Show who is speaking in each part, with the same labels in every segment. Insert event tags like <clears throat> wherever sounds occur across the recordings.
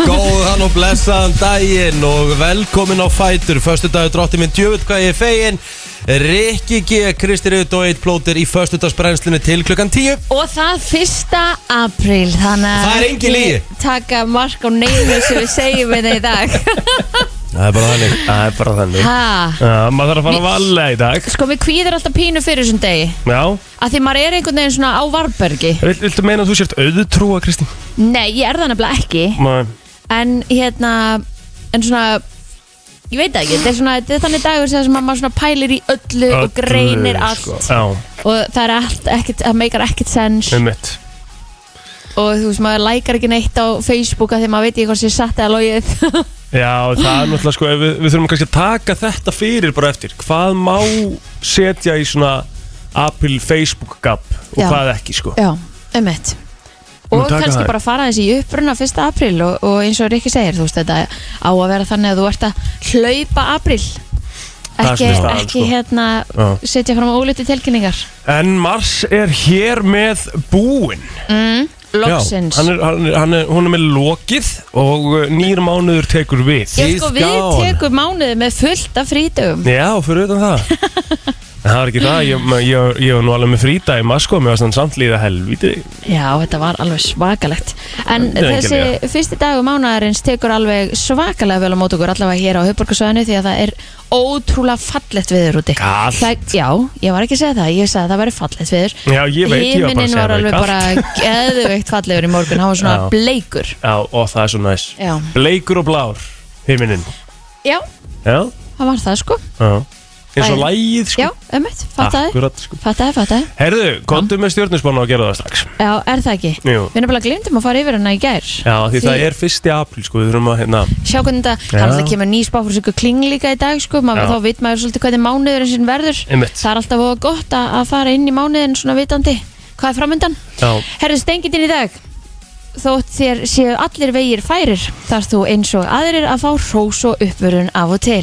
Speaker 1: Góðan og blessaðan daginn og velkomin á Fætur Föstu dagur drótti minn djöfut hvað ég er fegin Rikki G, Kristi Rut og Eitt Plóter í föstudagsbrennslunni til klukkan 10
Speaker 2: Og það fyrsta apríl Þannig að
Speaker 1: Það er engin lygi.
Speaker 2: ekki Taka mark á neynu sem við segjum við það í
Speaker 1: <laughs>
Speaker 2: dag
Speaker 1: Það er bara þannig
Speaker 3: Það er bara þannig
Speaker 2: ha.
Speaker 3: Já, maður þarf að fara að valla í dag
Speaker 2: Sko við kvíðir alltaf pínu fyrir þessum degi
Speaker 3: Já,
Speaker 2: Að því maður er einhvern veginn svona á varbergi
Speaker 3: Vill, viltu meina að þú sért auðutrúa, Kristín?
Speaker 2: Nei, ég er það nefnilega ekki
Speaker 3: Nei
Speaker 2: En hérna En svona Ég veit það ekki, þetta er, svona, þetta er þannig dagur sem að maður svona pælir í öllu, og greinir
Speaker 1: sko.
Speaker 2: allt
Speaker 3: sko. Já,
Speaker 2: og það er allt, ekkert, það meikar ekkert sens
Speaker 3: um mitt
Speaker 2: og þú veist, maður lækar ekki neitt á Facebooka þegar maður veit ekki hvað sé satt eða logið <laughs>
Speaker 3: Já, það er náttúrulega sko, ef við, við þurfum kannski að taka þetta fyrir bara eftir Hvað má setja í svona Apple Facebook gap og
Speaker 2: Já.
Speaker 3: hvað ekki sko
Speaker 2: Já, ummitt
Speaker 3: Nú,
Speaker 2: Og
Speaker 3: taka
Speaker 2: kannski
Speaker 3: það.
Speaker 2: bara fara þessi í uppruna 1. apríl og, og eins og Rikki segir, þú veist, þetta á að vera þannig að þú ert að hlaupa apríl
Speaker 3: er
Speaker 2: ekki,
Speaker 3: svolítið staðan,
Speaker 2: ekki
Speaker 3: sko.
Speaker 2: hérna
Speaker 3: Já.
Speaker 2: setja fram ólítið tilkynningar
Speaker 3: En Mars er hér með búinn
Speaker 2: Mm. Loksins
Speaker 3: Já, hann er, hann er, hann er, Hún er með lokið og uh, nýr mánuður tekur við
Speaker 2: Ég sko, við
Speaker 1: Gísgán.
Speaker 2: tekum mánuði með fullt af frítöfum
Speaker 3: Já, fyrir utan það
Speaker 2: <laughs>
Speaker 3: En Það var ekki það, ég, ég, ég var nú alveg með frítag í maður sko, mér var svona samt líða helvítið
Speaker 2: Já, þetta var alveg svakalegt En
Speaker 3: Þetta er
Speaker 2: þessi
Speaker 3: einkennilega.
Speaker 2: fyrsti dagur mánaðarins tekur alveg svakalega vel á mót okkur allavega hér á höfburgarsöðinu því að það er ótrúlega fallegt viður úti
Speaker 3: Kalt.
Speaker 2: Það- Já, ég var ekki að segja það, ég sagði að það væri fallegt viður
Speaker 3: Já, ég veit,
Speaker 2: Himinin
Speaker 3: ég var bara að segja
Speaker 2: var
Speaker 3: það
Speaker 2: alveg
Speaker 3: kalt.
Speaker 2: bara <laughs> geðveikt fallegur í morgun, hann var svona
Speaker 3: Já.
Speaker 2: bleikur
Speaker 3: <laughs> Já, og það er svo næs
Speaker 2: Já.
Speaker 3: Bleikur og blár, heiminin
Speaker 2: Já,
Speaker 3: Já,
Speaker 2: það var það sko
Speaker 3: já Eins og
Speaker 2: Æ.
Speaker 3: lægið sko
Speaker 2: Já, ömmit, fattaði
Speaker 3: Akkurat sko
Speaker 2: Fattaði, fattaði
Speaker 3: Herðu, komdu með stjórnusbánu og gerðu það strax
Speaker 2: Já, er það ekki?
Speaker 3: Jú.
Speaker 2: Við erum bara glimtum að fara yfir hana í gær
Speaker 3: Já, því, það er fyrsti apríl sko, við þurfum að hérna
Speaker 2: sjá hvernig þetta,
Speaker 3: Já.
Speaker 2: það er alltaf kemur ný spá fyrir sig kling líka í dag sko, maður,
Speaker 3: Já.
Speaker 2: þá veit maður svolítið hvernig mánuðurinn sinn verður
Speaker 3: Einmitt.
Speaker 2: það er alltaf voða gott að, að fara inn í mánuðin svona vitandi hvað er framöndan
Speaker 3: Já,
Speaker 2: Herðu stengitinn í dag þótt þér séu allir vegir færir þar þú eins og aðrir að fá hrós og uppvörun af og til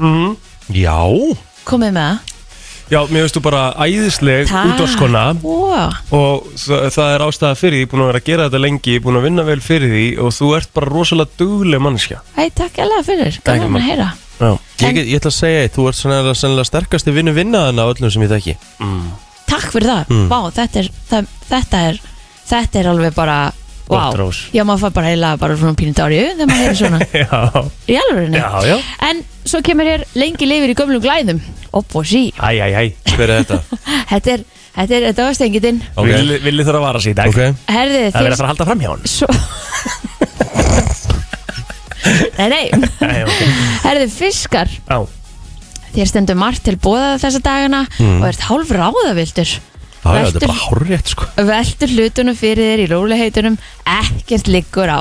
Speaker 2: Mm.
Speaker 1: Já
Speaker 2: komið með það
Speaker 3: já mér veist þú bara æðisleg
Speaker 2: Takk.
Speaker 3: útvarskona
Speaker 2: Ó,
Speaker 3: og það, það er ástæða fyrir því, ég er búin að vera að gera þetta lengi, ég er búin að vinna vel fyrir því og þú ert bara rosalega dugleg mannskja
Speaker 2: Æ, takk alveg fyrir, gaman
Speaker 3: Takk,
Speaker 2: að heyra
Speaker 3: Já,
Speaker 1: Ég, get- ég ætla að segja, eitt, þú ert sennilega, sennilega sterkasti vinnu vinnaðan af öllum sem ég þekki
Speaker 3: Mm.
Speaker 2: Takk fyrir það, vá, þetta er það, þetta er, þetta er alveg bara Vá,
Speaker 3: Gott hrós.
Speaker 2: já maður fær bara heila bara svona pínu dári þegar maður heyrir
Speaker 1: <laughs>
Speaker 2: svona
Speaker 3: <laughs> já,
Speaker 2: Í alveg
Speaker 3: já, já.
Speaker 2: En svo kemur hér lengi lifir í gömlum glæðum Opp og sí
Speaker 3: Æ, æ, æ,
Speaker 1: Hver er þetta?
Speaker 3: <laughs>
Speaker 2: Þetta er, þetta er, þetta var stengitinn
Speaker 1: Ok.
Speaker 3: Villi, villi þarf að vara sig í dag
Speaker 1: Ok,
Speaker 2: Herði
Speaker 3: Það
Speaker 2: þér
Speaker 3: verður að fara að halda fram hjá hann
Speaker 2: svo Nei, nei
Speaker 3: Æ, okay.
Speaker 2: Herði fiskar
Speaker 3: Já,
Speaker 2: Þér stendur margt til bóða þessa dagana Og ert hálf ráðavildur
Speaker 1: það er Hmm. þetta er
Speaker 2: Veltur-
Speaker 1: bara hárétt sko
Speaker 2: Veltur hlutunum fyrir þér í róliheitunum Ekkert liggur á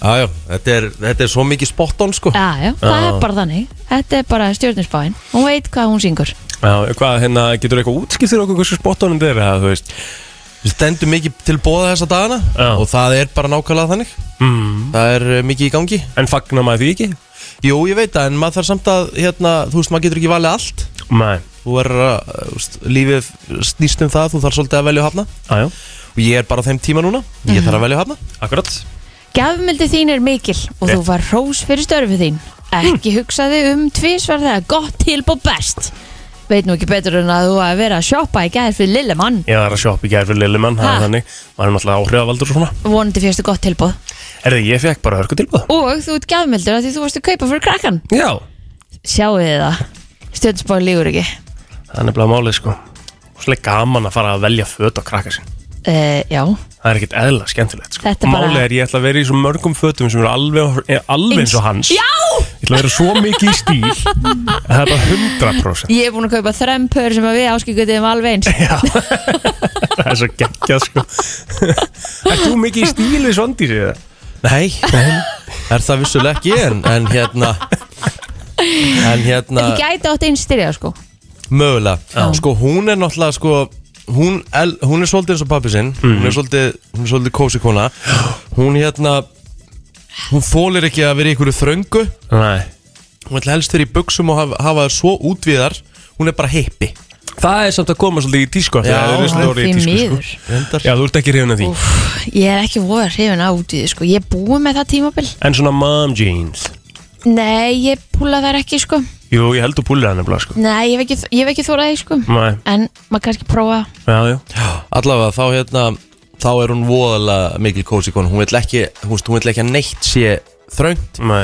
Speaker 1: Jájá, þetta, er- þetta er svo mikið spot on sko
Speaker 2: Já, já, það er bara þannig Þetta er bara stjórnirspáin Hún veit hvað hún syngur
Speaker 3: já, hvað, hérna, getur eitthvað útskipt fyrir okkur hversu spottónum þeir eða, þú veist
Speaker 1: Við stendum mikið til bóða þessa dagana
Speaker 3: Já.
Speaker 1: Og það er bara nákvæmlega þannig
Speaker 3: mm.
Speaker 1: Það er eh, mikið í gangi
Speaker 3: En fagnar maður því ekki?
Speaker 1: Jú, ég veit það, en maður þarf samt að hérna, Þú veist, maður getur ekki valið allt
Speaker 3: Nei,
Speaker 1: Þú er, lífið snýst um það Þú þarf svolítið að velja og hafna
Speaker 3: aðjó,
Speaker 1: Og ég er bara á þeim tíma núna Ég þarf að velja og hafna
Speaker 3: akkurat
Speaker 2: Gjafmildi þín er mikil og þú var hrós fyrir störfið þín.
Speaker 3: <clears throat>
Speaker 2: Ekki hugsaði um tvísvar þegar gott tilbúð best. Veit nú ekki betur en að þú að vera að sjoppa í gæðir fyrir lille mann.
Speaker 3: Ég var að shoppa í gær fyrir Lillimann, það
Speaker 2: Ha.
Speaker 3: er þannig Maður er náttúrulega áhrifavaldur og svona
Speaker 2: Vonandi fyrstu gott tilbúð.
Speaker 3: Erði, ég fekk bara hörku tilbúð
Speaker 2: Og þú ert gjafmildur að því þú varst að kaupa fyrir krakkan.
Speaker 3: Já
Speaker 2: Sjáu þið það. Stjórnspáin lígur ekki.
Speaker 3: Það er nefnilega málið, sko Slega gaman að fara að velja föt á krakka sinn
Speaker 2: Uh, já,
Speaker 3: Það er ekkert eðla skemmtilegt sko.
Speaker 2: Þetta er bara-
Speaker 3: Málið er ég ætla að vera í svo mörgum fötum sem eru alveg, er alveg eins og hans Já! Ég ætla að vera svo mikið í stíl að Það er bara 100%
Speaker 2: ég er búin að kaupa þrempör sem að við áskilgjöðum alveg eins.
Speaker 3: Það er svo geggjað
Speaker 2: <laughs>
Speaker 3: sko Er þú mikið í stíl við svondísi eða? <laughs>
Speaker 1: Nei, er það vissulega ekki En, en hérna En hérna
Speaker 2: Þið gæti átt einn styrja sko.
Speaker 1: Mögulega, sko hún er náttúrulega sko Hún, el, hún er svolítið eins og pappi sinn Hún er svolítið, hún er svolítið kósi kona Hún hérna Hún þólir ekki að vera í einhverju þröngu
Speaker 3: Nei
Speaker 1: Hún ætla helst fyrir í buksum og hafa, hafa þær svo útvíðar Hún er bara hippi
Speaker 3: Það er samt að koma svolítið í tísku af því
Speaker 1: Já,
Speaker 3: að það er
Speaker 2: Já,
Speaker 3: svolítið orðið í
Speaker 2: því
Speaker 3: tísku sko.
Speaker 2: miður
Speaker 1: Reyndar
Speaker 3: Já, þú ert ekki hrifin af því
Speaker 2: Ég er ekki voða hrifin á útíðu sko Ég er búið með það tímabil
Speaker 3: En svona mom jeans
Speaker 2: Nei, ég púla þær ekki sko
Speaker 3: Jú, ég held að púlir hann nefnilega sko
Speaker 2: Nei, ég hef ekki, ég hef ekki þórað því sko
Speaker 3: Nei,
Speaker 2: En maður kannski prófa
Speaker 3: já, já
Speaker 1: Allavega þá hérna Þá er hún voðalega mikil kósi konu Hún vill ekki, hún, veist, hún vill ekki að neitt sé þröngt
Speaker 3: Nei,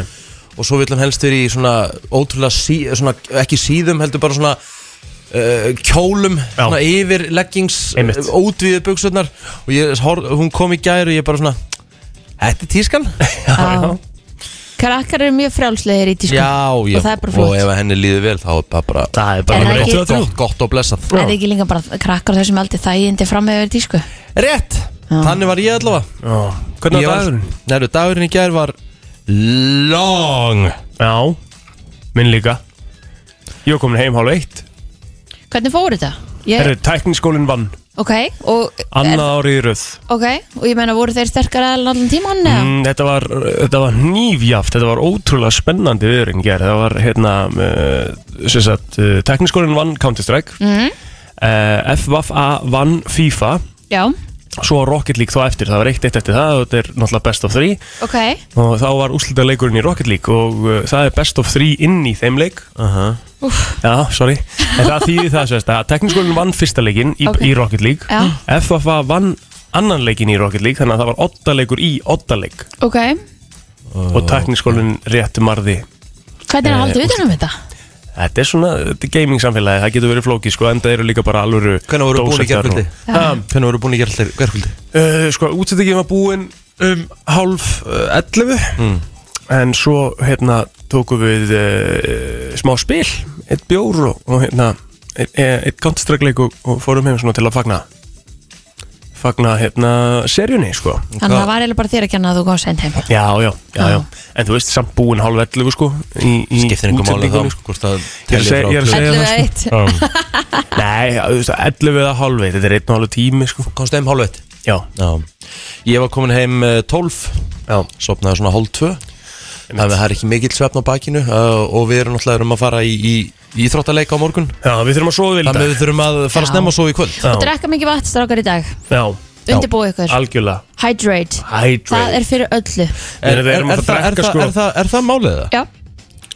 Speaker 1: Og svo vill hún helst verið í svona Ótrúlega, sí, svona, ekki síðum Heldur bara svona uh, Kjólum,
Speaker 3: Já.
Speaker 1: svona yfir leggings
Speaker 3: Einmitt.
Speaker 1: Ótvíðu buksurnar Og ég, hor, hún kom í gær og ég bara svona Þetta er
Speaker 2: <laughs>
Speaker 1: tískan?
Speaker 2: á Krakkar eru mjög frjálslegir í tísku
Speaker 1: Já, já
Speaker 2: Og það er bara flott.
Speaker 1: Og ef að henni líður vel þá er það bara
Speaker 3: það er
Speaker 2: En
Speaker 3: bara
Speaker 2: það
Speaker 3: gott
Speaker 2: ekki-
Speaker 3: að þú
Speaker 1: Gott, gott og blessað
Speaker 2: Það er ekki líka bara krakkar á þessum aldrei þægindi fram með verið tísku
Speaker 1: Rétt,
Speaker 2: Já.
Speaker 1: þannig var ég allavega
Speaker 3: Já, hvernig
Speaker 1: Ég
Speaker 3: var
Speaker 1: var-
Speaker 3: dagurinn?
Speaker 1: Nei, dagurinn í gær var Long
Speaker 3: Já, minn líka Ég var komin heim hálf eitt
Speaker 2: Hvernig fóru þetta? Ég,
Speaker 3: Herru, tækniskólinn vann
Speaker 2: ok, og, er,
Speaker 3: Annað árið í röð
Speaker 2: ok, og ég meina voru þeir sterkar allan allan tíman eða?
Speaker 3: mm, Þetta var, þetta var nýfjaft Þetta var ótrúlega spennandi viðurinn gerð Það var hérna uh, sem sagt, uh, Tekniskólinn vann Counter-Strike
Speaker 2: Mm,
Speaker 3: uh, FFA vann FIFA
Speaker 2: já,
Speaker 3: Svo Rocket League þá eftir, það var eitt eitt eftir það og Þetta er náttúrulega best of 3
Speaker 2: ok
Speaker 3: Og þá var úslita leikurinn í Rocket League Og uh, það er best of 3 inn í þeim leik Já, sorry En það þýði það sérst að tekniskólinn vann fyrsta leikinn í,
Speaker 2: Ok.
Speaker 3: í Rocket League
Speaker 2: Já.
Speaker 3: FFA vann annan leikinn í Rocket League Þannig að það var 8 leikur í 8 leik
Speaker 2: Ok,
Speaker 3: Og tekniskólinn rétt marði
Speaker 2: hvernig er að
Speaker 3: Eh,
Speaker 2: halda utan um þetta?
Speaker 3: Þetta er svona, þetta er gaming samfélagi, það getur verið flókið sko, en það eru líka bara alvöru
Speaker 1: Hvernig voru búin í
Speaker 3: dósettar
Speaker 1: gerkvöldi?
Speaker 3: og-
Speaker 1: Hvernig voru búin í gerkvöldi?
Speaker 3: Uh, sko, útsettingin var búin um hálf uh, 11
Speaker 1: Mm.
Speaker 3: en svo hérna tókum við uh, smá spil, eitt bjór og, og hérna, eitt, eitt kontistrækleik og, og fórum heim svona til að fagna fagna hérna serjunni sko.
Speaker 2: Þannig að það var eiginlega bara þér að kenna að þú komst sent heim
Speaker 3: Já, já, já,
Speaker 2: Já.
Speaker 3: já, en þú veist samt búin hálf 11 sko í, í
Speaker 1: Skiptir einhver máli þá
Speaker 3: útsendingunni, sko.
Speaker 1: Hvort að
Speaker 3: Ég er að segja- ég er að segja-
Speaker 2: 11
Speaker 3: það, sko.
Speaker 2: eitt
Speaker 3: Nei, þú veist, 11 eða hálf eitt, þetta er einn og hálf tími sko
Speaker 1: Komst heim hálf eitt
Speaker 3: Já,
Speaker 1: Já Ég var komin heim eh, 12
Speaker 3: já
Speaker 1: Sopnaði svona hálf 2 Það það er ekki mikill svefn á bakinu uh, Og við erum náttúrulega erum að fara í, í, í Íþróttaleika á morgun
Speaker 3: Já, við þurfum að sofa vel í
Speaker 1: Þannig
Speaker 3: dag
Speaker 1: að við þurfum að fara
Speaker 2: Já.
Speaker 1: snemma og svo í kvöld
Speaker 3: Já,
Speaker 2: Og drekka mikið vatn strákar í dag
Speaker 3: já, já.
Speaker 2: Undirbúið ykkur.
Speaker 3: Algjörlega
Speaker 2: Hydrate, það
Speaker 3: Hydrate
Speaker 2: er fyrir öllu
Speaker 3: Er, er, er, er,
Speaker 1: það- er það- er
Speaker 3: sko
Speaker 1: það- er það málið það?
Speaker 2: Já,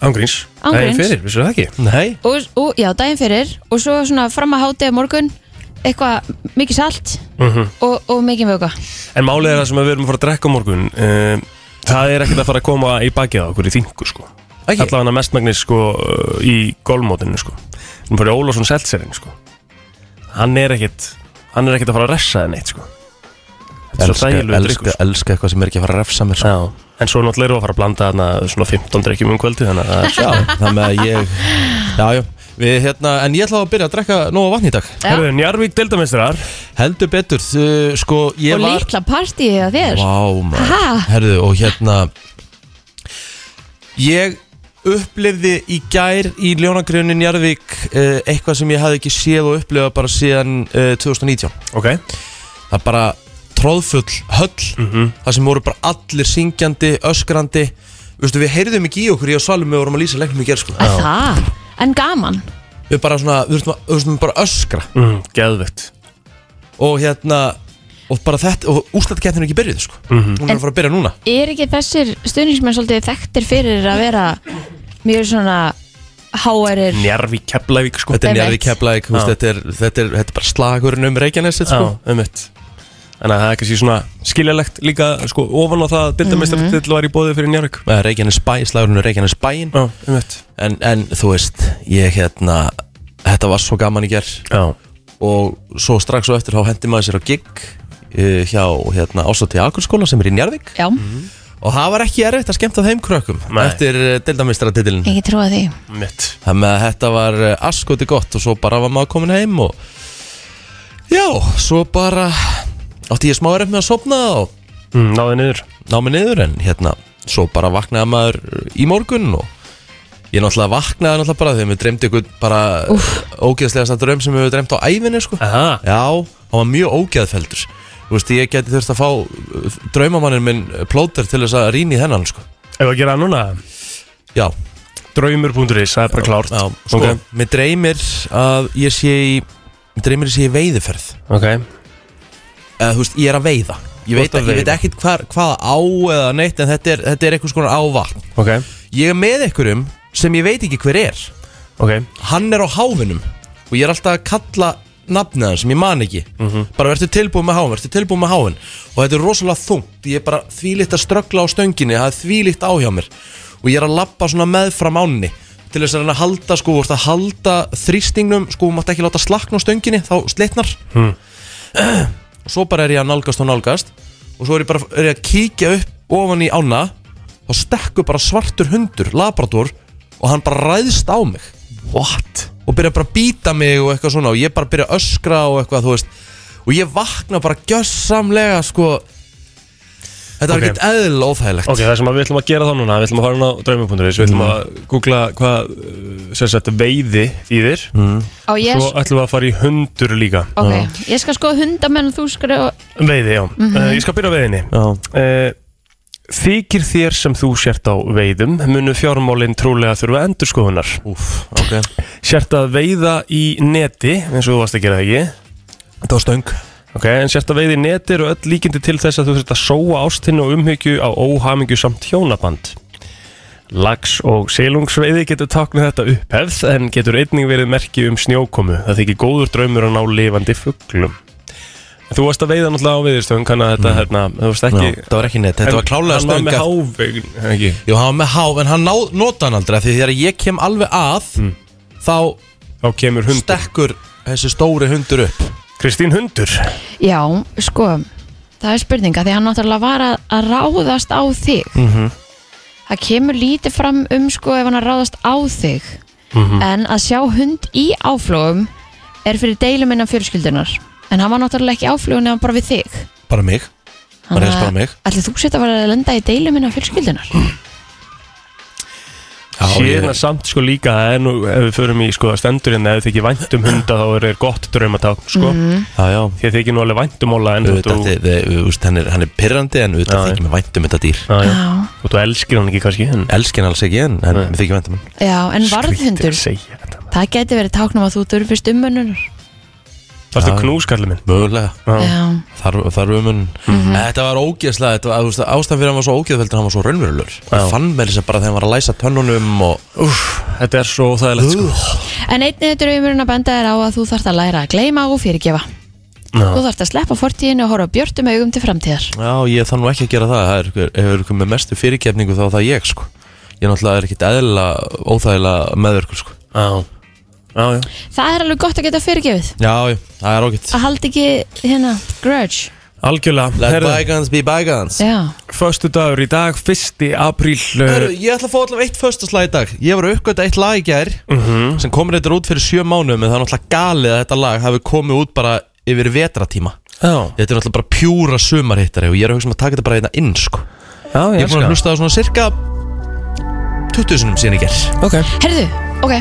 Speaker 3: Ángríns
Speaker 2: Án gríns.
Speaker 3: fyrir, vissir það ekki
Speaker 1: Nei
Speaker 2: og, og já, daginn fyrir Og svo svona fram að hátið morgun Eitthvað mikið salt
Speaker 1: Mhm.
Speaker 2: og, og mikið vöka
Speaker 3: Mhm. En málið er það sem við erum að fara að drekka á morgun uh, Það er ekkert að fara að koma í bakið á okkur í þingu sko
Speaker 1: Ekki?
Speaker 3: Alla hana mestmagnis sko uh, í golfmótinu sko Hún fyrir Ólafsson Seltserinn sko Hann er ekkert Hann er ekkert að fara að ressa það neitt sko Þetta er svo
Speaker 1: Elska,
Speaker 3: þægilegu drikkur
Speaker 1: elska, elska eitthvað sem er ekki að fara að refsa mér sko.
Speaker 3: Já, en svo náttúrulega erum við að fara að blanda þarna svona 15 drikkjum um kvöldi þannig að
Speaker 1: Já, þannig að ég Já, já, við hérna En ég ætla að byrja að drekka nóg af vatn í dag
Speaker 3: Herru, Njarvík deildamestrar
Speaker 1: Heldur betur, þú, sko, ég
Speaker 2: Og
Speaker 1: var
Speaker 2: litla partíið á þér
Speaker 1: Vá, maður
Speaker 2: Ha?
Speaker 1: Herðu, og hérna Ég upplifði í gær í Ljónagrönin Jarvík uh, eitthvað sem ég hafði ekki séð og upplifað bara síðan uh, 2019
Speaker 3: Ok
Speaker 1: það er bara tróðfull höll
Speaker 3: Mhm.
Speaker 1: það sem voru bara allir syngjandi, öskrandi Vistu, við heyrðum ekki í okkur í að salum við vorum að lýsa leiknum í gerð sko.
Speaker 2: Að Það, en gaman
Speaker 1: við bara svona, við þurftum að- við þurftum bara að öskra
Speaker 3: mm, Geðvögt
Speaker 1: og hérna og bara þetta, og úslatkeppnin er ekki byrjuð sko.
Speaker 3: Mhm.
Speaker 1: hún
Speaker 2: En-
Speaker 1: er að fara að byrja núna
Speaker 2: Er ekki þessir stuðningsmenn svolítið þekktir fyrir að vera Mjög svona háærir
Speaker 3: Njarvík Keflavík sko
Speaker 1: þetta er
Speaker 2: Einmitt.
Speaker 1: njarði keflæk,
Speaker 3: Já.
Speaker 1: þetta, er- þetta, er- þetta er bara slagurinn um Reykjanesið
Speaker 3: Já,
Speaker 1: sko.
Speaker 3: um mitt Þannig að það er kannski svona skiljalegt líka sko ofan á það að deildamestrar var í bóði fyrir Njarvík
Speaker 1: Eða Reykjanesbæ, slagurinn um Reykjanesbæin
Speaker 3: Já, um mitt
Speaker 1: en, en þú veist, ég hérna þetta var svo gaman í gerð
Speaker 3: Já
Speaker 1: og svo strax og eftir þá hendi maður sér á gig uh, hjá hérna, Ástótti Akurskóla sem er í Njarðvík
Speaker 2: Já,
Speaker 1: og það var ekki erfitt að skemmta þeim krökkum
Speaker 3: Nei.
Speaker 1: eftir uh, deildamistratitilin
Speaker 2: ekki trúa því
Speaker 3: Mitt
Speaker 1: þannig að þetta var uh, askoti gott og svo bara var maður komin heim og já, svo bara átti ég smá erfitt með að sopna og
Speaker 3: mm, Náði niður
Speaker 1: ná mig niður en hérna, svo bara vaknaði maður í morgun og ég náttúrulega vaknaði náttúrulega bara þegar við dreymdi ykkur bara ógeðslegasta draum sem við dreymdi á ævinni sko
Speaker 3: Aha
Speaker 1: Já, hann var mjög ógeðfeldur Þú veist, ég geti þurft að fá uh, draumamannin minn uh, plóter til þess að rýna í þennan, sko
Speaker 3: Ef að gera það núna
Speaker 1: Já,
Speaker 3: draumur.is, það er bara klárt
Speaker 1: Já, sko,
Speaker 3: Ok.
Speaker 1: mér dreymir að ég sé í Mér dreymir að ég sé í veiðiferð
Speaker 3: Ok,
Speaker 1: Eða, þú veist, ég er að veiða Ég
Speaker 3: Þú
Speaker 1: veit,
Speaker 3: ert að
Speaker 1: ég veit
Speaker 3: veiða.
Speaker 1: ekkit hvað, hvað á eða neitt En þetta er, þetta er einhvers konar ávatn
Speaker 3: ok,
Speaker 1: Ég er með einhverjum sem ég veit ekki hver er
Speaker 3: ok
Speaker 1: Hann er á háfinum Og ég er alltaf að kalla nafnið hans sem ég man ekki
Speaker 3: Mhm.
Speaker 1: Bara verður tilbúið með háfin, verður tilbúið með háfin Og þetta er rosalega þungt Ég er bara þvílíkt að ströggla á stönginni Það er þvílíkt á hjá mér Og ég er að labba svona meðfram ánni Til þess að hann að halda, sko, þú ert að halda þrýstingnum Sko, þú mátt ekki láta slakna á stönginni Þá slitnar
Speaker 3: Hm.
Speaker 1: Og <clears throat> svo bara er ég að nálgast og nálgast Og svo er ég bara er ég að kíkja upp ofan í ána Þá stekkur bara svartur hundur, labrador Og hann bara ræðst á mig
Speaker 3: What?
Speaker 1: og byrja bara að býta mig og eitthvað svona og ég bara byrja að öskra og eitthvað þú veist og ég vakna bara gjössamlega sko þetta var
Speaker 3: Ok.
Speaker 1: ekkert eðl óþægilegt Mm.
Speaker 3: Ok, það sem að við ætlum að gera þá núna, við ætlum að fara hún á draumur.is Við ætlum að googla hvað, uh, sem sagt, veiði þýðir
Speaker 1: Mm.
Speaker 2: Á ég,
Speaker 3: Svo ætlum við að fara í hundur líka
Speaker 2: ok, ég skal sko hunda menn og þú skal
Speaker 3: Um Veiði, já
Speaker 2: Mhm.
Speaker 3: uh, Ég skal byrja á veiðinni
Speaker 1: Já.
Speaker 3: uh, Þykir þér sem þú sért á veiðum munu fjármálin trúlega þurfa endurskoðunar
Speaker 1: Úf, ok
Speaker 3: Sért að veiða í neti, eins og þú varst að gera það ekki
Speaker 1: Þetta var stöng
Speaker 3: Ok, en sérst að veiði netir og öll líkindi til þess að þú þurft að sóa ástinn og umhyggju á óhamingju samt hjónaband. Lax og selungsveiði getur táknað þetta upphefð en getur einning verið merki um snjókomu. Það þykir góður draumur að ná lifandi fugglum. Þú varst að veiða náttúrulega á veiðistöng, hann að þetta, hérna, þú varst
Speaker 1: Já,
Speaker 3: ekki...
Speaker 1: Þetta var ekki neitt, þetta var klálega
Speaker 3: stöng. Hann
Speaker 1: stöng
Speaker 3: var
Speaker 1: að-
Speaker 3: með hávegin, ekki?
Speaker 1: Jú, hann var með há, en hann ná, nota hann aldrei af því þegar ég kem alveg að þá
Speaker 3: Hmm. Þá kemur hundur.
Speaker 1: stekkur þessi stóri hundur upp
Speaker 3: Kristín Hundur.
Speaker 2: Já, sko, það er spurninga því hann náttúrulega var að, að ráðast á þig
Speaker 1: Mhm.
Speaker 2: Það kemur lítið fram um sko ef hann er að ráðast á þig
Speaker 3: Mhm.
Speaker 2: En að sjá hund í áflóum er fyrir deilum innan fjölskyldunar En hann var náttúrulega ekki í áflóum nefn bara við þig
Speaker 1: bara mig, bara þess bara mig
Speaker 2: Ætli þú setja að vera að lenda í deilum innan fjölskyldunar?
Speaker 3: Mm.
Speaker 1: Já,
Speaker 3: Sérna
Speaker 1: ég,
Speaker 3: samt sko líka það er nú, ef við förum í sko stendur hérna, ef þið ekki vænt um hunda þá er þeir gott draumatákn sko
Speaker 1: Mhm. já, já
Speaker 3: því að þið ekki nú alveg vænt um óla en þú,
Speaker 1: Auðvitað, þið, þið, þú veist, hann er, hann er pirrandi en
Speaker 3: Já,
Speaker 1: auðvitað
Speaker 3: já.
Speaker 1: þykir mér vænt um þetta dýr
Speaker 3: á, já,
Speaker 2: Já,
Speaker 3: og þú elskir hann ekki kannski en
Speaker 1: Elskin alls ekki en, en
Speaker 3: Nei.
Speaker 1: við þykir vænt um hann
Speaker 2: já en varðhundur
Speaker 3: Skrýtið að segja þetta, maður.
Speaker 2: Það geti verið táknum að þú durfist umönnunar
Speaker 3: Varstu
Speaker 1: Já.
Speaker 3: knúskallið minn?
Speaker 1: Mögulega
Speaker 3: Já.
Speaker 2: Já,
Speaker 1: Þar, þar um hann
Speaker 3: Mhm.
Speaker 1: Þetta var ógeðslega þetta var, þú veist, Ástæðan fyrir hann var svo ógeðveldur Hann var svo raunverulegur
Speaker 3: Já.
Speaker 1: Ég fann með þess að bara þegar hann var að læsa tönnunum og,
Speaker 3: Úf, þetta er svo þægilegt sko
Speaker 2: En einnig draumurinn að benda er á að þú þarft að læra að gleyma og fyrirgefa. Þú
Speaker 3: Já.
Speaker 2: þarft að sleppa fortíðinu og horfa björtum augum til framtíðar.
Speaker 1: Já, ég þann nú ekki að gera það Það er hver- hefur ykkur með mestu fyrirgefningu þá er það ég sko Ég náttúrulega er ekkit eðla Óþægilega meðverkur sko
Speaker 3: Já. Já, já.
Speaker 2: Það er alveg gott að geta fyrirgefið.
Speaker 1: Já, já, það er ágætt
Speaker 2: Að halda ekki hérna grudge.
Speaker 3: Algjörlega,
Speaker 1: Let
Speaker 3: herðu,
Speaker 1: bygones be bygones
Speaker 2: Já,
Speaker 3: föstu dagur í dag, 1. apríl
Speaker 1: Hörru,
Speaker 3: uh,
Speaker 1: ég ætla að fá allavega eitt föstaslag í dag Ég var að uppgöta eitt lag í gær sem komur eitthvað út fyrir sjö mánuðum en það er náttúrulega galið að þetta lag hafi komið út bara yfir vetratíma
Speaker 3: Já,
Speaker 1: Þetta er náttúrulega bara pjúra sumarhittari og ég er að hugsa um að taka þetta bara einna inn sko
Speaker 3: já,
Speaker 1: Ég
Speaker 3: ég
Speaker 1: er búin að
Speaker 3: elska það.
Speaker 1: hlusta á svona cirka 20 sinum síðan í gerð
Speaker 3: Ok,
Speaker 2: herðu, ok,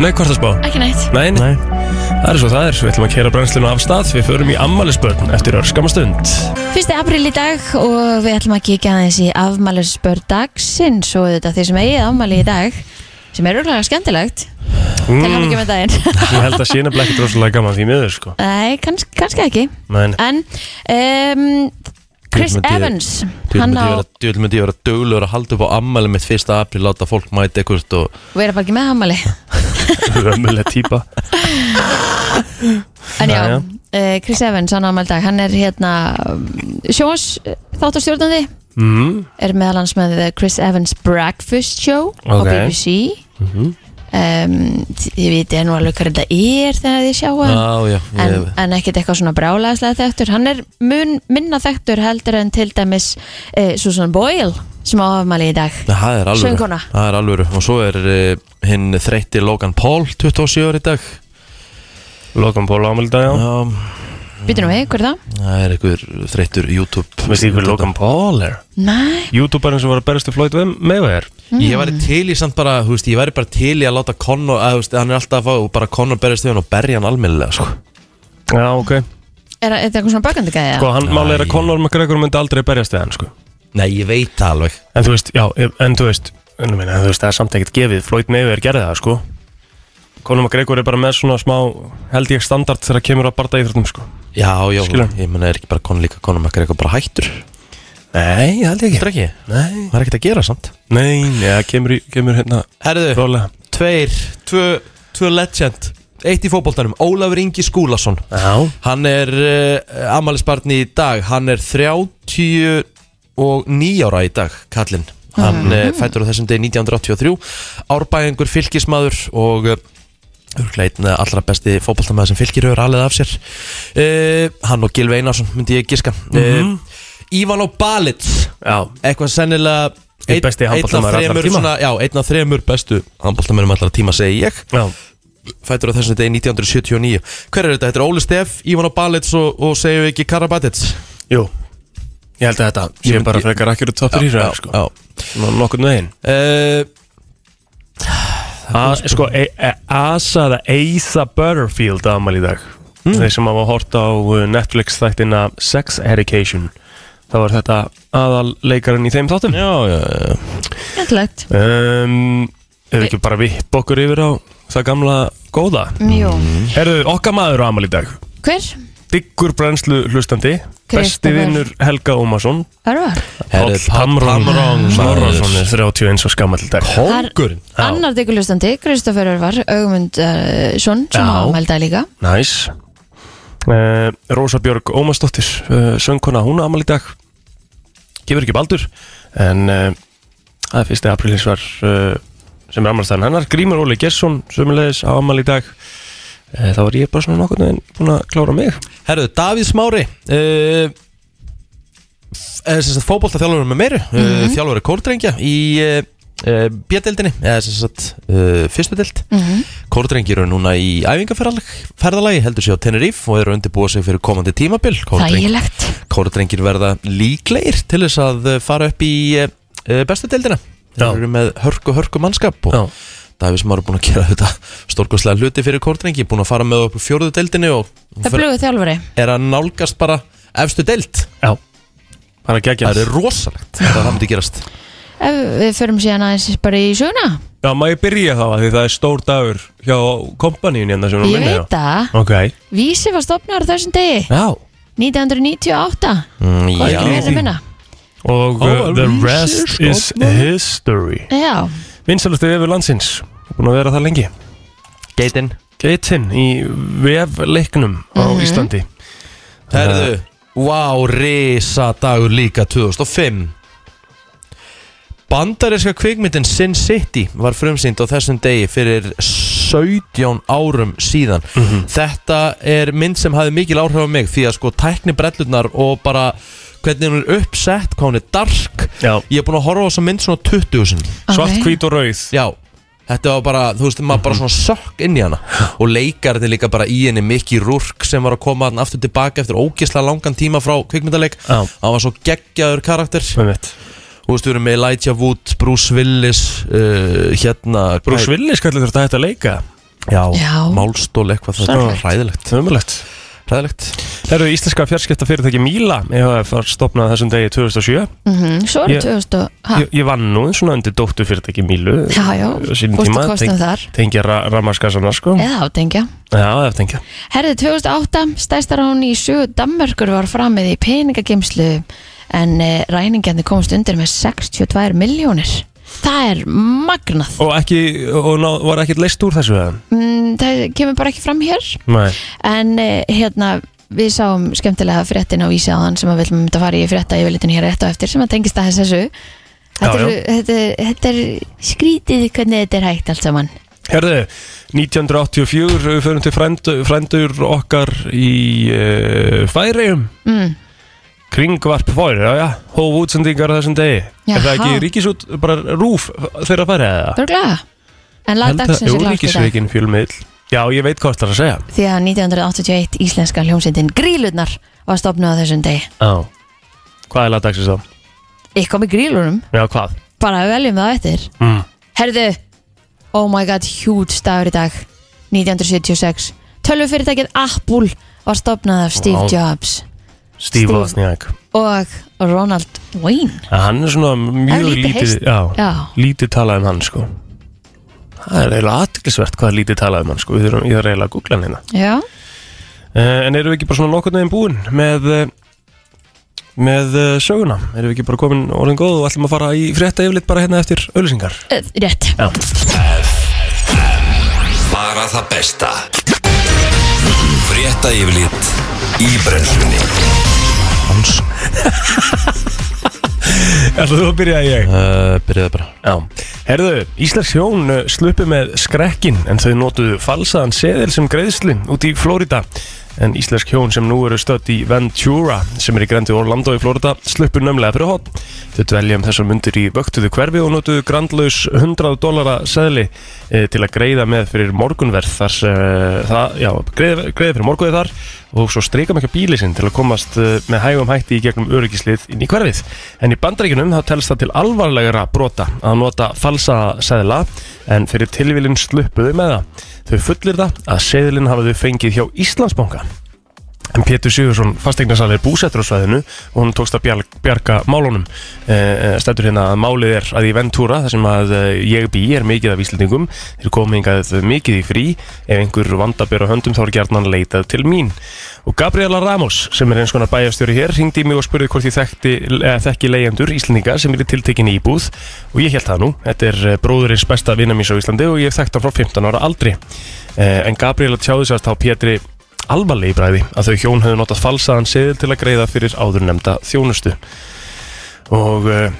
Speaker 3: nei, hvort að spá?
Speaker 2: ekki nætt.
Speaker 3: Nei, nei. Það er svo það er, við ætlum að kera brennslinu af stað, við förum í ammælisbörn eftir örskama stund.
Speaker 2: Fyrsti april í dag og við ætlum að kíkja aðeins í afmælisbörn dagsins og þetta þeir sem eigið afmæli í dag sem er örgulega skemmtilegt til hann ekki með daginn.
Speaker 3: Mm. <laughs> Ég held að sína blekkið rosalega gaman því miður, sko.
Speaker 2: Nei, kanns, kannski ekki.
Speaker 3: Men,
Speaker 2: En um, Chris
Speaker 1: Djöfull myndi ég-
Speaker 2: Evans,
Speaker 1: Djöfull
Speaker 2: hann
Speaker 1: myndi
Speaker 2: á
Speaker 1: ég vera- djöfull myndi ég vera dögulegur að halda upp á ammæli mitt fyrsta apríl láta fólk mæta ekkert <laughs> og
Speaker 2: vera bara ekki með afmæli.
Speaker 3: ömulega típa.
Speaker 2: En já,
Speaker 3: Jæja.
Speaker 2: eh, Chris Evans, hann ámaldag, hann er hérna sjóns þáttarstjórnandi
Speaker 3: Mm.
Speaker 2: er meðal hans með The Chris Evans Breakfast Show á
Speaker 3: Ok. Mhm.
Speaker 2: BBC um, þi- Þið vitið nú alveg hvað þetta er þegar þið sjáu hann
Speaker 1: Já, já,
Speaker 2: en,
Speaker 1: ég,
Speaker 2: en ekkert eitthvað svona brálaðslega þekktur hann er mun minna þekktur heldur en til dæmis uh, Susan Boyle sem á afmæli í dag
Speaker 1: það er alvöru
Speaker 2: Söngkona.
Speaker 1: Það er alvöru og svo er eh, hinn þreytti Logan Paul 27 ári í dag
Speaker 3: Logan Paul ámælda, já.
Speaker 1: Já,
Speaker 2: Býtum við, hver er það?
Speaker 1: það er einhver þreyttur YouTube
Speaker 3: Veist þið hver Logan Paul er? Mm.
Speaker 2: Nei,
Speaker 3: Youtuberinn sem var að berast í Floyd Mayweather.
Speaker 1: Ég væri til í samt bara, þú veist, ég væri bara til í að láta Conor, að, þú veist, hann er alltaf að fá og bara Conor berjast við hann og berja hann almennilega, sko.
Speaker 3: Já, ok.
Speaker 2: er það er það eitthvað svona bakandi gæði?
Speaker 3: Sko,
Speaker 1: Æ.
Speaker 3: hann máli er að Conor McGregor myndi aldrei berjast við hann, sko.
Speaker 1: Nei, ég veit það alveg.
Speaker 3: En þú veist, já, ef- en þú veist, en ég meina, þú veist, það er samt ekkert gefið Floyd Mayweather gerði það, sko Conor McGregor er bara með svona smá held ég standard þegar kemur að barda íþróttum, sko
Speaker 1: Já, já,
Speaker 3: Skilur.
Speaker 1: ég meina er ekki bara konum líka konum ekki eitthvað bara hættur Þetta
Speaker 3: Nei, það held ég
Speaker 1: er ekki,
Speaker 3: Nei,
Speaker 1: það er ekkert að gera samt
Speaker 3: nei, ja, kemur, í- kemur hérna
Speaker 1: Herðu,
Speaker 3: Rólega
Speaker 1: tveir, tvö, tvö legend Eitt í fótboltanum, Ólafur Ingi Skúlason
Speaker 3: Já
Speaker 1: Hann er uh, ammælisbarni í dag Hann er 39 ára í dag, kallinn Hann
Speaker 3: Mhm.
Speaker 1: mm fættur á þessum degi 1983 Árbæðingur fylgismadur og uh, Urgleitn eh, allra besti fótboltamaður sem fylgir höfur alveg af sér uh, Hann og Gilve Einarsson myndi ég giska mm -hmm. uh, Ívan og Balitz
Speaker 3: Mhm. Já
Speaker 1: eitthvað sennilega
Speaker 3: Einn besti
Speaker 1: einn af
Speaker 3: handboltamaður allra
Speaker 1: þremur
Speaker 3: tíma.
Speaker 1: svona- Já, einn af þremur bestu handbóltamennum allra tíma segi ég
Speaker 3: Já
Speaker 1: fættur á þessum degi 1979 hver er þetta? Þetta er Óli Steff, Ívana Balits og, og segjum við ekki Karabatits
Speaker 3: Jú Ég held að þetta sé
Speaker 1: Ég-
Speaker 3: bara frekar akkur top 3
Speaker 1: já,
Speaker 3: sko
Speaker 1: já.
Speaker 3: Nú nokkurn veginn
Speaker 1: Uh,
Speaker 3: Eh, A- Sko, e e Asa eða Asa Butterfield aðmæli í dag Þeir sem hafa hort á uh, Netflix þættina Sex Education Þá var þetta aðal leikarinn í þeim þáttum
Speaker 1: já, já, já
Speaker 2: Ætlegt.
Speaker 3: um, Ef ekki bara vipp okkur yfir á það gamla góða Mm-hmm.
Speaker 2: Jú.
Speaker 3: Herðu, okkar maður á amal í dag
Speaker 2: Hver?
Speaker 3: Diggur brennslu hlustandi Besti
Speaker 2: Kristoffer.
Speaker 3: vinnur Helga Ómarsson
Speaker 2: Örvar.
Speaker 1: Herri,
Speaker 3: Páll Pamrón
Speaker 1: Pamrón
Speaker 3: Snorrason er 31 og skammal dag
Speaker 1: Kongurinn
Speaker 3: Já.
Speaker 2: Annar digulustandi, Kristoffer Örvar, Ögmundsson, sem
Speaker 3: Já.
Speaker 2: á mælda líka.
Speaker 3: Næs uh, Rósa Björg Ómarsdóttir uh, söngkona hún amal í dag gefur ekki baldur en uh, það er fyrsti aprílins var uh, sem er amalstæðan hennar Grímur Óli Gesson sömulegis á amal í dag uh, þá var ég bara svona nokkurn veginn búin að klára mig
Speaker 1: Herðu, Davíð Smári eh, uh, Þess að fótbolta þjálfur með meiru mm -hmm. Þjálfur er kórdrengja í uh, uh, B-deildinni Eða þess að uh, fyrstu deild
Speaker 3: Mhm.
Speaker 1: mm
Speaker 2: Mhm.
Speaker 1: Kórdrengir eru núna í æfingarferðalagi Heldur sér á Tenerife og eru að undirbúa sig fyrir komandi tímabil Kórdreng-
Speaker 2: Þægilegt.
Speaker 1: kórdrengir verða líklegir til þess að eh, fara upp í eh, eh, bestu deildina
Speaker 3: Já.
Speaker 1: þeir eru með hörku hörku mannskap og
Speaker 3: Já.
Speaker 1: Davís sem eru búin að gera <laughs> þetta stórkostlega hluti fyrir kórdrengi búin að fara með upp fjóruðu deildinu og
Speaker 2: Það
Speaker 1: fer-
Speaker 2: blögu þjálfari.
Speaker 1: er að nálgast bara efstu deild
Speaker 3: já bara geggjast
Speaker 1: það er rosalegt þegar það myndi gerast
Speaker 2: Ef við förum síðan aðeins bara í söguna.
Speaker 3: já má ég byrja þá að því það er stór dagur hjá kompaníun hérna sem við
Speaker 2: Ég
Speaker 3: erum að minna
Speaker 2: veit það.
Speaker 3: á. ok
Speaker 2: Vísi var stopnaður á þessum degi.
Speaker 3: já
Speaker 2: 1998.
Speaker 1: mm,
Speaker 2: Hvað er
Speaker 1: já.
Speaker 2: ekki verið að minna?
Speaker 3: og uh,
Speaker 1: Ó,
Speaker 3: the
Speaker 1: Vísir
Speaker 3: rest is
Speaker 1: stofnaður.
Speaker 3: history
Speaker 2: Já.
Speaker 3: vinsalustu yfir landsins búin að vera það lengi
Speaker 1: geitin
Speaker 3: Geitin í vefleiknum á Íslandi Eh,
Speaker 1: herðu wow risa dagur líka 2005 Bandaríska kvikmyndin Sin City var frumsýnd á þessum degi fyrir 17 árum síðan.
Speaker 3: Mhm.
Speaker 1: Þetta er mynd sem hafði mikil áhrif á mig því að sko tækni brellurnar og bara hvernig hún er uppsett, hvað hún er dark.
Speaker 3: Já.
Speaker 1: Ég er búin að horfa á þessa mynd svona 20 sinni.
Speaker 3: Svart,
Speaker 2: Ok.
Speaker 3: hvít og rauð
Speaker 1: Já, þetta var bara, þú veist, maður bara svona sökk inn í hana og leikarinn líka bara í henni Mikki Rúrk sem var að koma hann aftur tilbaka eftir ógislega langan tíma frá kvikmyndaleik
Speaker 3: Já.
Speaker 1: hann var svo geggjaður karakter
Speaker 3: Með mitt
Speaker 1: þú veist, við erum með Elijah Wood, Bruce Willis uh, hérna
Speaker 3: Bruce Willis kallir þetta hægt að leika
Speaker 1: Já,
Speaker 2: Já.
Speaker 1: málstól eitthvað það
Speaker 2: Sorglegt.
Speaker 1: er hræðilegt
Speaker 3: Ömulegt
Speaker 1: hræðilegt
Speaker 3: Það eru íslenska fjarskipta fyrirtæki Míla Ég var stopnað þessum degi 2007
Speaker 2: Mhm, Svo eru
Speaker 3: Ég-
Speaker 2: 2000 og... ha,
Speaker 3: ég, ég vann nú svona undir dóttu fyrirtæki Mílu
Speaker 2: Já, já.
Speaker 3: á sínum
Speaker 2: Fórstu
Speaker 3: tíma,
Speaker 2: kostum
Speaker 3: teng-
Speaker 2: þar.
Speaker 3: Tengja ra rammarskasana sko Já,
Speaker 2: Eða átengja.
Speaker 3: það er tengja
Speaker 2: Herðið 2008, stæstar hún í sögu Danmörkur var framið í peningagimslu en e, ræningjarnir komst undir með 62 miljónir. Það er magnað.
Speaker 3: Og, ekki, og ná, var ekkert leist úr þessu eða?
Speaker 2: Mm, það kemur bara ekki fram hér.
Speaker 3: Nei
Speaker 2: En e, hérna, við sáum skemmtilega fréttin á Ísjáðan sem að við viljum að fara í frétta yfirlitinu hér rétt á eftir sem að tengist að þessu. Þetta,
Speaker 3: Já,
Speaker 2: er, þetta, er- þetta er skrítið hvernig þetta er hægt allt saman.
Speaker 3: Herðu, 1984 við förum til frændu, frændur okkar í uh, Færiðum
Speaker 2: Mm.
Speaker 3: Kringvarp Fór, já já, hóf útsendingar á þessum degi
Speaker 2: Jaha.
Speaker 3: Er það ekki ríkisút, bara rúf þeirra færið eða?
Speaker 2: Börglega. En lagdagsins er
Speaker 3: Jú,
Speaker 2: klart í dag.
Speaker 3: ríkisveikin fjölmiðl Já, ég veit hvað það er að segja
Speaker 2: því að 1981 íslenska hljómsveitin Grílurnar var stopnuð á þessum degi
Speaker 3: Já Hvað er lagdagsins þá?
Speaker 2: eitthvað með grílunum,
Speaker 3: Já, hvað?
Speaker 2: bara við veljum það eftir
Speaker 3: Mm.
Speaker 2: herðu, oh my god huge dagur í dag, 1976 tölvufyrirtækið Apple var stopnað af Steve
Speaker 3: Vá.
Speaker 2: Jobs
Speaker 3: Steve
Speaker 2: Steve.
Speaker 3: Wozniak
Speaker 2: og Ronald Wayne
Speaker 3: En Hann er svona
Speaker 2: Það
Speaker 3: mjög
Speaker 2: er lítið
Speaker 3: lítið,
Speaker 2: heyrst.
Speaker 3: já,
Speaker 2: Já.
Speaker 3: lítið talað um hann sko Það er eiginlega aðtiklisvert hvað er lítið talað um hann sko Við þurfum, Ég þarf eiginlega að googla hann hérna
Speaker 2: Já,
Speaker 3: uh, En erum við ekki bara svona nokkurn veginn búin með, uh, með uh, söguna? Erum við ekki bara komin orðin góð og ætlum að fara í frétta yfirleitt bara hérna eftir auðlýsingar?
Speaker 2: eh, rétt
Speaker 3: Já
Speaker 4: Bara það besta Frétta yfirlit í brennslunni
Speaker 3: <laughs>
Speaker 1: Hans
Speaker 3: Ætlum þú að byrja ég?
Speaker 1: uh, Byrjaði bara
Speaker 3: Já, herðu, Íslands hjón uh, sluppu með skrekkin en þau notuðu falsaðan seðil sem greiðslu út í Flórida en Íslensk hjón sem nú eru stödd í Ventura sem er í grendu Orlando í Flórida sluppu nömlega fyrir hot þau dvelja um þessar mundur í vöktuðu hverfi og notuðu grandlaus 100 dollara seðli e, til að greiða með fyrir morgunverð þar sem e, það, já, greiða, greiða fyrir morgunverð þar og svo streika mikið bíli sinn til að komast eh, með hægum hætti í gegnum öryggislið inn í hverfið. En í bandaríkunum þá telst það til alvarlegra brota að nota falsa seðla en fyrir tilvílinn sluppuðu með það. Þau fullir það að seðlinn hafa þau fengið hjá Íslandsbanka. En Pétur Sigursson, fasteignarsal er búsettur á svæðinu og hún tókst að bjarg, bjarga málunum. E, Stættur hérna að málið er að í Ventura, þar sem að eh, ég bý, er mikið af Íslendingum, þeir komið hingað mikið í frí, ef einhver vandabjör á höndum þá er gjarnan leitað til mín. Og Gabriela Ramos, sem er eins konar bæjarstjóri hér, ringdi í mig og spurði hvort ég þekkti, eh, þekki leigjendur Íslendinga sem eru tiltekinni í búð og ég held það nú, þetta er eh, bróðurins besta vinna mín svo í Íslandi og ég hef þekkt hann frá 15 ára aldri. Eh, En Gabriela tjáði sérst á Pétri alvarlegi bræði að þau hjón hefðu notað falsaðan seðil til að greiða fyrir áður nefnda þjónustu og uh,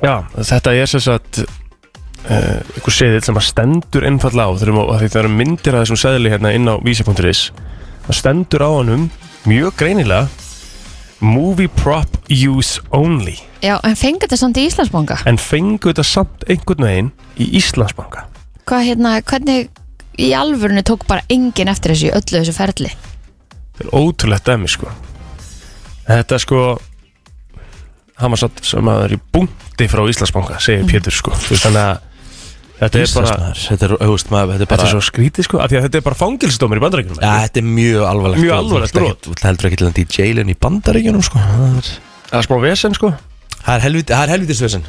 Speaker 3: já, þetta er sem sagt uh, einhver seðil sem að stendur einfallega á þegar að því það eru myndir að þessum seðli hérna inn á vísi.is það stendur á honum mjög greinilega movie prop use only
Speaker 2: Já, en fengur þetta samt í Íslandsbánka
Speaker 3: en fengu þetta samt einhvern veginn í Íslandsbanka
Speaker 2: Hvað hérna, hvernig í alvörinu tók bara enginn eftir þessu í öllu þessu ferli
Speaker 3: Þetta er ótrúlegt dæmi sko Þetta sko Hann var satt sem að það er í búndi frá Íslandsbanka segir
Speaker 1: Mhm.
Speaker 3: Pétur sko Þú veist, Þannig að þetta er bara
Speaker 1: Íslandsmaður, Þetta er, auðvist maður, þetta er
Speaker 3: Þetta
Speaker 1: bara
Speaker 3: er svo skrítið sko af því að Þetta er bara fangilsdómur í bandarækjunum
Speaker 1: Já, þetta er mjög alvarlegt
Speaker 3: Mjög
Speaker 1: brot.
Speaker 3: alvarlegt
Speaker 1: Þú ert ekkert- Þú ert heldur ekki til landi í jailin í bandaríkjunum sko. Það er-
Speaker 3: Það er smá vesen sko En
Speaker 1: það er helviti, það er helvitisvesen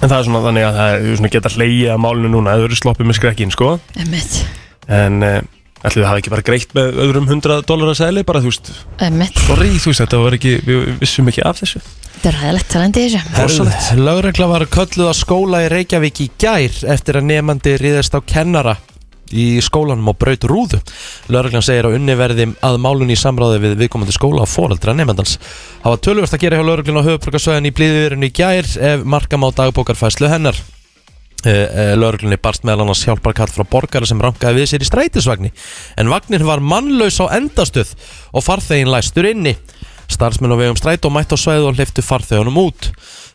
Speaker 3: það er svona þannig að það er þú svona geta hleyið að málinu núna eða þau eru sloppið með skrekkin sko
Speaker 2: Emmett,
Speaker 3: En uh, ætli það hafi ekki bara greitt með öðrum 100 dólar að segli bara þú veist
Speaker 2: emmett
Speaker 3: Sorry, þú veist þetta var ekki, við vissum ekki af þessu
Speaker 2: Þetta er ræðilegt talandi í þessu
Speaker 1: Herðulegt Lögregla var kölluð á skóla í Reykjavík í gær eftir að nefandi riðast á kennara í skólanum og braut rúðu. Lögreglan segir að unni verði að málun í samráði við viðkomandi skóla og foreldra nefandans. Það var tölvöld að gera hjá lögreglan á höfuborgarsvæðin í blíðurinn í gær ef markam á dagbókarfæslu hennar. Eh, eh, Lögreglunni barst meðal annars hjálparkall frá borgara sem rankaði við sér í strætisvagni en vagnin var mannlaus á endastöð og farþegin læstur inni starfsmenn á vegum strætó mætt á sveið og hleyftu farþegunum út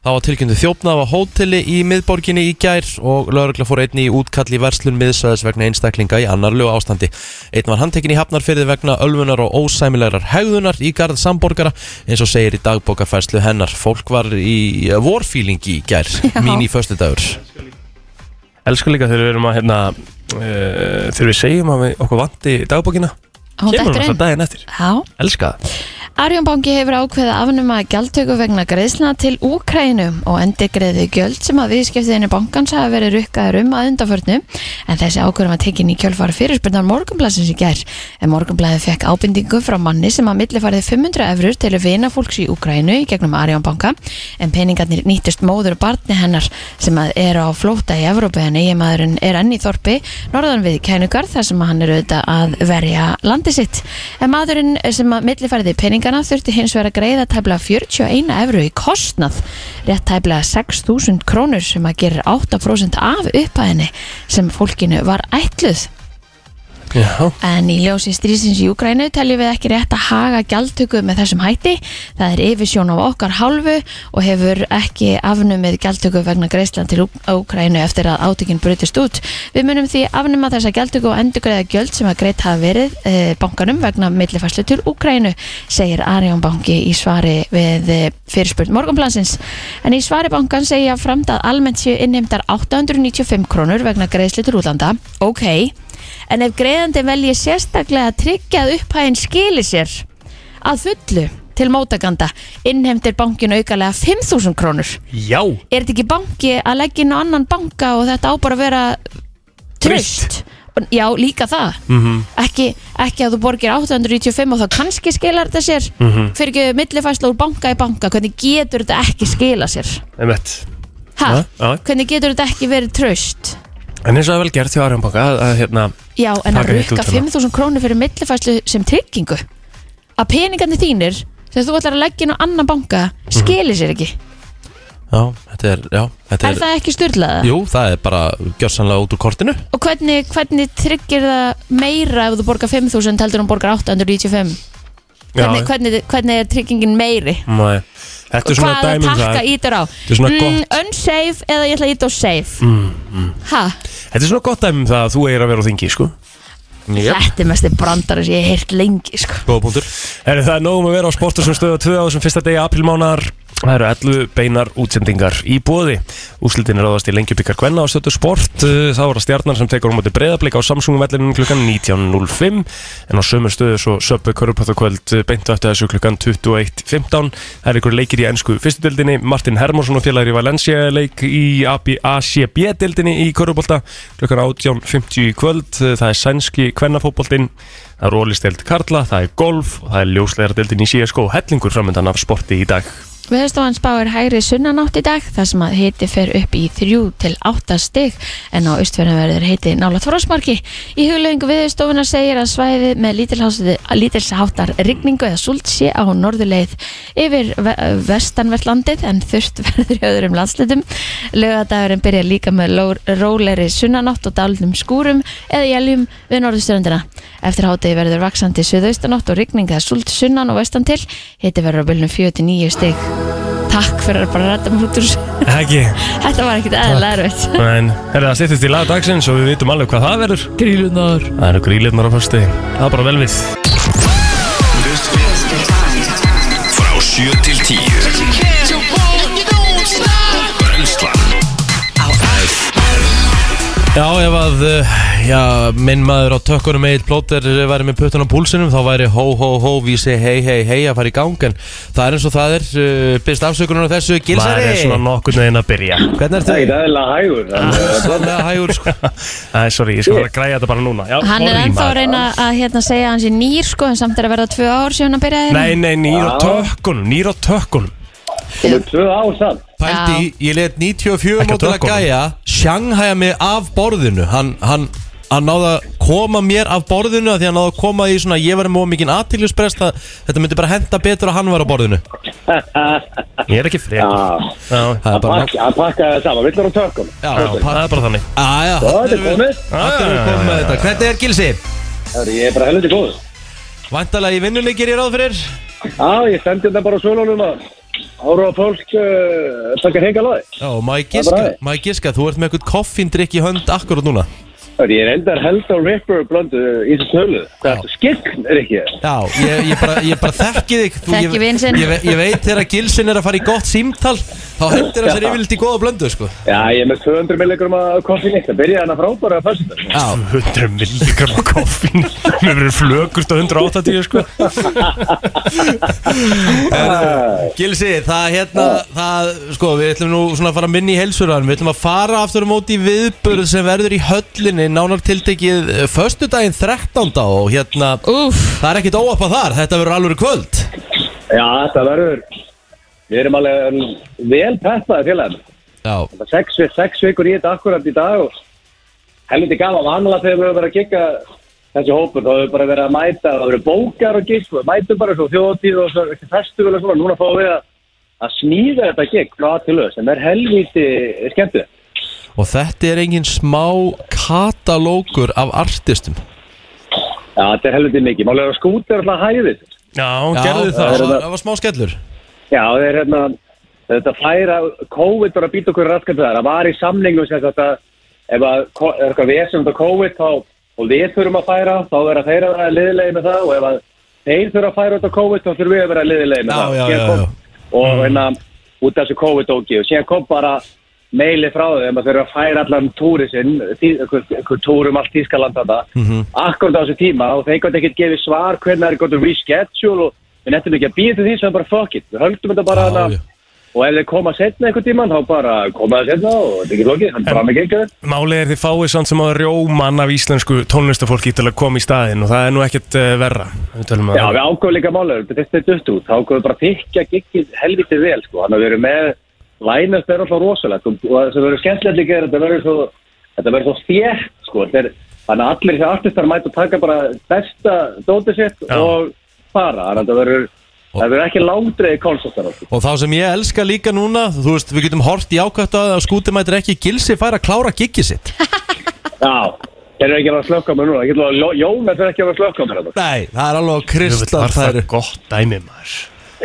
Speaker 1: þá var tilkynntu þjófnað á hóteli í miðborginni í gær og lögregla fór einni í útkall í verslun miðsvæðis vegna einstaklinga í annarlegu ástandi einn var handtekinn í hafnarfyrði vegna ölvunar og ósæmilegar hegðunar í garð samborgara eins og segir í dagbókafærslu hennar fólk var í vorfílingi í gær mín í föstudagur
Speaker 3: Elsku líka þegar við erum að hérna uh, þegar við segjum að við okkur vandi dagbókina
Speaker 2: Hún
Speaker 3: Kemur hún
Speaker 2: dættur
Speaker 3: alltaf
Speaker 2: inn
Speaker 3: daginn eftir
Speaker 2: Já,
Speaker 3: Elska það
Speaker 2: Arjónbanki hefur ákveðið að afnuma gjaldtöku vegna greiðsluna til Úkrænu og endi greiði gjöld sem að viðskiptiðinni bankans hafa verið rukkaður um að undanförnu en þessi ákveðum að tekin í kjölfara fyrirspurnar morgunblæsins í gær en morgunblæði fekk ábendingu frá manni sem að millifærið 500 efrur til vina fólks í Úkrænu í gegnum Arjónbanka en peningarnir nýttist móður og barni hennar sem að eru á flóta í Evrópu en eiginmaðurinn er enn í þorpi norðan við kænugar þar sem að hann er auðvitað að verja landi sitt. En maðurinn sem að millifærði peningana þurfti hins vegar að greiða tæplega 41 evru í kostnað, rétt tæplega 6.000 krónur sem að gerir 8% af upphæðinni sem fólkinu var ætluð.
Speaker 3: Já,
Speaker 2: En í ljósi strísins í Úgrænu teljum við ekki rétt að haga gjaldtöku með þessum hætti. Það er yfirsjón á okkar hálfu og hefur ekki afnumið gjaldtöku vegna Greisland til Úgrænu eftir að átökin brutist út. Við munum því afnuma þessa gjaldtöku og endurgreiða gjöld sem að greitt hafa verið e, bankanum vegna millifærslu til Úgrænu, segir Arjón banki í svari við eh, fyrirspurn morgunplansins. En í svari bankan segja framt að almennt séu innheimtar 895 krónur vegna greiðslu til útlanda. Ok, en ef greiðandi velji sérstaklega að tryggja að upphæðin skili sér að fullu til mótaganda innhemdir bankin aukalega 5.000 krónur
Speaker 3: Já
Speaker 2: er þetta ekki banki að leggja inn á annan banka og þetta á bara að vera tröst Og- Já, líka það
Speaker 3: Mhm.
Speaker 2: ekki, ekki að þú borgir 895 og þá kannski skilar þetta sér fyrir ekki millifæsla úr banka í banka hvernig getur þetta ekki skila sér
Speaker 3: Einmitt.
Speaker 2: ha?
Speaker 3: Ja, ja.
Speaker 2: hvernig getur þetta ekki verið tröst
Speaker 3: En eins og það er vel gert hjá Arjónbanka að, að hérna
Speaker 2: Já, en að
Speaker 3: Taka hitt
Speaker 2: rukka
Speaker 3: út hérna.
Speaker 2: 5.000 krónur fyrir millifæslu sem tryggingu að peningarnir þínir sem þú ætlar að leggja inn á annan banka
Speaker 3: Mhm.
Speaker 2: skili sér ekki
Speaker 1: Já, þetta er, já, þetta
Speaker 2: Er
Speaker 1: er,
Speaker 2: það ekki styrlaða?
Speaker 1: Jú, það er bara gjörsanlega út úr kortinu
Speaker 2: Og hvernig, hvernig tryggir það meira ef þú borgar 5.000 heldur en þú borgar 895? Hvernig,
Speaker 3: já,
Speaker 2: hvernig, hvernig er tryggingin meiri?
Speaker 3: nei. Þetta er svona
Speaker 2: Hvaða
Speaker 3: dæmum
Speaker 2: takka
Speaker 3: það
Speaker 2: ítir á? Mm.
Speaker 3: er svona gott.
Speaker 2: unsafe eða ég ætla að íta á safe? Mm, ha,
Speaker 3: Þetta er svona gott dæmum það að þú eigir að vera á þingi sko.
Speaker 2: þetta er mest brandar sem ég hef heyrt lengi sko.
Speaker 1: Góða punktur
Speaker 3: Er það er nóg um að vera á sportarsum stöðu 2 á þessum fyrsta degi aprílmánar Það eru 11 beinar útsendingar í bóði Úslitin er ráðast í lengjubikar Gvenna á stöðu sport Uh, Þá er það stjarnar sem tekur á móti breyðablika á Samsung-vellinu klukkan 19.05 En á sömu stöðu svo söpbu körupáttakvöld beintu eftir þessu klukkan 21.15 Það eru ykkur leikir í ennsku fyrstudildinni Martin Hermansson og félagur í Valencia leik í ACB-dildinni í körupólta klukkan 18.50 í kvöld Eh, Það er sænski kvennafótboltinn Það er ólisteld Karla, það er golf og það er ljósleira deildin í CSGO hellingur framöndan af sporti í dag.
Speaker 2: Veðurstofan spáir hægri sunnanátt í dag þar sem að hiti fer upp í 3 til 8 stig en á austfjörnum verður hiti nála þrósmarki. Í huglegingu veðurstofuna segir að svæði með lítilhás- lítilsháttar rigningu eða súld sé á norðuleið yfir ve vestanvert landið en þurft <laughs> verður í öðrum landslutum. Laugadagurinn byrja líka með ló- rólegri sunnanátt og dálnum skúrum eða jæljum við norðusturöndina. Eftir hátegi verður vaksandi suðaustanátt og rigning eða súld sunnan og vestan til hiti verður á bylnu 49 stig. Takk fyrir að bara ræta mér út úr þessu. <laughs>
Speaker 3: Ekki.
Speaker 2: Þetta var ekkert eðla erfitt
Speaker 3: En er það stýttist í laga dagsins og við vitum alveg hvað það verður.
Speaker 2: Grílunar
Speaker 3: Það eru grílirnar á fyrstu. Það er bara vel við.
Speaker 4: Frá 7 til 10
Speaker 1: Mhm.
Speaker 4: Brennslan
Speaker 1: Já, ef að, uh, já, minn maður á tökkunum Egil Plóter væri með puttun á púlsinum þá væri hó, hó, hó, vísi, hei, hei, hei að fara í gang en það er eins og það er uh, byrst afsökunar á þessu,
Speaker 3: Maður er svona
Speaker 1: Gilsari
Speaker 3: nokkur neginn að byrja.
Speaker 1: Hvernig er
Speaker 5: Það er
Speaker 1: þú?
Speaker 5: ekki aðeinslega hægur þannig að-
Speaker 1: Sannlega hægur, sko
Speaker 3: <laughs> Æ, sorry, ég skal bara græja þetta bara núna. Já,
Speaker 2: <laughs> Hann er
Speaker 3: sorry,
Speaker 2: ennþá að
Speaker 3: maður.
Speaker 2: reyna að hérna, segja að hann sé nýr sko en samt er að verða tvö ár síðan að byrja
Speaker 3: Nei, nei, nýr á tökkunum, nýr á tökkunum.
Speaker 5: Hún er tvö ár samt
Speaker 1: Pældi, í, ég let 94
Speaker 3: Ekki á
Speaker 1: mótilega
Speaker 3: tökkunum.
Speaker 1: gæja Sjanghæja mig af borðinu Hann, hann, hann náði að koma mér af borðinu af Því hann náði að koma í svona Ég var með of mikinn aðtiljusprest að Þetta myndi bara henda betur að hann var á borðinu
Speaker 3: Ég er ekki frekar.
Speaker 5: Já,
Speaker 3: Já,
Speaker 1: Það er bara
Speaker 5: pakk- Hann pakkaði það saman, villar á tökum
Speaker 1: Já,
Speaker 3: já, það er bara þannig.
Speaker 1: Æja,
Speaker 5: Það er komið
Speaker 1: Þetta er komið með þetta Hvernig er Gilsi?
Speaker 5: Herri, Ég er bara helviti góð
Speaker 1: Væntalega í vinnunni ger ég ráð fyrir
Speaker 5: Já, ég sendi þetta bara á sölunum að ára á fólk uh, taka henga loði
Speaker 1: Já, má ég
Speaker 5: Það er
Speaker 1: giska,
Speaker 5: bara það.
Speaker 1: má ég giska Þú ert með eitthvað koffindrykk í hönd akkurat núna
Speaker 5: Ég er endar held á Ripper blöndu í þessu sölu Það
Speaker 1: Já.
Speaker 5: er skikn, er ekki
Speaker 1: Já, ég, ég, bara, ég bara þekki þig Þú-
Speaker 2: Þekki
Speaker 1: ég-
Speaker 2: vin sinn.
Speaker 1: ég, ve- ég veit þegar Gilsin er að fara í gott símtal Þá hendur hann sér yfirleitt í góða blöndu sko.
Speaker 5: Já, ég er með 200 milligrum að koffin eitt Það byrjaði hérna hann að frábæra að fyrstu
Speaker 1: Já,
Speaker 3: 100 milligram á koffín Mér verður flögurt á 180 sko
Speaker 1: Gilsi, það hérna það, sko, Við ætlum nú svona að fara minni í heilsuran Við ætlum að fara aftur á móti í viðburð sem verður í höllinni nánar tiltekið eh, föstudaginn 13. og hérna
Speaker 2: Úf,
Speaker 1: Það er ekkit óappa þar, þetta verður alveg kvöld
Speaker 5: Já, þetta verður Við erum alveg um, vel peppaði félagum
Speaker 1: Já,
Speaker 5: Það er sex, vi- sex vikur í þetta akkurat í dag og helviti gaman vanlega þegar við höfum verið að gikka þessi hópur, þá höfum við bara verið að mæta og það eru bókar og gikk, við mætum bara svo þjóðtíð og svo ekki festu og svona, núna fáum við að, að smíða þetta gikk frá A til lög sem er helviti skemmtið.
Speaker 1: og þetta er engin smá katalókur af artistum
Speaker 5: Já, þetta er helviti mikið, málega að skúta er alltaf hæðið.
Speaker 3: Já, gerðu
Speaker 1: það
Speaker 3: það
Speaker 1: var,
Speaker 5: þetta-
Speaker 1: það var smá skellur
Speaker 5: Já, það er hérna, þetta færa, COVID var að býta okkur raskat það, það var í samningu sem þetta, ef að ko- er eitthvað vesum þetta COVID þá, og við þurfum að færa, þá er að þeirra að liðilegi með það og ef að þeir þurfa að færa þetta COVID þá þurfum við að vera liðilegi með
Speaker 1: Já,
Speaker 5: það.
Speaker 1: já,
Speaker 5: Síðan
Speaker 1: já,
Speaker 5: kom-
Speaker 1: já. Mm.
Speaker 5: Og hérna, út af þessu COVID-ógi og síðan kom bara meili frá þeim að þeir eru að færa allan túri sinn, einhver túrum allt
Speaker 1: Mhm.
Speaker 5: Ískaland þetta, mm á þessu tíma og þeir gott ekkert gefið svar hvernig það er gott að reschedule og við nettum ekki að býja til því sem bara fuck it, við höldum þetta bara
Speaker 1: Já,
Speaker 5: hana
Speaker 1: já.
Speaker 5: og ef þeir koma setna einhvern tíman þá bara koma það setna og þetta er ekki flókið, hann fram ekki eitthvað
Speaker 3: Málið er þið fáið samt sem að rjóman af íslensku tónlistafólki til að koma í staðin og það er nú ekkert uh, verra Við tölum að
Speaker 5: Já, við ákveðum líka mála, þetta er dött út, þá ákveðum við bara að þykja giggið helvitið vel, sko, þannig að við erum með lænast er alltaf rosalegt og og það sem verður skemmtilegt líka er að þetta verður svo, þetta verður svo þétt, sko, þetta er, þannig að allir þessi artistar mæta að taka bara besta dótið sitt
Speaker 3: Já.
Speaker 5: og fara, þannig að þetta verður, það verður ekki langdreiði konsertar, sko.
Speaker 1: Og þá sem ég elska líka núna, þú veist, við getum hort í ákvæmt að skútumættir ekki gilsi fær að klára giggið sitt.
Speaker 5: Já, þeir eru ekki að vera að slökka á mér núna, ég getur að, Jónas er ekki að vera að slökka á mér, þetta.
Speaker 1: Nei, það er alveg
Speaker 3: Jöfull,
Speaker 1: kristal
Speaker 3: var það
Speaker 1: það eru.
Speaker 3: gott dæmi maður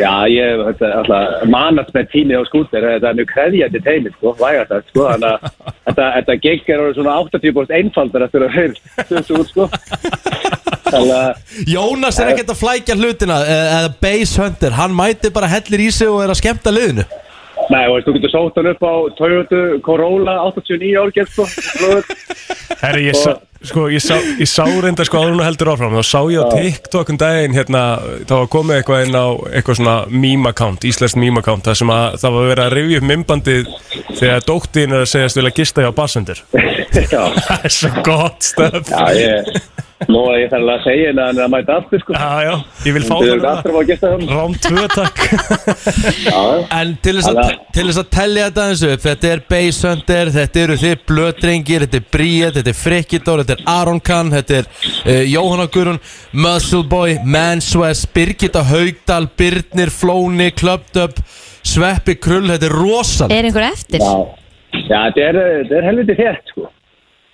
Speaker 5: Já, ég, þetta er alltaf management tími á skútir, þetta er mjög krefjandi teimi, sko, vægast það, sko, þannig að
Speaker 3: <laughs>
Speaker 5: þetta, þetta gig er orðið svona 80% einfaldar eftir að þeir stöðstu út, sko. Þannig að,
Speaker 1: Jónas er ekkert að flækja hlutina eh, eða Bass Hunter, hann mæti bara hellir í sig og er að skemmta liðinu
Speaker 5: nei, þú veist, þú getur sótt hann upp á Toyota Corolla 89 árgert, sko,
Speaker 3: <laughs>
Speaker 5: flöður.
Speaker 3: Herri, ég sá, sko, ég sá, ég sá reynda sko áður hún heldur áfram þá sá ég á TikTok um daginn hérna, þá var komið eitthvað inn á eitthvað svona meme-account, íslenskt meme-account það sem að það var verið að rifja upp mymbandið þegar dóttin er að segjast vilja gista hjá bassendur
Speaker 5: Já,
Speaker 3: Það er svo gott stöf
Speaker 5: já, ég, nú að ég þarf að segja henni að hann er að mæta aftur, sko.
Speaker 3: Já, já, ég vil fá
Speaker 5: Þú
Speaker 3: það
Speaker 5: erum aftur að fá að gesta hann.
Speaker 3: Rám 2, takk
Speaker 5: Já,
Speaker 1: En til þess, að,
Speaker 5: Alla.
Speaker 1: til þess að tellja þetta eins upp Þetta er Bass Hunter, þetta eru þið blödrengir Þetta er Bríet, þetta er Frikidor Þetta er Aron Kahn, þetta er uh, Jóhanna Gurun, Muscle Boy Manswes, Birgitta Haugdal Birnir, Flóni, Clubbed Up Sveppi Krull, þetta er rosal
Speaker 2: Er einhver eftir?
Speaker 5: já, já, þetta er, þetta er helviti þétt, sko.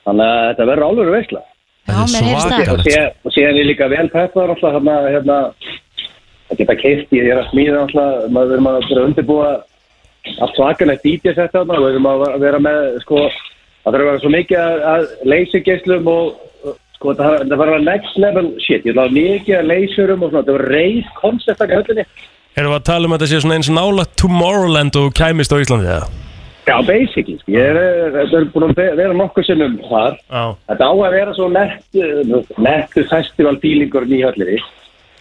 Speaker 5: Þannig að þetta verður álur að veisla.
Speaker 2: Já, mér heyrist það.
Speaker 5: og, sé, og síðan er líka vel peppar alltaf hérna, hérna að geta keift, ég er að smíða alltaf maður verðum að vera að undirbúa allt svakalegt DJ set þarna og við verðum að vera- vera með sko, það þurfum að vera svo mikið að, að leysigeislum og og, sko, það það þarf að vera next level shit, ég ætla að hafa mikið að leysurum og svona, það var reis koncept að höllinni
Speaker 3: Erum við að tala um að þetta sé svona eins og nála Tomorrowland og kæmist á Íslandi eða?
Speaker 5: Já, basically, sko. ég er, þetta er búin að ve- vera nokkuð sinnum þar
Speaker 3: Já,
Speaker 5: þetta á að vera svo nett nettu festival feelingur í höllinni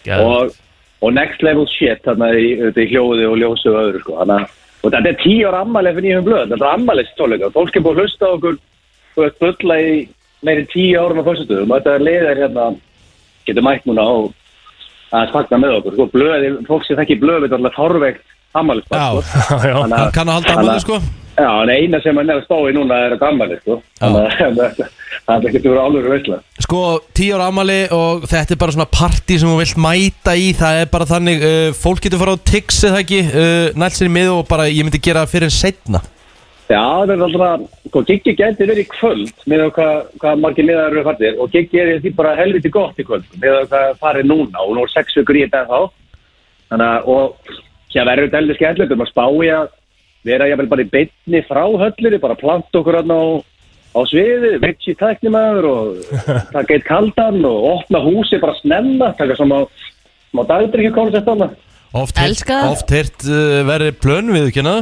Speaker 3: já,
Speaker 5: og, og next level shit þarna í, auðvitað í hljóði og ljósu og öðru sko. Þannig, að- og þetta er tíu ára ammali fyrir nýjum blöð, þetta er ammali stóleika fólk er búið að hlusta á okkur þú veist, bulla í meiri en tíu árum á fyrstutöðum og þetta er leiðar hérna getur mætt núna og að fagna með okkur, sko, blöði, fólk sem þekki blöð þetta er alltaf þorvegt ammali
Speaker 1: <laughs> Já,
Speaker 5: sko.
Speaker 3: já
Speaker 5: Þannig
Speaker 1: hann kann að halda
Speaker 5: þannig
Speaker 1: afmæli sko
Speaker 5: Já, en eina sem hann er að spá í núna er þetta ammali sko.
Speaker 1: Já.
Speaker 5: þannig að <laughs> þetta- þetta getur verið álur veitlega
Speaker 1: Sko, tíu ára afmæli og þetta er bara svona partí sem þú vilt mæta í Það er bara þannig, uh, fólk getur fara á tix eða ekki uh, Nælt sér í miðu og bara ég myndi gera það fyrir en setna
Speaker 5: Já, það er alltaf, sko, giggi gæti verið í kvöld með það hvað, hvað margir miðar eru farnir og giggi er í því bara helviti gott í kvöld með það hvað farið núna og nú er sex vikur í þetta þá þannig að, og hér verður þetta heldur skemmtilegt um að spá í að vera jafnvel bara í beinni frá höllinni, bara planta okkur hann á, á sviði, vitsi tæknimaður og taka eitt kaldan og opna húsi bara snemma, taka sem á, á dagdryggjukoncept hann
Speaker 1: Oft heyrt-
Speaker 2: Elska það.
Speaker 1: Oft hirt uh, verið plön við, ekki hana?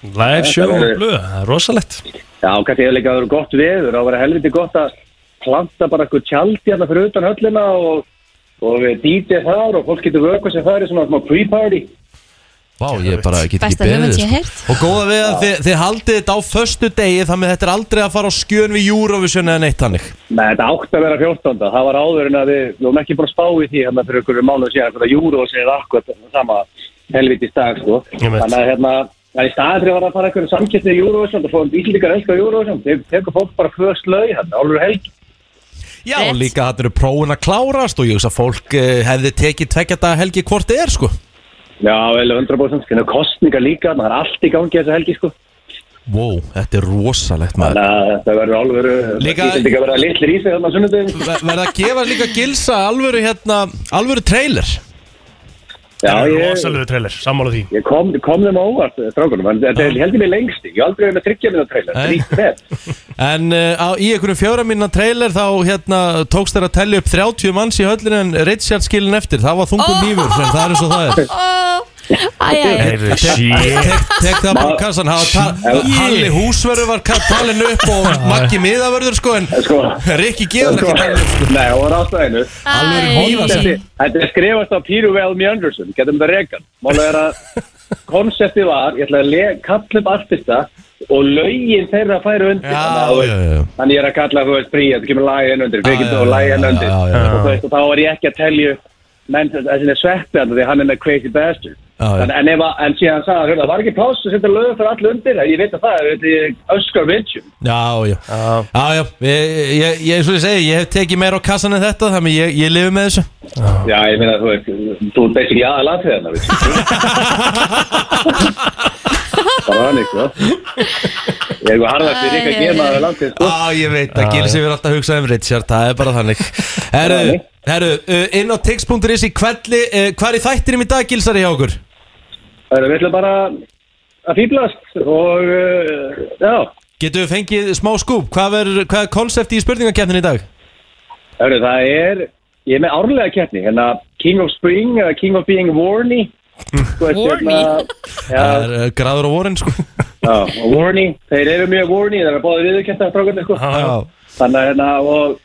Speaker 3: Live show og blöð, það er rosalegt
Speaker 5: Já, og kannski hefur líka verið gott veður og verið helviti gott að planta bara eitthvað tjaldi hérna fyrir utan höllina og, og við DJ þar og fólk getur vökuð sem það er svona smá pre-party.
Speaker 1: Vá, ég bara get ekki
Speaker 2: Besta hugmynd sem ég
Speaker 1: beðið
Speaker 2: heyrt.
Speaker 1: sko. Og góða við að þið, þið haldið þetta á föstu degi Þannig að þetta er aldrei að fara á skjön við Eurovision eða neitt hannig
Speaker 5: Nei, þetta átti að vera 14. Það var áður en að við, við vorum ekki búin að spá í því hérna fyrir einhverju mánuðu síðan, hvernig að júruvalsin er akkurat sama helviti stag, sko.
Speaker 3: Ég veit.
Speaker 5: Þannig að hérna, að í staðin fyrir að vera að fara einhverju samkipni í júruvalsin og fórum bílíkar elska júruvalsin, þeir tekur fólk bara fyrir slöi hérna, álur helgi.
Speaker 1: Já,
Speaker 2: Rétt.
Speaker 1: og líka þetta eru prófin að klárast Og ég hugsa að fólk uh, hefði tekið tvekja daga helgi hvort þið er sko
Speaker 5: Já, vel 100%, skynna kostningar Hérna líka, það er allt í gangi þessa helgi, sko.
Speaker 1: Wow, þetta er rosalegt maður
Speaker 5: Þannig að þetta verður alvöru,
Speaker 1: Líka-
Speaker 5: þetta verður verða litlir í hérna sig þannig að sunnudegum.
Speaker 1: Ver- verða að gefa líka gilsa alvöru hérna, alvöru trailer
Speaker 5: Já,
Speaker 3: Það er
Speaker 5: ég,
Speaker 3: rosalegu trailer, sammála því
Speaker 5: ég kom, kom þeim á óvart, eh, strákunum, en þetta er heldur mig lengst, ég hef aldrei verið með tryggja minna trailer,
Speaker 1: Nei.
Speaker 5: þrýtt með.
Speaker 1: en uh, á, í einhverjum fjóra minna trailer þá hérna, tókst þér að tellja upp 30 manns í höllinu en Richard skilin eftir, það var þungum nýfur en það er eins og það er
Speaker 2: Ó, Æ, æ, æ.
Speaker 3: Heyrðu,
Speaker 1: Tek,
Speaker 3: shit.
Speaker 1: tek það bara á kassan hafa ta- Halli húsverður var ka- talinn upp og Maggi miðavörður sko en
Speaker 5: Sko,
Speaker 1: <laughs> Rikki gefur ekki sko. talinn upp
Speaker 5: Nei, og rástaðinu
Speaker 1: Alveg hóða sér
Speaker 2: Æ.
Speaker 5: Þetta er skrifast á Píru Velmi Anderson Getum þetta rekan Mála er að
Speaker 1: <laughs>
Speaker 5: konseptið var Ég ætla að le- kalla upp artista Og lögin þeirra færu undir
Speaker 1: Já,
Speaker 5: Þannig að, þú
Speaker 1: já,
Speaker 5: veist,
Speaker 1: já, já.
Speaker 5: Þannig ég er að kalla, þú veist, Bríja Þú kemur lagið henn undir,
Speaker 1: Já,
Speaker 5: Birgit
Speaker 1: já,
Speaker 5: og
Speaker 1: já,
Speaker 5: lagið henn
Speaker 1: já,
Speaker 5: undir
Speaker 1: já, já.
Speaker 5: Og þú veist, og þá var ég ekki að telja upp Menn þessin er sveppi Þannig að hann er með crazy bastard
Speaker 1: Já, já.
Speaker 5: En, en, ef, að- en síðan sagði, hann, hérna, það var ekki pláss að setja lögum fyrir all undir, ég veit að það, þetta er öskar vitsjum.
Speaker 1: Já, já, já, já. Ég, ég, ég, svo ég segi, ég hef tekið meira á kassan en þetta Þannig ég, ég lifi með þessu
Speaker 5: Já, ég meina, þú veist, þú er basically aðal aðtriðan, veist.
Speaker 1: <laughs>
Speaker 5: Bara hann eitthvað. Ég er eitthvað harðast í ríka
Speaker 2: Æ,
Speaker 5: gemaður
Speaker 2: æ,
Speaker 5: að landið, sko.
Speaker 1: Á, ég veit að Gils hefur alltaf hugsað um Richard Það er bara þannig Herru, herru uh, inn á tix.is í kvelli uh, Hvað er í þættinum í dag, Gilsari, hjá okkur?
Speaker 5: Það er að við ætlum bara að fýblast og, uh, já,
Speaker 1: Getum við fengið smá skúb? Hvað er, hvað er konsept í spurningakefnin í dag?
Speaker 5: hörru, það er, ég er með árlega keppni, hérna King of Spring eða King of Being
Speaker 1: <laughs>
Speaker 5: Warny. Þú veist,
Speaker 2: Warny?
Speaker 5: hérna,
Speaker 1: Það
Speaker 5: Já,
Speaker 1: er uh, graður á vorin, sko
Speaker 5: já, og Warny, þeir eru mjög Warny, þeir eru báðið viðurkjönda strákarnir, sko.
Speaker 1: Já,
Speaker 5: Þannig að hérna og,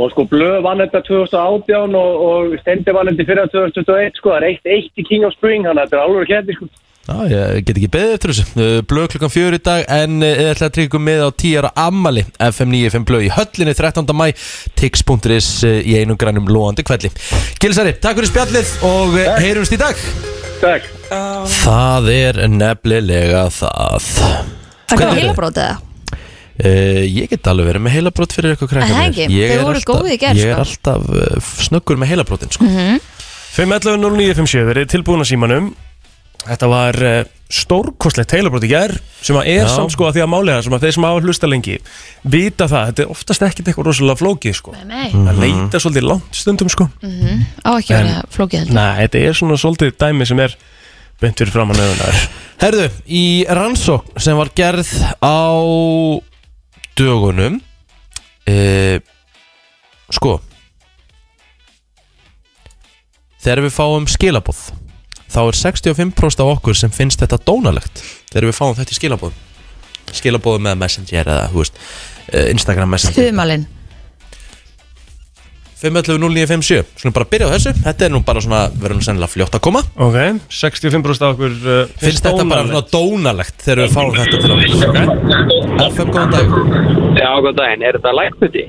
Speaker 5: og sko Blöð vann þetta 2018 og, og Stendi vann þetta fyrir 2021 sko, það er eitt eitt í King of Spring þannig að þetta er alveg kændi sko.
Speaker 1: Já, ég get ekki beðið eftir þessu Uh, Blöð klukkan fjör í dag En uh, ég ætla að tryggja ykkur með á 10 ára ammali FM 95 blöð í höllinni 13. mæ Tix.is uh, í einum grænum lóandi kvelli Gilsari, takk fyrir spjallið og uh, heyrumst í dag
Speaker 5: Takk.
Speaker 1: Það er nefnilega það
Speaker 6: Það er
Speaker 1: Hvernig er
Speaker 6: heila
Speaker 1: það?
Speaker 6: brótið
Speaker 1: uh, Ég get alveg verið með heilabrót fyrir eitthvað
Speaker 6: Er
Speaker 1: krækka
Speaker 6: það ekki? Þau voru góð í gær,
Speaker 1: Ég er
Speaker 6: sko.
Speaker 1: alltaf uh, snöggur með heilabrótin sko.
Speaker 2: Mhm.
Speaker 3: 5.11.09.57 verið tilbúin að símanum Þetta var uh, stórkostlegt heilabrót í gær sem að er
Speaker 1: Já.
Speaker 3: samt sko að því að málega sem að þeir sem hafa hlusta lengi vita það, þetta er oftast ekkert eitthvað rosalega flókið sko
Speaker 2: Nei,
Speaker 1: Mhm.
Speaker 3: að leita svolítið langt stundum sko
Speaker 2: Mhm. á ekki að vera flókið heldur.
Speaker 3: Nei, þetta er svona svolítið dæmi sem er beint fyrir framann auðunar
Speaker 1: Herðu, í rannsókn sem var gerð á dögunum e, Sko Þegar við fáum skilabóð Þá er 65% af okkur sem finnst þetta dónalegt Þegar við fáum þetta í skilabóðum Skilabóðum með Messenger eða, hú veist eh, Instagram Messenger
Speaker 2: Þumalinn
Speaker 1: 512957 Svona bara byrja á þessu Þetta er nú bara svona, verður nú sennilega fljótt að koma
Speaker 3: Ok, 65% af okkur uh,
Speaker 1: Finnst þetta bara svona dónalegt Þegar við fáum þetta til okkur FM, góðan dag
Speaker 7: Já, góð daginn, er þetta lækputi?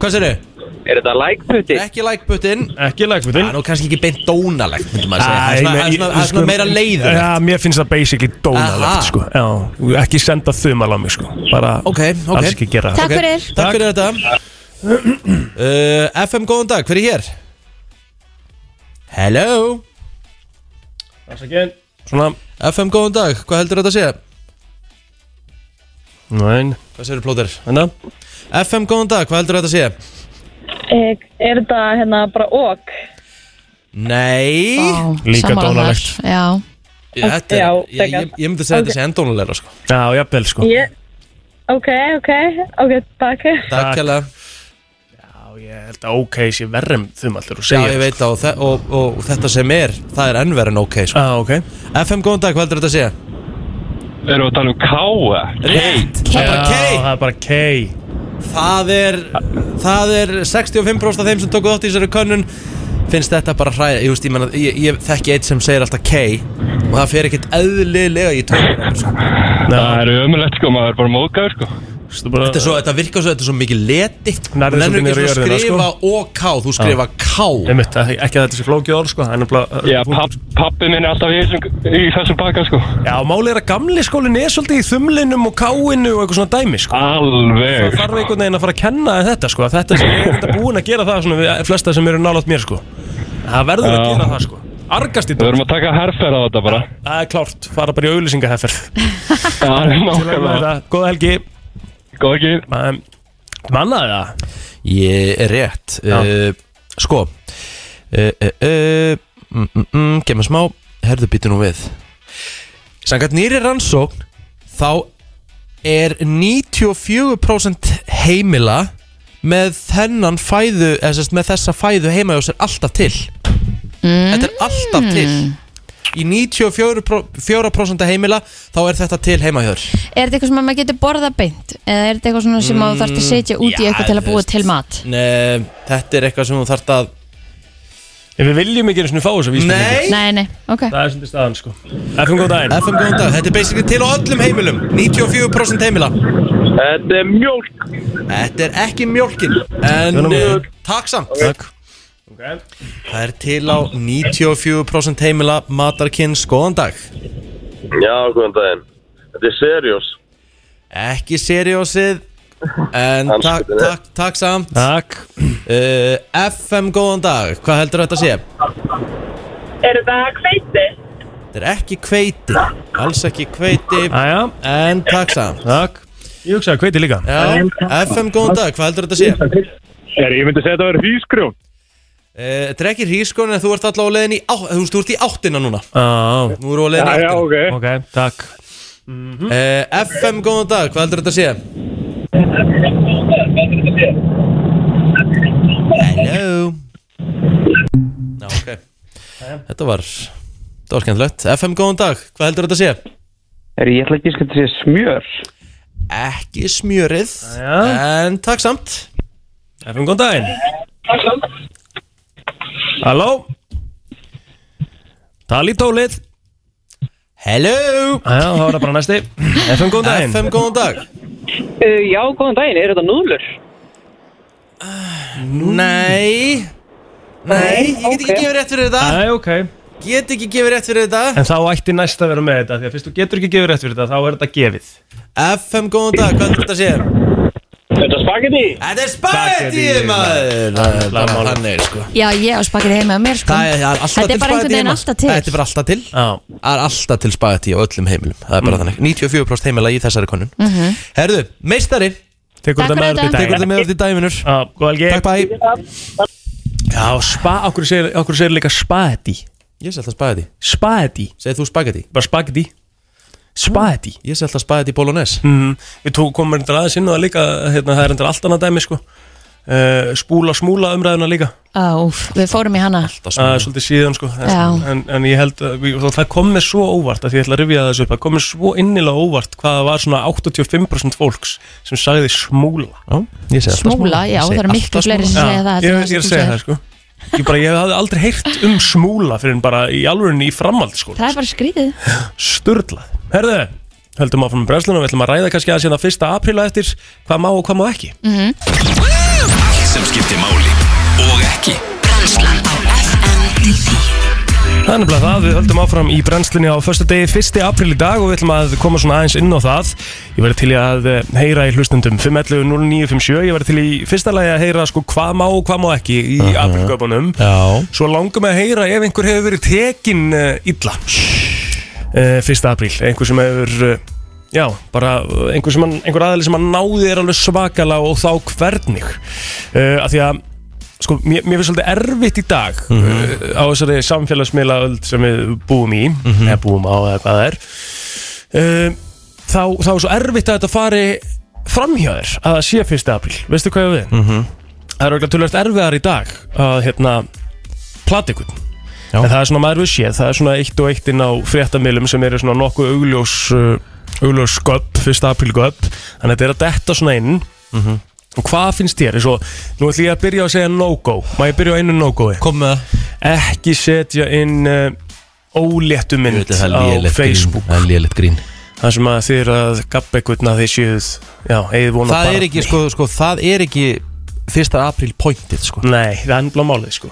Speaker 1: Hvað sér þau?
Speaker 7: Er þetta lækputi?
Speaker 1: Ekki lækbutinn
Speaker 3: Ekki
Speaker 1: Það
Speaker 3: lagfutinn
Speaker 1: er nú kannski ekki beint dónalegt myndum maður segja Það er svona- það er svona- það er svona meira leiður
Speaker 3: sko- Já, mér finnst það basically
Speaker 1: Aha.
Speaker 3: dónalegt sko Já, ekki senda þumal á mig sko Bara
Speaker 1: Ok, ok.
Speaker 3: alls ekki gera það
Speaker 6: Takk fyrir.
Speaker 1: Takk fyrir þetta <clears throat> uh, FM góðan dag, hver er hér? Hello
Speaker 3: Afsakið. Svona,
Speaker 1: FM góðan dag, hvað heldur þetta að segja?
Speaker 3: næn,
Speaker 1: Hvað segir plóter?
Speaker 3: hérna
Speaker 1: FM góðan dag, hvað heldur þetta að segja?
Speaker 8: Er, er þetta hérna bara ok?
Speaker 1: Nei
Speaker 3: Líka dónalegt.
Speaker 2: Já,
Speaker 1: þetta, er-
Speaker 8: Já,
Speaker 1: ég, ég, ég myndi segja þetta sé endónulegra sko.
Speaker 3: Já, jafnvel sko
Speaker 8: Ég, ok, ok, ok, takk.
Speaker 1: Takk
Speaker 3: Takk.
Speaker 1: hella
Speaker 3: Já, ég held að ok sé um verrem þumal þegar þú
Speaker 1: Já
Speaker 3: segir
Speaker 1: ég veit það og, þe- og, og þetta sem er Það er ennverð en ok sko.
Speaker 3: Já, Ah, ok
Speaker 1: FM góðan dag, hvað heldur þetta að segja?
Speaker 7: Erum við að tala um káa?
Speaker 1: Rétt, það er bara
Speaker 3: Já,
Speaker 1: K
Speaker 3: það er bara K
Speaker 1: Það er, það er 65% af þeim sem tóku þátt í þessari könnun finnst þetta bara hræða ég, veist, ég, menna, ég, ég þekki eitt sem segir alltaf K og það fer ekkert eðlilega í tónum sko.
Speaker 7: Það er ömulegt sko, maður er bara móðgæður sko
Speaker 1: þetta, er svo- þetta virkar svo, þetta er svo mikið leti
Speaker 3: Nærðu
Speaker 1: Þú
Speaker 3: svolítið
Speaker 1: nennir
Speaker 3: niður í
Speaker 1: ekki svona
Speaker 3: jörðina, sko.
Speaker 1: að skrifa OK þú skrifa K
Speaker 3: Einmitt, það er ekki að þetta sé flókið orð sko Það er nefnilega
Speaker 7: Já, papp, pappi minn er alltaf í þessum, í þessum pakka sko
Speaker 3: Já, máli er að gamli skólinn er svolítið í þumlinum og káinu og eitthvað svona dæmi sko Það
Speaker 7: Alveg
Speaker 3: þarf einhvern veginn að fara að kenna þér þetta sko Þetta sem ég er þetta búin að gera það svona við flesta sem eru nálátt mér sko Það verður að
Speaker 7: Já.
Speaker 3: gera það sko Argast í
Speaker 7: Við
Speaker 3: dag
Speaker 7: erum að taka herrferð á þetta bara
Speaker 3: Það er klárt, fara bara í auðlýsingaheffer
Speaker 7: <laughs> Já, það er nákvæmlega
Speaker 3: Góða helgi
Speaker 7: Góð ekki
Speaker 3: Um, Mannaði það?
Speaker 1: Ég er rétt uh, Sko uh, uh, uh, mm, mm, mm, Gemma smá Herðu býtu nú við Sangat nýri rannsókn Þá er 94% heimila með þennan fæðu eða sem sagt með þessa fæðu heima hjá sér alltaf til Þetta er alltaf til í 94% heimila þá er þetta til heima hjör
Speaker 2: Er þetta eitthvað sem að maður getur borða beint? Eða er þetta eitthvað svona sem að þú þarfst að
Speaker 1: Mm,
Speaker 2: setja út í eitthvað til að búa til mat?
Speaker 1: Nei, þetta er eitthvað sem þú þarft að
Speaker 3: Ef við viljum ekki einu svona fá þess að
Speaker 1: Nei,
Speaker 2: Nei, nei, ok
Speaker 3: Það er svolítið staðan sko FM góð daginn
Speaker 1: FM góðan dag, þetta er basically til á öllum heimilum 94% heimila
Speaker 5: Þetta er mjólk
Speaker 1: Þetta er ekki mjólkin En
Speaker 3: Vel á
Speaker 1: uh,
Speaker 3: mig.
Speaker 1: takk samt
Speaker 3: Takk
Speaker 1: Það er til á 94% heimila Matarkins, góðan dag
Speaker 5: Já, góðan daginn Þetta er seriós
Speaker 1: Ekki seriósið En
Speaker 5: Hann
Speaker 1: takk,
Speaker 5: spurði.
Speaker 1: takk, takk samt
Speaker 3: Takk
Speaker 1: uh, FM, góðan dag Hvað heldur þetta að sé?
Speaker 8: Er þetta hveiti?
Speaker 1: Þetta er ekki kveiti Alls ekki kveiti
Speaker 3: Æja,
Speaker 1: En takk samt
Speaker 3: Ah, takk Ég hugsaði hveiti líka
Speaker 1: Já, FM, góðan dag, hvað heldur þetta að sé?
Speaker 7: Er, ég myndi segja að þetta verið hýskrjón.
Speaker 1: Eh, Þetta er ekki hrískon en þú ert allavega á leiðin í, á, þú veist, þú ert í áttina núna
Speaker 3: Á,
Speaker 1: Nú eru á leiðin í
Speaker 7: Já, já,
Speaker 1: áttina
Speaker 7: ok.
Speaker 3: ok, takk
Speaker 1: uh, FM, góðan dag, hvað heldur þetta að sé? Hello Ná, ok Þetta var, þetta var skemmtilegt FM, góðan dag, hvað heldur þetta að sé?
Speaker 9: Er ég ætla ekki að segja smjör?
Speaker 1: Ekki smjörið
Speaker 3: Jæja.
Speaker 1: En takk samt
Speaker 3: FM góð daginn Halló Tali tólið
Speaker 1: Hello
Speaker 3: Æja, þá er það bara næsti FM góð daginn
Speaker 1: FM, góðan dag
Speaker 9: Uh, já, góðan daginn, er þetta núðlur?
Speaker 1: Nei Nei, ég get ekki gefið rétt fyrir þetta
Speaker 3: Æja, ok
Speaker 1: Get ekki gefið rétt fyrir þetta
Speaker 3: En þá ætti næst að vera með þetta Því að fyrst þú getur ekki gefið rétt fyrir þetta Þá er þetta gefið
Speaker 1: FM, góðan dag, hvað er þetta að sé?
Speaker 5: Þetta er spagetti
Speaker 1: Þetta er spagetti,
Speaker 3: Spagetti,
Speaker 1: maður! Það er bara
Speaker 3: málið.
Speaker 1: þannig, sko.
Speaker 2: Já, ég á spakir heima á mér sko
Speaker 1: Það er það er alltaf
Speaker 2: Þetta
Speaker 1: til
Speaker 2: er bara einhvern
Speaker 1: spagetti
Speaker 2: veginn
Speaker 1: heima.
Speaker 2: alltaf til.
Speaker 1: Þetta er bara alltaf til.
Speaker 3: Já Mm.
Speaker 1: Það er alltaf til spagetti á öllum heimilum. Það er bara þannig. 94% heimila í þessari konun. Herðu, meistari,
Speaker 3: Tekur
Speaker 2: Mm. Takk fyrir
Speaker 3: þetta með
Speaker 2: þetta.
Speaker 3: þetta í
Speaker 1: tekur
Speaker 3: dag
Speaker 1: þetta með út í dagvinnur.
Speaker 3: Já, góð helgi
Speaker 1: Takk, bæ.
Speaker 3: Já, spa, okkur segir, okkur segir líka spagetti
Speaker 1: Ég sé alltaf spagetti.
Speaker 3: Spagetti
Speaker 1: Segð þú spagetti?
Speaker 3: Bara spagetti Spagetti
Speaker 1: Ég sé alltaf spagetti bolognese.
Speaker 3: mm, Við tók, komum endur aðeins inn á það líka hérna, Það er endur allt annað dæmi sko uh, Spúla smúla umræðuna líka
Speaker 2: Á, úf, við fórum í hana
Speaker 1: Alltaf
Speaker 3: Það er
Speaker 1: smá.
Speaker 3: svolítið síðan sko en,
Speaker 2: Já.
Speaker 3: en, en ég held að við- og það kom mér svo óvart að Því ég ætla að rifja þessu upp Það kom mér svo innilega óvart Hvað það var svona 85% fólks Sem sagði smúla
Speaker 1: Já, ég sé alltaf
Speaker 2: Smúla, já,
Speaker 1: Ég segi
Speaker 2: það eru
Speaker 1: alltaf
Speaker 2: miklu fleiri sem
Speaker 1: smúla.
Speaker 2: segja það heldur
Speaker 3: ég,
Speaker 2: en sem þú
Speaker 3: ég er að segja
Speaker 2: segir.
Speaker 3: það sko Ég, bara, ég hafði aldrei heyrt um smúla Fyrir en bara í alvörunni í framhald sko
Speaker 2: Það er bara skrítið
Speaker 3: Sturlað Herðu, höldum áfram með brennsluna Við ætlum að ræða kannski að síðan að fyrsta apríla eftir Hvað má og hvað má ekki
Speaker 2: Mhm.
Speaker 4: Allt sem skiptir máli og ekki
Speaker 10: Brennslan á FM 957
Speaker 3: Það er nefnilega það, við höldum áfram í brennslunni á förstu degi, fyrsti april í dag og við ætlum að koma svona aðeins inn á það. Ég verði til í að eh, heyra í hlustundum 511-0957, ég verði til í fyrsta lagi að heyra sko hvað má og hvað má ekki í uh
Speaker 1: Já.
Speaker 3: Svo langum við að heyra ef einhver hefur verið tekin uh, illa uh, 1. apríl, einhver sem hefur uh, Já, bara eh, einhver, sem, hann- einhver aðeins sem að náði er alveg svakala og þá hvernig uh, að Því að Sko, mér, mér finnst svolítið erfitt í dag mm á þessari samfélagsmiðlaöld sem við búum í, eða búum á eða hvað það er uh, þá, þá er svo erfitt að þetta fari framhjöður að það sé 1. apríl, veistu hvað ég á við? Það er auðvitað tölvægt erfiðar í dag að hérna, plati ykkur
Speaker 1: Já.
Speaker 3: en það er svona maður við séð, það er svona eitt og eitt inn á fréttamilum sem eru svona nokkuð augljós uh, augljós göpp, fyrst apríl göpp þannig að þetta er að detta svona inn
Speaker 1: Mhm.
Speaker 3: og hvað finnst þér? Svo, nú ætlum ég að byrja að segja no-go má ég byrja á einu no-goi?
Speaker 1: Kom með það.
Speaker 3: Ekki setja inn uh, óléttu
Speaker 1: Ég
Speaker 3: mynd
Speaker 1: veit að það er
Speaker 3: á
Speaker 1: lélegt grín.
Speaker 3: Facebook
Speaker 1: Það er lélegt grín.
Speaker 3: þar sem að þið eru að gappa ykkurna því séuð, já, eigið vona
Speaker 1: það er ekki, sko, sko, það er ekki fyrsta april pointið, sko
Speaker 3: Nei, það er ennblá málið sko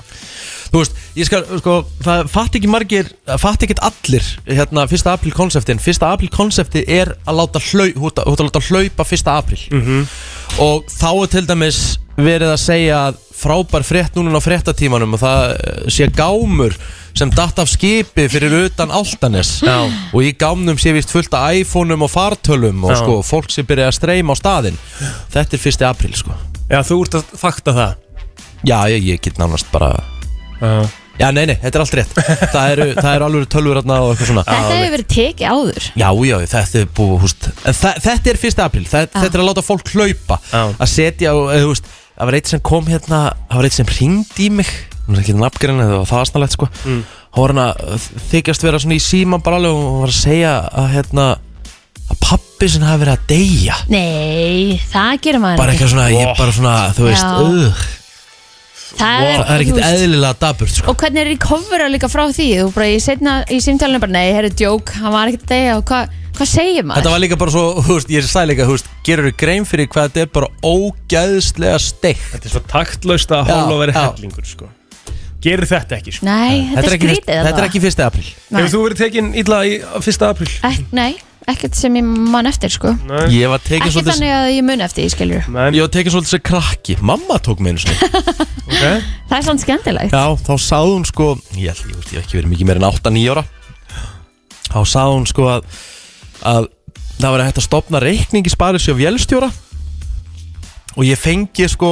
Speaker 1: þú veist, ég skal, sko, það fatt ekki margir það fatt ekki allir, hérna, fyrsta april konseptin, fyrsta april konsepti er að láta hlau, hú ert að- þú ert að láta hlaupa fyrsta april
Speaker 3: Mhm.
Speaker 1: -hmm. og þá er til dæmis verið að segja að frábær frétt núna á fréttatímanum og það eh, sé gámur sem datt af skipi fyrir utan áltanes Já. og í gámnum sé vist fullt af iPhone-um og fartölum og
Speaker 3: Já.
Speaker 1: sko, fólk sem byrja að streyma á staðinn þetta er fyrsti april, sko
Speaker 3: Já, þú ert að fakta það
Speaker 1: Já, ég, ég get nánast bara
Speaker 3: Já.
Speaker 1: Já, nei, nei, þetta er allt rétt Það eru, það eru alveg tölvur hérna og eitthvað svona
Speaker 2: Þetta hefur verið tekið áður
Speaker 1: Já, já, þetta er búið, húst En þa- þetta er 1. apríl, þa þetta er að láta fólk hlaupa
Speaker 3: Já.
Speaker 1: Að setja, og, eða, þú veist Það var eitt sem kom hérna, það var eitt sem ringdi í mig Hún er ekki nafngrein, það var það aðsnalegt, sko mm. hún var hann að þykjast vera svona í síman bara alveg og hún var að segja að hérna að pappi sinn hafi verið að deyja
Speaker 2: Nei, það gerir maður
Speaker 1: bara eitthvað svona, ég bara svona, þú veist
Speaker 2: Já.
Speaker 1: uh,
Speaker 2: Það er,
Speaker 1: það
Speaker 2: þú
Speaker 1: er ekkert
Speaker 2: veist,
Speaker 1: eðlilega daburt sko.
Speaker 2: Og hvernig er recovera líka frá því? Þú bara í, setna, í símtælunum bara, nei, herru, djók, hann var ekkert að deyja og hvað hva segir maður?
Speaker 1: þetta var líka bara svo, þú veist, ég sagði líka þú veist, gerur þú grein fyrir hvað þetta er bara ógæðslega steikt þetta er svo taktlaust
Speaker 11: að hálfa verið hellingur sko. Gerir þetta ekki sko.
Speaker 2: Nei, þetta, er skrítið
Speaker 1: þetta er ekki fyrst apríl
Speaker 2: Nei.
Speaker 3: Hefur þú verið tekin illa í fyrsta apríl?
Speaker 2: Ek, Nei, ekkert sem ég man eftir, sko
Speaker 1: ég var tekin
Speaker 2: Ekki
Speaker 1: svolítið
Speaker 2: þannig að ég mun eftir, ég skilur
Speaker 1: ég var tekin svolítið sem krakki mamma tók mig einu sinni okay.
Speaker 2: Það er svona skemmtilegt
Speaker 1: Já, þá sagði hún sko Ég held, ég veist, ég hef ekki verið mikið meira en 8-9 ára Þá sagði hún sko að, að það var hægt að stopna reikning í sparis hjá vélstjóra og ég fengi sko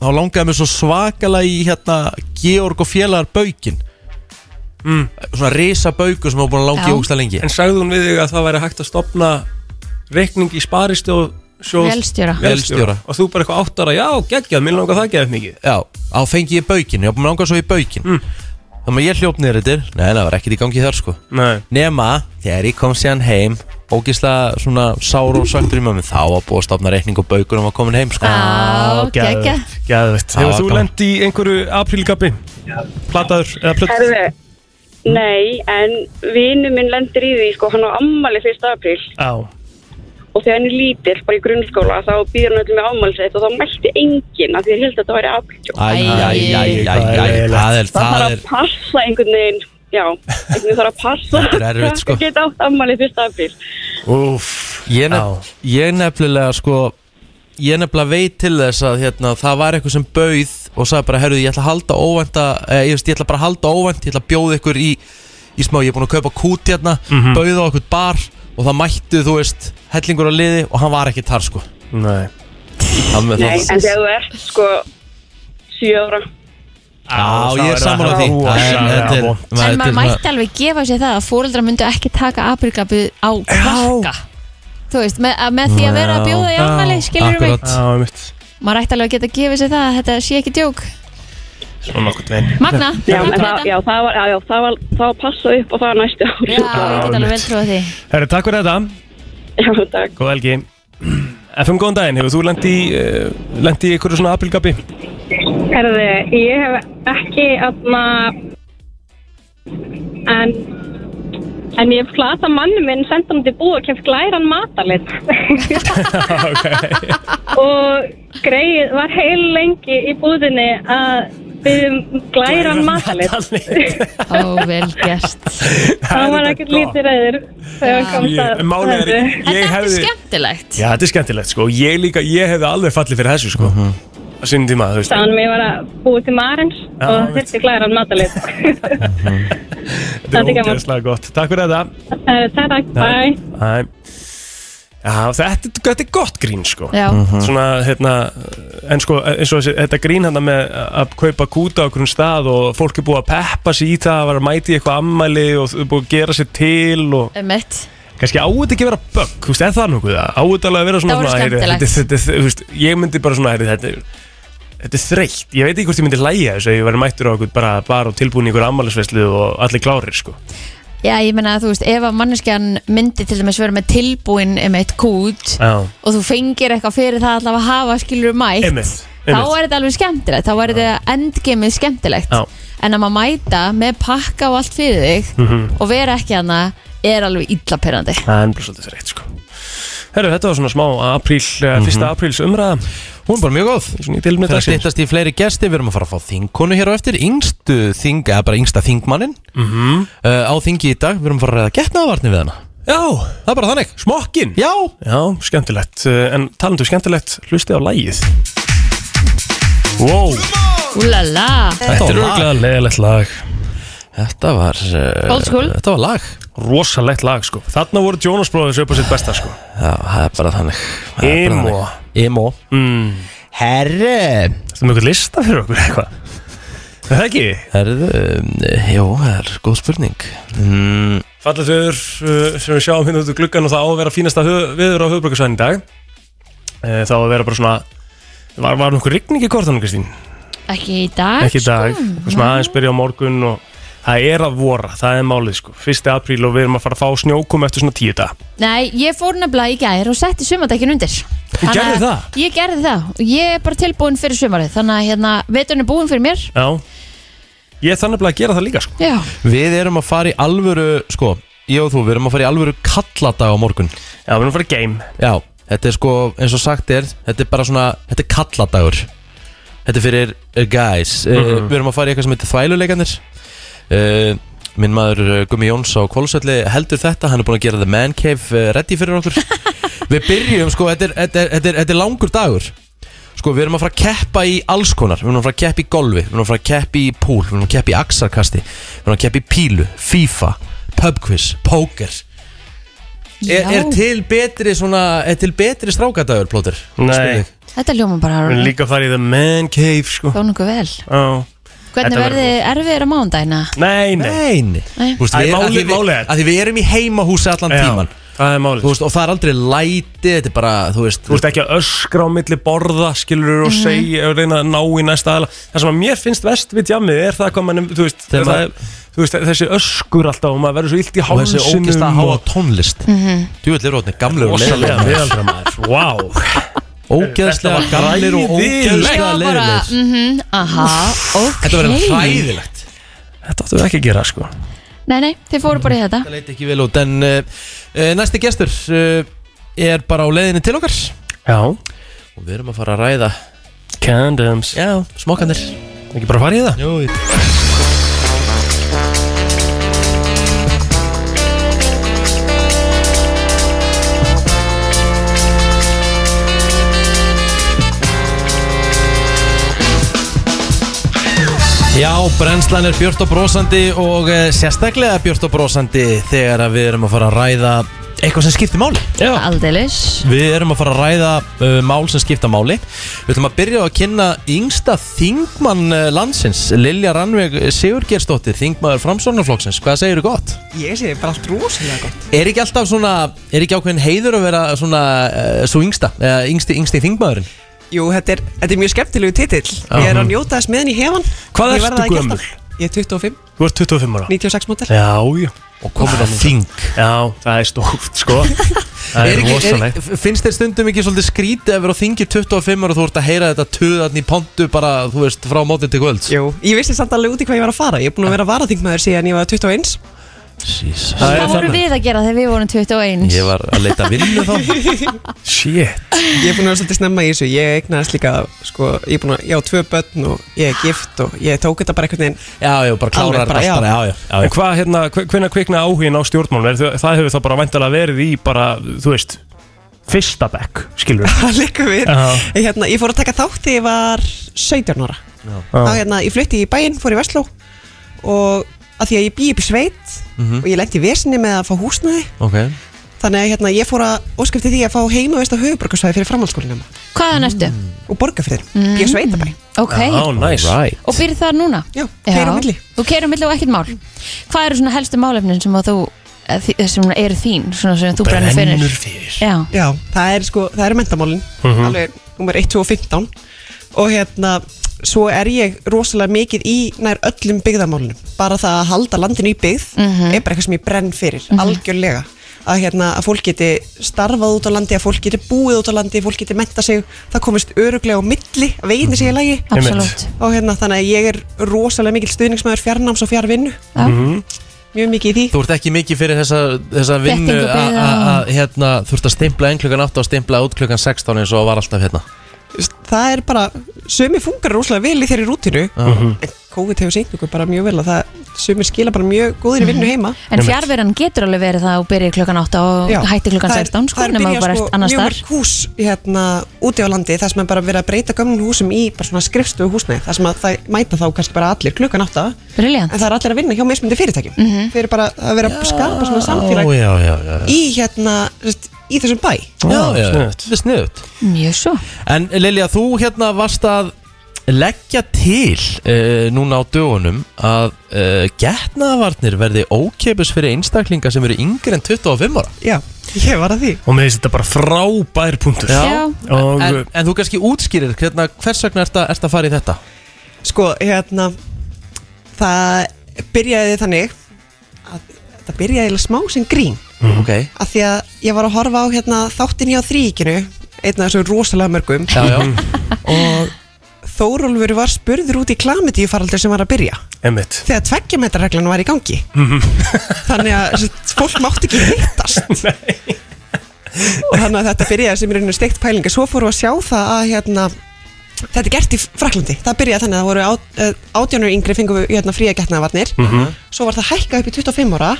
Speaker 1: þá langaði mér svo svakalega í hérna Georg og félagar baukin mm. svona risa bauku sem var búin að langi ógsta lengi
Speaker 3: En sagði hún við þig að það væri hægt að stopna reikning í sparistjóð
Speaker 2: Vélstjóra.
Speaker 1: Vélstjóra.
Speaker 3: Og þú bara eitthvað áttara, já, geggjað, mér langar það geggjað mikið
Speaker 1: Já, á fengi ég baukin, ég var búin að langa svo í baukin Þannig að ég hljóp niður þetta Nei, það var ekkert í gangi þar sko
Speaker 3: Nei.
Speaker 1: Nema, þegar ég kom síðan heim Ógislega svona sár og svektur í mömmu Þá var búið að stopna reikning og baukunum var komin heim sko
Speaker 2: Á, geggjað.
Speaker 1: Gæðvett
Speaker 3: Hefur þú lent í einhverju aprílgabbi? Plataður eða plöt?
Speaker 12: Herðu, nei, en vinnu minn lendir í því, sko, hann á ammali 1. apríl
Speaker 3: Já
Speaker 12: og þegar hann er lítill, bara í grunnskóla, þá býður hann öllum með afmælsett og þá mætti enginn að því ég held að þetta væri apríl.
Speaker 1: Æ, æ, æ, æ, æ, æ, það er,
Speaker 12: Það
Speaker 1: það
Speaker 12: þarf
Speaker 1: er
Speaker 12: að passa einhvern veginn, já, einhvern veginn þarf að passa
Speaker 1: Þetta er erfitt, sko.
Speaker 12: að geta átt ammali 1. apríl.
Speaker 1: Úf, ég, nef, ég nefnilega sko Ég nefnilega veit til þess að hérna, það var eitthvað sem bauð og sagði bara, herruðu, ég ætla að halda óvænt að, eh, ég, veist, ég ætla bara að halda óvænt, ég ætla að bjóða ykkur í, í smá, ég er búin að kaupa kút hérna,
Speaker 3: Mhm.
Speaker 1: bauð á okkur bar og það mættu, þú veist, hellingur á liði og hann var ekki þar sko.
Speaker 3: Nei.
Speaker 1: Hann með
Speaker 12: Nei, en
Speaker 1: það.
Speaker 12: þegar þú ert, sko, 7 ára.
Speaker 1: Já, ég er sammála því.
Speaker 3: Það er
Speaker 1: En þetta er-
Speaker 3: vont.
Speaker 2: En
Speaker 1: maður- þetta er
Speaker 2: maður
Speaker 1: svona-
Speaker 2: mætti alveg gefa sér það að fóreldrar myndu ekki taka aprílgapið á krakka Þú veist, með, að- með því að vera að bjóða í afmæli, skilur við mig
Speaker 3: Já, mitt
Speaker 2: Maður ætti alveg að geta að gefa sér það að þetta sé ekki djók
Speaker 3: Svona nokkuð veginn
Speaker 2: Magna,
Speaker 12: Já,
Speaker 2: takk
Speaker 12: en
Speaker 2: fyrir
Speaker 12: það, já, það var, já, já, það var, það var passað upp og það næstu ári.
Speaker 2: Já, ég get alveg vel trúið því
Speaker 3: Herru, takk fyrir þetta
Speaker 12: Já, takk
Speaker 3: Góð helgi FM, góðan daginn, hefur þú lent í, uh, lent í einhverju svona aprílgabbi?
Speaker 13: Herði, ég hef ekki aðna en en ég hef klasa manni minn senda hann til búið og kemst glæran matalit og greið var heil lengi í búðinni að byggðum glæran matalit
Speaker 2: Ó, vel gert
Speaker 13: hann var ekkert lítið reyður þegar hann komst
Speaker 3: Ég-
Speaker 13: að
Speaker 3: Málið er, ég,
Speaker 13: þessu.
Speaker 3: ég hefði
Speaker 2: Skemmtilegt
Speaker 3: Já, þetta er skemmtilegt sko Ég líka, ég hefði alveg fallið fyrir þessu sko Á sínum tíma, þú veist
Speaker 13: Þannig að ég var að búið til marins
Speaker 3: Já,
Speaker 13: og
Speaker 3: veit.
Speaker 13: þurfti glæran matalit
Speaker 3: Þetta
Speaker 13: Þetta er
Speaker 3: er
Speaker 13: gaman.
Speaker 3: ógeðslega gott Takk fyrir þetta
Speaker 13: Herði, takk, bæ
Speaker 3: Æ. Já, þetta, þetta er gott grín sko
Speaker 13: Já.
Speaker 3: Mhm. Svona, hérna En sko, eins og þessi, þetta grín hérna með að kaupa kúta á okkur stað og fólk er búið að peppa sér í það að vera að mæti eitthvað ammæli og þau er búið að gera sér til og
Speaker 2: Emmett
Speaker 3: kannski áhugt ekki að vera bögg, þú veist, er það nokkuð það? Áhugt alveg að vera svona
Speaker 2: Það voru
Speaker 3: svona, heyrðu,
Speaker 2: skemmtilegt.
Speaker 3: þetta, þetta, þetta, þú veist, ég myndi bara svona, heyrðu, þetta, er- þetta er þreytt ég veit ekki hvort ég myndi lægja þessu ef ég verið mættur á okkur bara, bara og tilbúin í ykkur ammælisveslu og allir klárir sko
Speaker 2: Já, ég meina að þú veist, ef að manneskjan myndi til dæmis vera með tilbúin um eitt kút
Speaker 3: Já.
Speaker 2: og þú fengir eitthvað fyrir það allavega að hafa skilur mætt
Speaker 3: Einmitt,
Speaker 2: þá
Speaker 3: einmitt.
Speaker 2: er þetta alveg skemmtilegt, þá er þetta endgemið skemmtilegt
Speaker 3: Já.
Speaker 2: en að maður mæta með pakka og allt fyrir þig
Speaker 3: Mhm.
Speaker 2: og vera ekki hana er alveg illapirrandi
Speaker 3: Það er bara svolítið þreytt sko Herru, þetta var svona smá apríl, mm fyrsta apríls umræða
Speaker 1: Hún er bara mjög góð
Speaker 3: tilefni
Speaker 1: Mhm. Það
Speaker 3: dagsins.
Speaker 1: stýttast í fleiri gesti, við erum að fara að fá þingkonu hér á eftir Yngstu þing, eða bara yngsta þingmannin
Speaker 3: Mhm.
Speaker 1: uh, Á þingi í dag, við erum að fara að reyða getnaðavarni við hana
Speaker 3: Já, það
Speaker 1: er bara þannig
Speaker 3: Smokkin
Speaker 1: Já
Speaker 3: Já, skemmtilegt Uh, En talandu skemmtilegt, hlustið á lægið Wow
Speaker 2: Úlala
Speaker 3: Þetta er örgulega leðilegt lag
Speaker 1: Þetta var uh,
Speaker 2: Old school.
Speaker 1: Þetta var lag
Speaker 3: Rosalegt lag sko Þarna voru Jonas Brothers upp á sitt besta sko
Speaker 1: Já, það er bara þannig Það er bara
Speaker 3: Emo
Speaker 1: þannig. Emo
Speaker 3: mm.
Speaker 1: Herru
Speaker 3: Þetta er mjög lista fyrir okkur eitthvað Er Það ekki?
Speaker 1: Herru, um, jú, það er góð spurning mm,
Speaker 3: Fallið viður uh, sem við sjáum hérna út úr gluggan og það á að vera fínasta höf, viður á höfbrukarsvæðin í dag uh, Það á að vera bara svona Var, var nokkuð rigning í kortanum Kristín?
Speaker 2: Ekki í dag
Speaker 3: Ekki í dag,
Speaker 2: sko.
Speaker 3: eitthvað svona aðeins byrja á morgun og
Speaker 11: Það er að vora, það er málið sko 1. apríl og við erum að fara að fá snjókum eftir svona tíu dag
Speaker 2: Nei, ég fór nefnilega í gær og setti sumardekkin undir
Speaker 11: Þú
Speaker 2: Þannig
Speaker 11: gerðir
Speaker 2: að-
Speaker 11: það?
Speaker 2: Ég gerði það og ég er bara tilbúin fyrir sumarið Þannig að hérna, veturinn er búin fyrir mér
Speaker 11: Já Ég er þannig að gera það líka sko
Speaker 2: Já,
Speaker 1: Við erum að fara í alvöru Sko, ég og þú, við erum að fara í alvöru kalladag á morgun
Speaker 11: Já, við erum að fara í game
Speaker 1: Já, þetta er sko, eins og sagt er Þetta er bara svona, þetta er kalladagur Þetta er fyrir uh, guys uh,
Speaker 11: Mhm.
Speaker 1: Við erum að fara í eitthvað sem heitir þvæluleikanir uh, Minn maður uh, Gummi Jóns á Kvolsvelli heldur þetta Hann er búin að gera The Man Cave uh, ready
Speaker 11: <laughs>
Speaker 1: fyrir okkur Við byrjum, sko, þetta er, þetta, er, þetta, er, þetta er langur dagur Sko, við erum að fara að keppa í alls konar Við erum að fara að keppa í golfi Við erum að fara að keppa í púl Við erum að keppa í axarkasti Við erum að keppa í pílu, FIFA, pubquiz, póker er,
Speaker 2: Já.
Speaker 1: er til betri svona Er til betri strákadagur, plóter?
Speaker 11: Nei
Speaker 2: þetta ljóma bara
Speaker 11: Við erum líka að fara í the man cave sko
Speaker 2: Þó nokkuð vel
Speaker 11: Já
Speaker 2: Hvernig verði erfiðir á mándagina?
Speaker 11: Nei,
Speaker 1: nei Nei,
Speaker 2: Nei.
Speaker 1: Þú veist,
Speaker 11: Æ,
Speaker 1: við,
Speaker 11: málið-
Speaker 1: að því, við,
Speaker 11: málið er-
Speaker 1: að því við erum í heimahúsi allan
Speaker 11: Já,
Speaker 1: tíman
Speaker 11: Það er málið
Speaker 1: veist, Og það er aldrei læti, þetta er bara, þú veist
Speaker 11: Þú ert ekki að öskra á milli borða skilur og
Speaker 1: Nei.
Speaker 11: segja og reyna að ná í næsta aðla Það sem að mér finnst vest við jammið er það hvað mann þú veist,
Speaker 1: Þegar
Speaker 11: það,
Speaker 1: maður-
Speaker 11: er, þú veist þessi öskur alltaf og maður verður svo illt í
Speaker 1: Og þessi
Speaker 11: hálsinum
Speaker 1: ógeðslega háa tónlist
Speaker 11: Mhm.
Speaker 1: Djúvill er rótni, gamlega
Speaker 11: Rosalega miðaldra maður, wow
Speaker 1: Ógeðslega gamlir og ógeðslega leiðilegir
Speaker 2: Mhm, aha, ok
Speaker 1: Þetta verður hræðilegt
Speaker 11: Þetta áttum við ekki að gera sko
Speaker 2: Nei, nei, þið fóru bara hérna. í þetta
Speaker 1: Það leit ekki vel út En uh, uh, næsti gestur uh, er bara á leiðinni til okkar
Speaker 11: Já
Speaker 1: Og við erum að fara að ræða
Speaker 11: Condoms
Speaker 1: Já, smokkanir
Speaker 11: Ekki bara fara í það?
Speaker 1: Jú, Já, brennslan er björt og brósandi og uh, sérstaklega björt og brósandi þegar að við erum að fara að ræða eitthvað sem skiptir máli
Speaker 11: Já.
Speaker 2: Aldeilis
Speaker 1: Við erum að fara að ræða uh, mál sem skipta máli Við ætlum að byrja á að kynna yngsta þingmann uh, landsins Lilja Rannveig Sigurgersdóttir, þingmaður Framsónarflokksins Hvað segirðu gott?
Speaker 14: Ég segi bara allt rosalega gott
Speaker 1: Er ekki alltaf svona, er ekki ákveðin heiður að vera svona uh, svo yngsta, eða yngsti, yngsti þingmaðurinn?
Speaker 14: Jú, þetta er, þetta er mjög skemmtilegu titill Ég er að njóta þess meðan í hefan
Speaker 11: Hvað
Speaker 14: Ég
Speaker 11: ertu
Speaker 14: verð það ekki
Speaker 11: gömul?
Speaker 14: alltaf. Ég er 25,
Speaker 11: Þú ert 25 ára
Speaker 14: 96 mótel
Speaker 11: Já, já
Speaker 1: Og komin á þing
Speaker 11: Já, það er stórt
Speaker 1: <laughs>
Speaker 11: sko Það
Speaker 1: Er
Speaker 11: er
Speaker 1: ekki- er
Speaker 11: rosalegt
Speaker 1: ekki- Finnst þér stundum ekki svolítið skrítið að vera á þingi 25 ára og þú ert að heyra þetta töðan í pontu bara, þú veist, frá mótin til kvölds?
Speaker 14: Jú, Ég vissi samt alveg út í hvað ég var að fara Ég er búin að vera varaþingmaður síðan ég var 21
Speaker 1: Jesus.
Speaker 2: Hvað voru við að gera þegar við vorum 21?
Speaker 1: Ég var að leita vinnu þá
Speaker 11: Shit
Speaker 14: Ég er búin að vera svolítið snemma í þessu Ég egnaðist líka, sko, ég er búin að Ég á tvö börn og ég er gift og ég tók þetta bara einhvern veginn
Speaker 1: Já, já, bara
Speaker 11: klárar þetta allt bara,
Speaker 1: já, já,
Speaker 11: En hvað, hérna, hvenna kvikna áhugin á stjórnmálum er, það- Það hefur þá bara væntalega verið í bara, þú veist Fyrsta bekk, skilur
Speaker 14: Það liggur við
Speaker 11: Já.
Speaker 14: hérna, Ég fór að taka þátt þegar ég var 17 ára
Speaker 11: Já.
Speaker 14: Þá hérna, ég flutti í bæinn, fór í Vestló Og að því að ég bý upp í sveit
Speaker 1: Mhm.
Speaker 14: Og ég lenti í vesinni með að fá húsnaði
Speaker 1: <laughs> Ok
Speaker 14: Þannig að hérna, ég fór að óskipti því að fá heima veist á höfuborgarsvæði fyrir framhaldsskólinum
Speaker 2: Hvaðan ertu?
Speaker 14: Og borgarfyrir, mm. ég sveitabæ
Speaker 2: Ok
Speaker 11: nice
Speaker 1: right.
Speaker 2: <laughs> Og byrð þar núna? Já,
Speaker 14: keyri á milli.
Speaker 2: Þú keirir milli og ekkert mál Hvað eru svona helstu málefnin sem að þú eh, þi- sem eru þín, svona sem þú brennur fyrir
Speaker 14: Brennur
Speaker 11: fyrir
Speaker 2: Já,
Speaker 14: Já, það er sko, það eru mentamálin
Speaker 2: Mhm.
Speaker 14: alveg nummer 1, 2 og 15 og hérna, svo er ég rosalega mikið í nær öllum byggðamálunum bara það að halda landinu í byggð er bara eitthvað sem ég brenn fyrir, algjörlega að hérna, að fólk geti starfað út á landi, að fólk geti búið út á landi fólk geti menta sig, það komist öruglega á milli, að veginni sé í lagi
Speaker 11: Einmitt. Absolutt.
Speaker 14: og hérna, þannig að ég er rosalega mikil stuðningsmæður fjarnáms og fjarvinnu
Speaker 1: Mhm.
Speaker 14: mjög mikið í því
Speaker 1: Þú ert ekki mikið fyrir þessa, þessa vinnu
Speaker 14: Þekkingu
Speaker 1: að-
Speaker 14: byggða
Speaker 1: að
Speaker 14: og-
Speaker 1: að, hérna, þú ert að stimpla 1 klukkan 8 og stimpla út klukkan 16 eins og var alltaf hérna
Speaker 14: það er bara, sumi fungar rosalega vel í þeirri rútinu
Speaker 1: Mhm.
Speaker 14: en COVID hefur seint okkur bara mjög vel að það sumi skila bara mjög góðir í vinnu heima
Speaker 2: Mhm. En fjárveran getur alveg verið það og byrja klukkan 8 og
Speaker 14: Já.
Speaker 2: hætti klukkan
Speaker 14: Það er-
Speaker 2: 16 sko,
Speaker 14: það er
Speaker 2: nema
Speaker 14: byrjað,
Speaker 2: þú bara
Speaker 14: sko,
Speaker 2: ert annars
Speaker 14: mjög
Speaker 2: þar
Speaker 14: mörg hús hérna úti á landi þar sem er bara verið að breyta gömlum húsum í bara svona skrifstofu húsnæði þar sem að það mæta þá kannski bara allir klukkan átta
Speaker 2: Brilliant.
Speaker 14: en það er allir að vinna hjá mismundi fyrirtækjum mm
Speaker 2: Mhm.
Speaker 14: -hmm. fyrir bara að vera að skapa svona samfélag
Speaker 1: Ó, já, já, já, já.
Speaker 14: í hérna þú veist, í þessum bæ
Speaker 1: Já, já, þetta er sniðut
Speaker 2: Mjög svo
Speaker 1: En Lilja, þú hérna varst að leggja til uh, núna á dögunum að uh, getnaðvarnir verði ókeipis fyrir einstaklinga sem eru yngri en 25 ára
Speaker 14: Já, ég var að því
Speaker 11: Og með þetta bara frábær punktur
Speaker 1: Já.
Speaker 11: Og
Speaker 1: en, en þú kannski útskýrir hérna, hvers vegna ert að, ert að fara í þetta
Speaker 14: Sko, hérna Sko, Það byrjaði þannig að þetta byrjaði eiginlega smá sem grín
Speaker 3: Mhm.
Speaker 10: Ok
Speaker 14: að því að ég var að horfa á hérna, þáttin hjá þrýkinu einn af þessum rosalega mörgum
Speaker 10: Já, já.
Speaker 14: <laughs> og Þórólfur var spurður út í klamitíu faraldur sem var að byrja
Speaker 11: <laughs>
Speaker 3: Emmitt
Speaker 14: þegar tveggjametrarreglan var í gangi
Speaker 11: Mhm.
Speaker 14: þannig að sem sagt, fólk mátti ekki hittast og þannig að þetta byrjaði sem er einu steikt pælinga svo fórum við að sjá það að hérna, þetta er gert í Fraklandi það byrjaði þannig að það voru á- eh, átjánur yngri fengum við hérna, fría getnaðvarnir
Speaker 10: Mm.
Speaker 15: Mhm.
Speaker 14: svo var það hækkað upp í 25 ára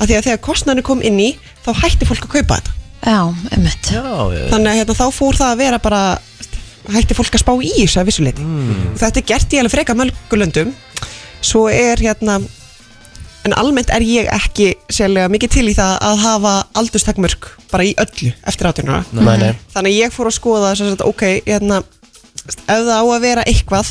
Speaker 14: að því að þegar kostnæðinu kom inn í þá hætti fólk að kaupa þetta
Speaker 2: Já, einmitt
Speaker 14: þannig að hérna, þá fór það að vera bara hætti fólk að spá í þessu að vissuleiti mm. þetta er gert í alveg freka mörgulöndum svo er hérna en almennt er ég ekki sérlega mikið til í það að hafa aldurstakmörk bara í öllu eftir átjónara
Speaker 10: Nei, nei.
Speaker 14: þannig að ég fór að skoða sem sagt, ok, hérna ef það á að vera eitthvað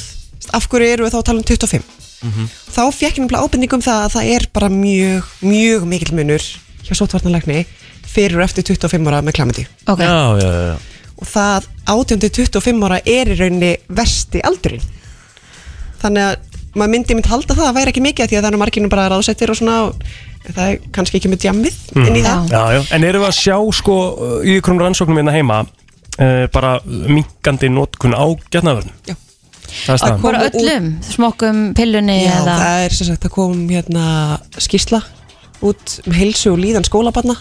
Speaker 14: af hverju eru við þá að tala um 25 þá fekk ég nefnilega ábending um það að það er bara mjög, mjög mikill munur hjá sótvarnalækni fyrir og eftir 25 ára með klamandi
Speaker 2: Ok.
Speaker 1: Já, já, já, já.
Speaker 14: og það 18-25 ára er í rauninni versti aldurinn þannig að maður myndi mynd halda það að væri ekki mikið af því að það er marginu bara ráðsettir og svona og en það er kannski ekki með djammið inn í það
Speaker 3: Mm. já, já. En erum við að sjá sko uh, í ykkurum rannsóknum hérna heima
Speaker 11: eh,
Speaker 3: uh, bara minkandi notkun á getnaðvörnum
Speaker 14: Já
Speaker 3: Það er staðan
Speaker 2: Bara öllum, smokkum, pillunni
Speaker 14: Já,
Speaker 2: eða
Speaker 14: það er sem sagt, það kom hérna skýrsla út um heilsu og líðan skólabarna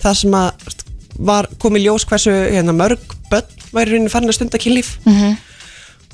Speaker 14: það sem að st- var komið ljós hversu hérna, mörg börn væri rauninni farin að stunda kynlíf
Speaker 2: Mhm.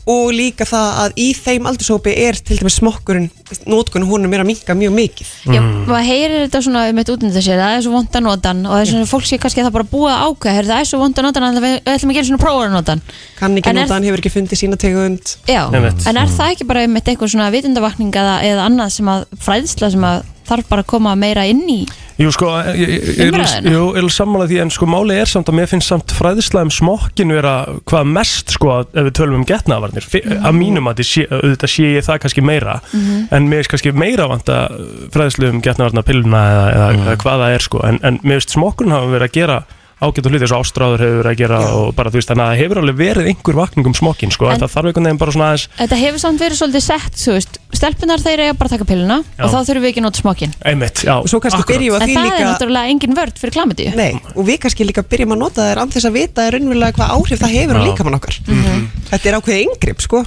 Speaker 14: og líka það að í þeim aldurshópi er til dæmis smokkurinn, nótkun honum er að minka mjög mikið
Speaker 2: Já, maður heyrir þetta svona um eitt útnýtt sér, það er svo vond að nota hann og þess vegna fólk sé kannski að það bara búið að ákveða heyrðu, það er svo vond að nota hann, þannig að við við ætlum að gera svona prófa að nota hann
Speaker 14: kann ekki
Speaker 2: En er-
Speaker 14: nota hann, hefur ekki fundið sína tegund
Speaker 2: Já,
Speaker 14: Einmitt.
Speaker 2: en er það ekki bara um eitthvað svona vitundavakning eða, eða annað sem að fræðsla sem að þarf bara að koma meira inn í
Speaker 3: Jú sko, ég- ég ég- ég
Speaker 2: Umræðuna?
Speaker 3: ég- ég er sammála því en sko máli er samt að mér finnst samt fræðisla um smokkin vera hvað mest sko að- ef við tölum um getnaðvarnir mm. að mínum að sé, auðvitað sé ég það kannski meira
Speaker 10: Mhm.
Speaker 3: en mér finnst kannski meira vanta fræðislu um getnaðvarnapilluna eða, eða, eða hvað það er sko en, en mér finnst smokkurinn hafa verið að gera ágætt og hluti þessu ástráður hefur verið að gera og bara þú veist þannig að það hefur alveg verið einhver vakning um smokkin sko en,
Speaker 2: En-
Speaker 3: það þarf einhvern veginn bara svona aðeins
Speaker 2: Þetta hefur samt verið svolítið sett, þú veist stelpunar þeir eiga bara að taka pilluna
Speaker 3: Já.
Speaker 2: og þá þurfum við ekki að nota smokkin
Speaker 3: einmitt, já,
Speaker 14: og svo kannski byrjum við
Speaker 2: En
Speaker 14: að því
Speaker 2: það er
Speaker 14: líka
Speaker 2: náttúrulega engin vörd fyrir klamiti
Speaker 14: Nei, og við kannski líka byrjum að nota þær án þess að vita raunverulega hvað áhrif það hefur á
Speaker 3: Já.
Speaker 14: líkamann okkar
Speaker 2: Mm.
Speaker 14: Þetta er ákveðið yngripp sko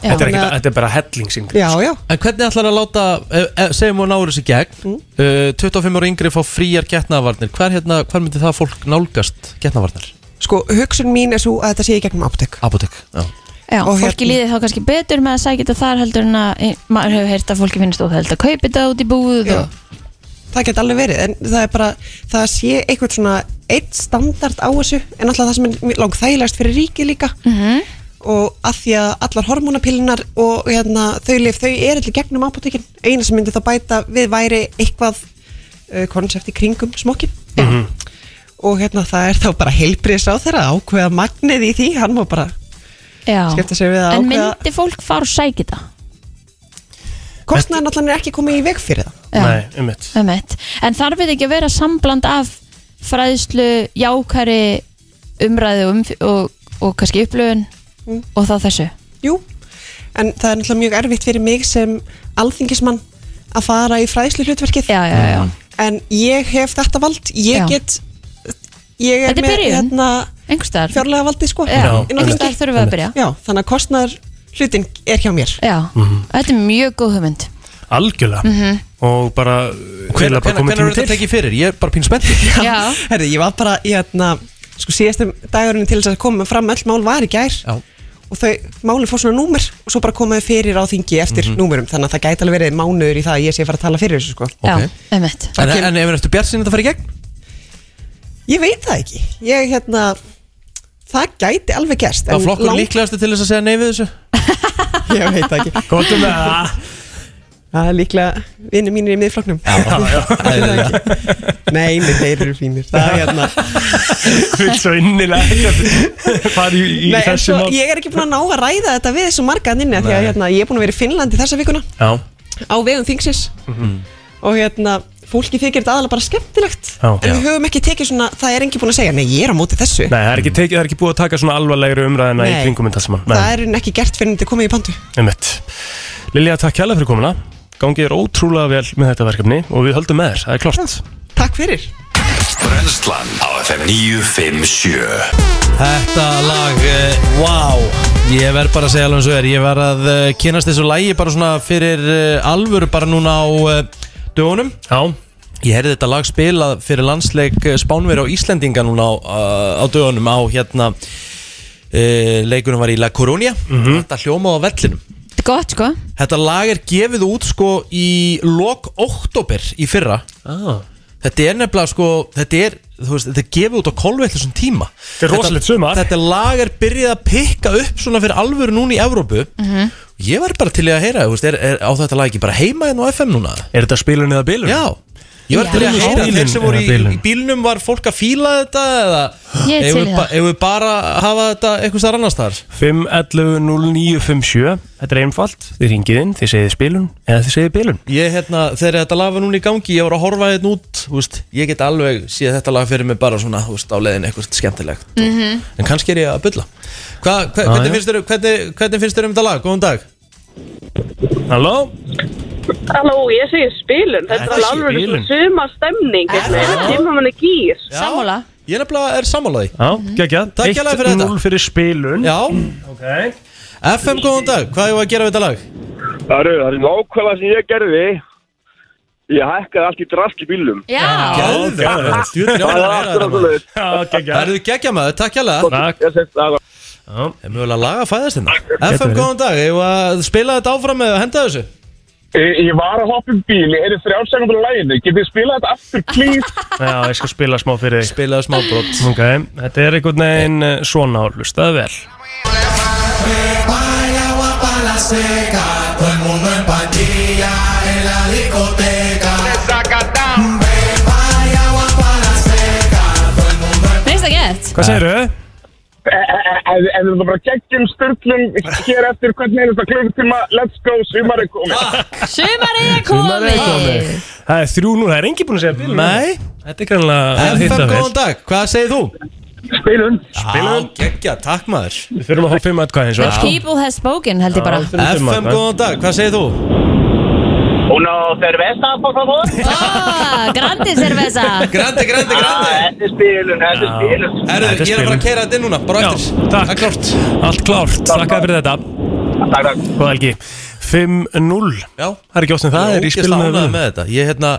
Speaker 3: þetta er,
Speaker 14: Þannig
Speaker 3: ekki,
Speaker 14: að-
Speaker 3: þetta er bara hellingsingrið
Speaker 14: Já, já
Speaker 1: En hvernig ætlar að láta, eh, eh, segjum hún árið sér gegn eh, 25 ára yngri fá fríjar getnavarnir Hver, hérna, hver myndi það fólk nálgast getnavarnir?
Speaker 14: Sko, hugsun mín er svo að þetta sé í gegnum apotek
Speaker 1: Apotek, já
Speaker 2: Já,
Speaker 14: Og
Speaker 2: fólki
Speaker 14: hérna-
Speaker 2: líði þá kannski betur með að sækja þetta þar heldur en að e, maður hefur heyrt að fólki finnst óþægild að kaupa þetta út í búð og,
Speaker 14: Það geti alveg verið, en það er bara það sé eitthvað svona eitt standard á þessu en alltaf það sem er langt þægilegast fyrir ríki líka
Speaker 2: -hmm.
Speaker 14: og að því að allar hormónapillunar og hérna, þau lif, þau er allir gegnum apotekin, eina sem myndi þá bæta við væri eitthvað uh, konsept í kringum smokkin
Speaker 3: Mhm.
Speaker 14: og hérna það er þá bara heilbriðs á þeirra ákveða magnið í því, hann má bara
Speaker 2: Já,
Speaker 14: skipta sig við að
Speaker 2: en
Speaker 14: ákveða
Speaker 2: myndi fólk fara og sækja þetta?
Speaker 14: kostnaðan allan er ekki komið í veg fyrir það
Speaker 2: Já.
Speaker 3: Nei, einmitt
Speaker 2: Einmitt. En þarf þetta ekki að vera sambland af fræðslu, jákari umræðu og, umf- og, og kannski upplöfun
Speaker 14: Mm.
Speaker 2: og þá þessu
Speaker 14: Jú, en það er náttúrulega mjög erfitt fyrir mig sem alþingismann að fara í fræðslu hlutverkið já, já,
Speaker 2: já.
Speaker 14: en ég hef þetta vald ég
Speaker 2: Já.
Speaker 14: get ég er
Speaker 2: Þetta er
Speaker 14: með
Speaker 2: byrjun.
Speaker 14: hérna,
Speaker 2: Einhverstaðar
Speaker 14: fjárlega valdið sko
Speaker 2: Já,
Speaker 14: Inn á þingi.
Speaker 2: einhvers staðar þurfum við að byrja.
Speaker 14: já, þannig að kostnar hlutin er hjá mér
Speaker 2: Já,
Speaker 14: Mhm.
Speaker 2: þetta er mjög góð hugmynd
Speaker 3: algjörlega
Speaker 2: Mhm.
Speaker 3: og bara
Speaker 1: Hvenær
Speaker 3: eiginlega bara komið
Speaker 1: hvenær
Speaker 3: tími
Speaker 1: er þetta
Speaker 3: til
Speaker 1: tekið fyrir? Ég er bara pín spenntur
Speaker 2: Já.
Speaker 14: Herri, ég var bara í hérna, sko síðastum dagurinn til þess að koma fram öll mál var í gær
Speaker 1: Já.
Speaker 14: og þau málið fór svona númer og svo bara komaði fyrir á þingi eftir
Speaker 1: Mhm.
Speaker 14: númerum þannig að það gæti alveg verið mánuður í það að ég sé að fara að tala fyrir þessu sko
Speaker 1: Ok.
Speaker 2: Já, einmitt
Speaker 1: En, en ef er eftir bjart sinni þetta fara í gegn?
Speaker 14: Ég veit það ekki Ég hérna Það gæti alveg gerst
Speaker 1: Það
Speaker 14: en
Speaker 1: flokkur
Speaker 14: langt-
Speaker 1: líklegastu til þess að segja nei við þessu
Speaker 14: <laughs> Ég veit það ekki
Speaker 3: Góttum með um það
Speaker 14: Það er líklega vinnir mínir í miðflokknum <laughs>
Speaker 3: <laughs>
Speaker 14: Nei, nei, þeir eru fínir Það er
Speaker 3: <laughs>
Speaker 14: hérna
Speaker 3: Vilt svo innilega ekki fara í, í
Speaker 14: Nei, en
Speaker 3: þessi
Speaker 14: svo
Speaker 3: mál
Speaker 14: ég er ekki búin að ná að ræða þetta við þessu margaðninni Því að
Speaker 3: Nei.
Speaker 14: hérna, ég er búin að vera í Finnlandi þessa vikuna
Speaker 3: Já
Speaker 14: Á vegum þingsins Og hérna, fólki þykir þetta aðalega bara skemmtilegt
Speaker 3: Já.
Speaker 14: En við höfum ekki tekið svona Það er engin búin að segja, nei, ég er á móti þessu
Speaker 3: Nei, það er ekki, tekið, það er ekki búið að taka svona alvarlegri umræðina í
Speaker 14: Nei.
Speaker 3: kringum þetta sem
Speaker 14: Það er ekki gert fyrir en þetta er komið í pandu
Speaker 3: Einmitt Lilja, takk hjálpa fyrir komuna
Speaker 11: Gangið er ótrúlega vel með þetta verkefni og við höldum með þér, það er klart
Speaker 14: Takk fyrir
Speaker 4: Brennslan á FM 957
Speaker 1: Þetta lag, uh, wow Ég verð bara að segja alveg eins og er Ég verð að uh, kynast þessu lagi bara svona fyrir uh, alvöru bara núna á uh, dögunum
Speaker 11: Já
Speaker 1: Ég heyrði þetta lag spilað fyrir landsleik eh, Spánverja og Íslendinga núna á, uh, á dögunum á hérna uh, leikunum var í La Coruña
Speaker 3: Mhm.
Speaker 1: Þetta hljómaði á vellinum
Speaker 2: Þetta er gott sko
Speaker 1: Þetta lag er gefið út sko í lok oktober í fyrra
Speaker 11: ah.
Speaker 1: Þetta er nefnilega sko, þetta er, þú veist, þetta er gefið út á kolvetlisum tíma Þetta
Speaker 11: er rosalegt sumar.
Speaker 1: Þetta lag er byrjið að pikka upp svona fyrir alvöru núna í Evrópu
Speaker 2: Mhm.
Speaker 1: Ég var bara til í að heyra, þú veist, er, er á þetta lag ekki bara heima en á FM núna?
Speaker 11: Er þetta spilun eða bilun?
Speaker 1: Já Ég var til í að
Speaker 11: Já.
Speaker 1: heyra, þeir sem voru í,
Speaker 11: Eða bilun.
Speaker 1: í bílnum var fólk að fíla þetta eða
Speaker 2: Ég er
Speaker 1: eigum
Speaker 2: til í
Speaker 1: við
Speaker 2: það.
Speaker 1: ba- eigum við bara að hafa þetta einhvers þar annars þar
Speaker 11: 511-0957 Þetta er einfalt, þið ringið inn, þið segið spilun eða þið segið bilun
Speaker 1: Ég, hérna, þegar þetta lag var núna í gangi, ég var að horfa þetta út, þú veist, ég get alveg séð þetta lag fyrir mig bara svona, þú veist, á leiðin eitthvað skemmtilegt.
Speaker 16: Mhm.
Speaker 1: En kannski er ég að bylla. Hva, hva,
Speaker 11: Ah,
Speaker 16: Já,
Speaker 1: hvernig,
Speaker 16: já.
Speaker 1: finnst þér, hvernig, hvernig finnst þér um þetta lag? Góðan dag.
Speaker 11: Halló?
Speaker 12: Halló, ég segi spilun, þetta
Speaker 1: Þetta
Speaker 12: er
Speaker 1: sé
Speaker 12: alveg
Speaker 1: bilun.
Speaker 12: suma stemning, þetta kemur manni hérna, gýr.
Speaker 2: Sammála.
Speaker 1: Ég er nefnilega er sammálaði.
Speaker 11: Já, geggja.
Speaker 1: Takk hjá fyrir þetta.
Speaker 11: 1-0 fyrir spilun.
Speaker 1: Já.
Speaker 11: Ok.
Speaker 1: FM, góðan dag. Hvað er að gera við þetta lag?
Speaker 7: Það eru, það er nákvæmlega sem ég gerði Ég hækkaði allt í drast í bílum
Speaker 2: Já
Speaker 1: Gæðu það.
Speaker 7: Það
Speaker 1: Stjórnir ára
Speaker 7: er
Speaker 1: að
Speaker 7: aftur
Speaker 1: heyra þetta
Speaker 7: okkur
Speaker 1: maður.
Speaker 7: leið
Speaker 1: Það eru geggja maður, takk hjá
Speaker 7: Takk. Ég segi það.
Speaker 1: Er mjögulega lag að fæðast hérna? FM,
Speaker 7: verið.
Speaker 1: góðan dag. Ég að spila þetta áfram eða henda þessu?
Speaker 7: Ég ég var að hoppa um bíl, ég er þrjálfsækum fyrir læginu, getið spilað þetta aftur,
Speaker 3: <laughs>
Speaker 7: please?
Speaker 11: Já, ég skal spila smá fyrir þig.
Speaker 1: Spilaðu smá brot.
Speaker 11: Ok, þetta er einhvern veginn eh, svona og hlustaðu vel.
Speaker 10: agua para la seca, todo el mundo en pandilla en la discoteca.
Speaker 2: Finnst það gett?
Speaker 11: Hvað segirðu?
Speaker 7: Eh, En en þetta bara geggjum styrlum hér eftir hvernig er þetta klukktíma, let's go, sumar er komið.
Speaker 2: Sumarið er
Speaker 11: Sumar er komið. Það er 3-0, það er engin búin að segja bilun.
Speaker 1: Nei.
Speaker 11: Þetta er grannlega að
Speaker 1: FM,
Speaker 11: hitta vel.
Speaker 1: góðan dag. Hvað segir þú?
Speaker 7: Spilun.
Speaker 1: Spilun. Geggja, takk maður.
Speaker 11: Við þurfum að hafa 5 atkvæði eins
Speaker 2: The
Speaker 11: og það.
Speaker 2: people has spoken held ég bara
Speaker 1: FM, góðan dag, hvað segir þú?
Speaker 9: Uno cerveza, por favor.
Speaker 2: Ah, Grandi cerveza
Speaker 1: Grandi, grandi, grandi
Speaker 9: Þetta er spilun, þetta er spilun.
Speaker 1: Herru, ég er að fara að keira þetta inn núna, bara á eftir
Speaker 11: Takk. Klárt. Allt klárt. Takk fyrir þetta.
Speaker 7: Takk, takk.
Speaker 11: Góða helgi. 5-0.
Speaker 1: Já.
Speaker 11: Það er ekki oft sem það er í spilun
Speaker 1: spilnaði með þetta Ég, hérna,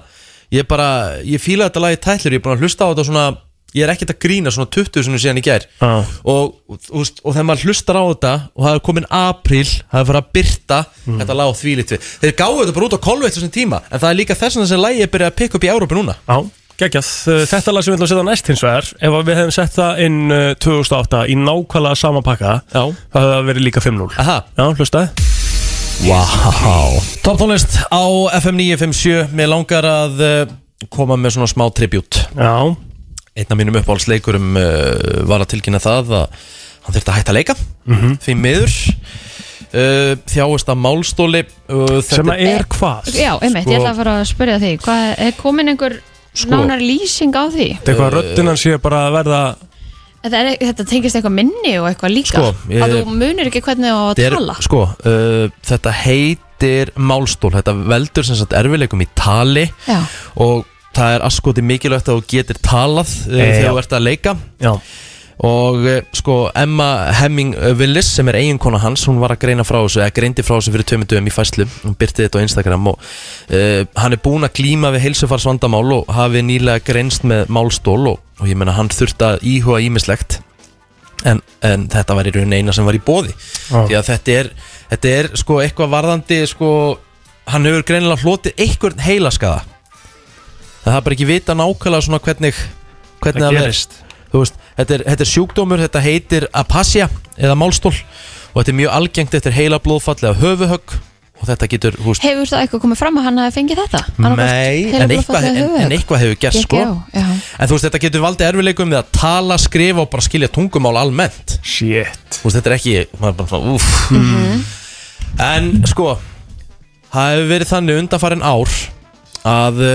Speaker 1: ég bara, ég fíla þetta lagi tællur Ég er búin að hlusta á þetta svona Ég er ekkert að grína svona 20 sinni síðan í gær
Speaker 11: Já.
Speaker 1: og, og, þú veist, og þegar maður hlustar á þetta Og það er komin apríl, það er farið að byrta
Speaker 11: Mm.
Speaker 1: Þetta lag á því litvi Þeir gáðu þetta bara út á kolveitt þessum tíma En það er líka þess að þessi lagi er byrjað að pikka upp í Európa núna
Speaker 11: Já, geggjað. Eh, Þetta lag sem við ætlum að setja næst hins vegar, ef að við hefum sett það inn uh, 2008 í nákvæmlega sama pakka,
Speaker 1: Já.
Speaker 11: það hefði það verið líka 5-0.
Speaker 1: Aha.
Speaker 11: Já, hlustaði.
Speaker 1: Wow. Top tónlist á FM 957 Mér langar að uh, koma með svona smá tribut
Speaker 11: Já
Speaker 1: Einn af mínum uppáhaldsleikurum uh, var að tilkynna það að hann þurfti að hætta að leika
Speaker 11: Mhm.
Speaker 1: því miður uh, þjáist að málstóli uh,
Speaker 11: Sem að er hvað?
Speaker 2: Já, einmitt, ég
Speaker 1: Sko-
Speaker 2: ætla að fara að spyrja því Hvað er komin einhver nánar lýsing á því?
Speaker 11: Sko, Þetta er eitthvað að röddinn hans sé bara að verða...
Speaker 2: Þetta, er, þetta tengist eitthvað minni og eitthvað líka
Speaker 1: Sko, ég-
Speaker 2: að þú munir ekki hvernig þú á að
Speaker 1: Þetta er-
Speaker 2: tala
Speaker 1: Sko, uh, þetta heitir málstól Þetta veldur sem sagt erfileikum í tali
Speaker 2: Já.
Speaker 1: Og það er askoti mikilvægt að þú getir talað uh,
Speaker 11: Eh,
Speaker 1: Þegar
Speaker 11: já.
Speaker 1: þú ert að leika
Speaker 11: Já.
Speaker 1: Og uh, sko, Emma Hemming Willis sem er eiginkona hans, hún var að greina frá þessu eða greindi frá þessu fyrir tömyndum í fæslu hún byrti þetta á Instagram og uh, hann er búin að glíma við heilsufarsvandamál og hafi nýlega greinst með málstól og, og ég meina hann þurfti að íhuga ímislegt en, en þetta var í raun eina sem var í bóði
Speaker 11: Já.
Speaker 1: því að þetta er, þetta er sko eitthvað varðandi sko, hann hefur greinilega hlotið einhvern heilaskaða það er bara ekki vita nákvæmlega svona hvernig, hvernig
Speaker 11: Það
Speaker 1: það
Speaker 11: gerist.
Speaker 1: þú veist, þetta er, þetta er sjúkdómur, þetta heitir apasja eða málstól og þetta er mjög algengt eftir heila blóðfall eða höfuhögg og þetta getur, þú veist,
Speaker 2: Hefur það eitthvað komið fram að hann hafi fengið þetta?
Speaker 1: Nei, en eitthvað, en, en eitthvað hefur gerst sko
Speaker 2: já, já.
Speaker 1: En þú veist, þetta getur valdið erfileikum við að tala, skrifa og bara skilja tungumál almennt
Speaker 11: Shit
Speaker 1: Þú veist, þetta er ekki, maður er bara svona, úff En sko, það hefur verið þannig undanfarin ár að uh,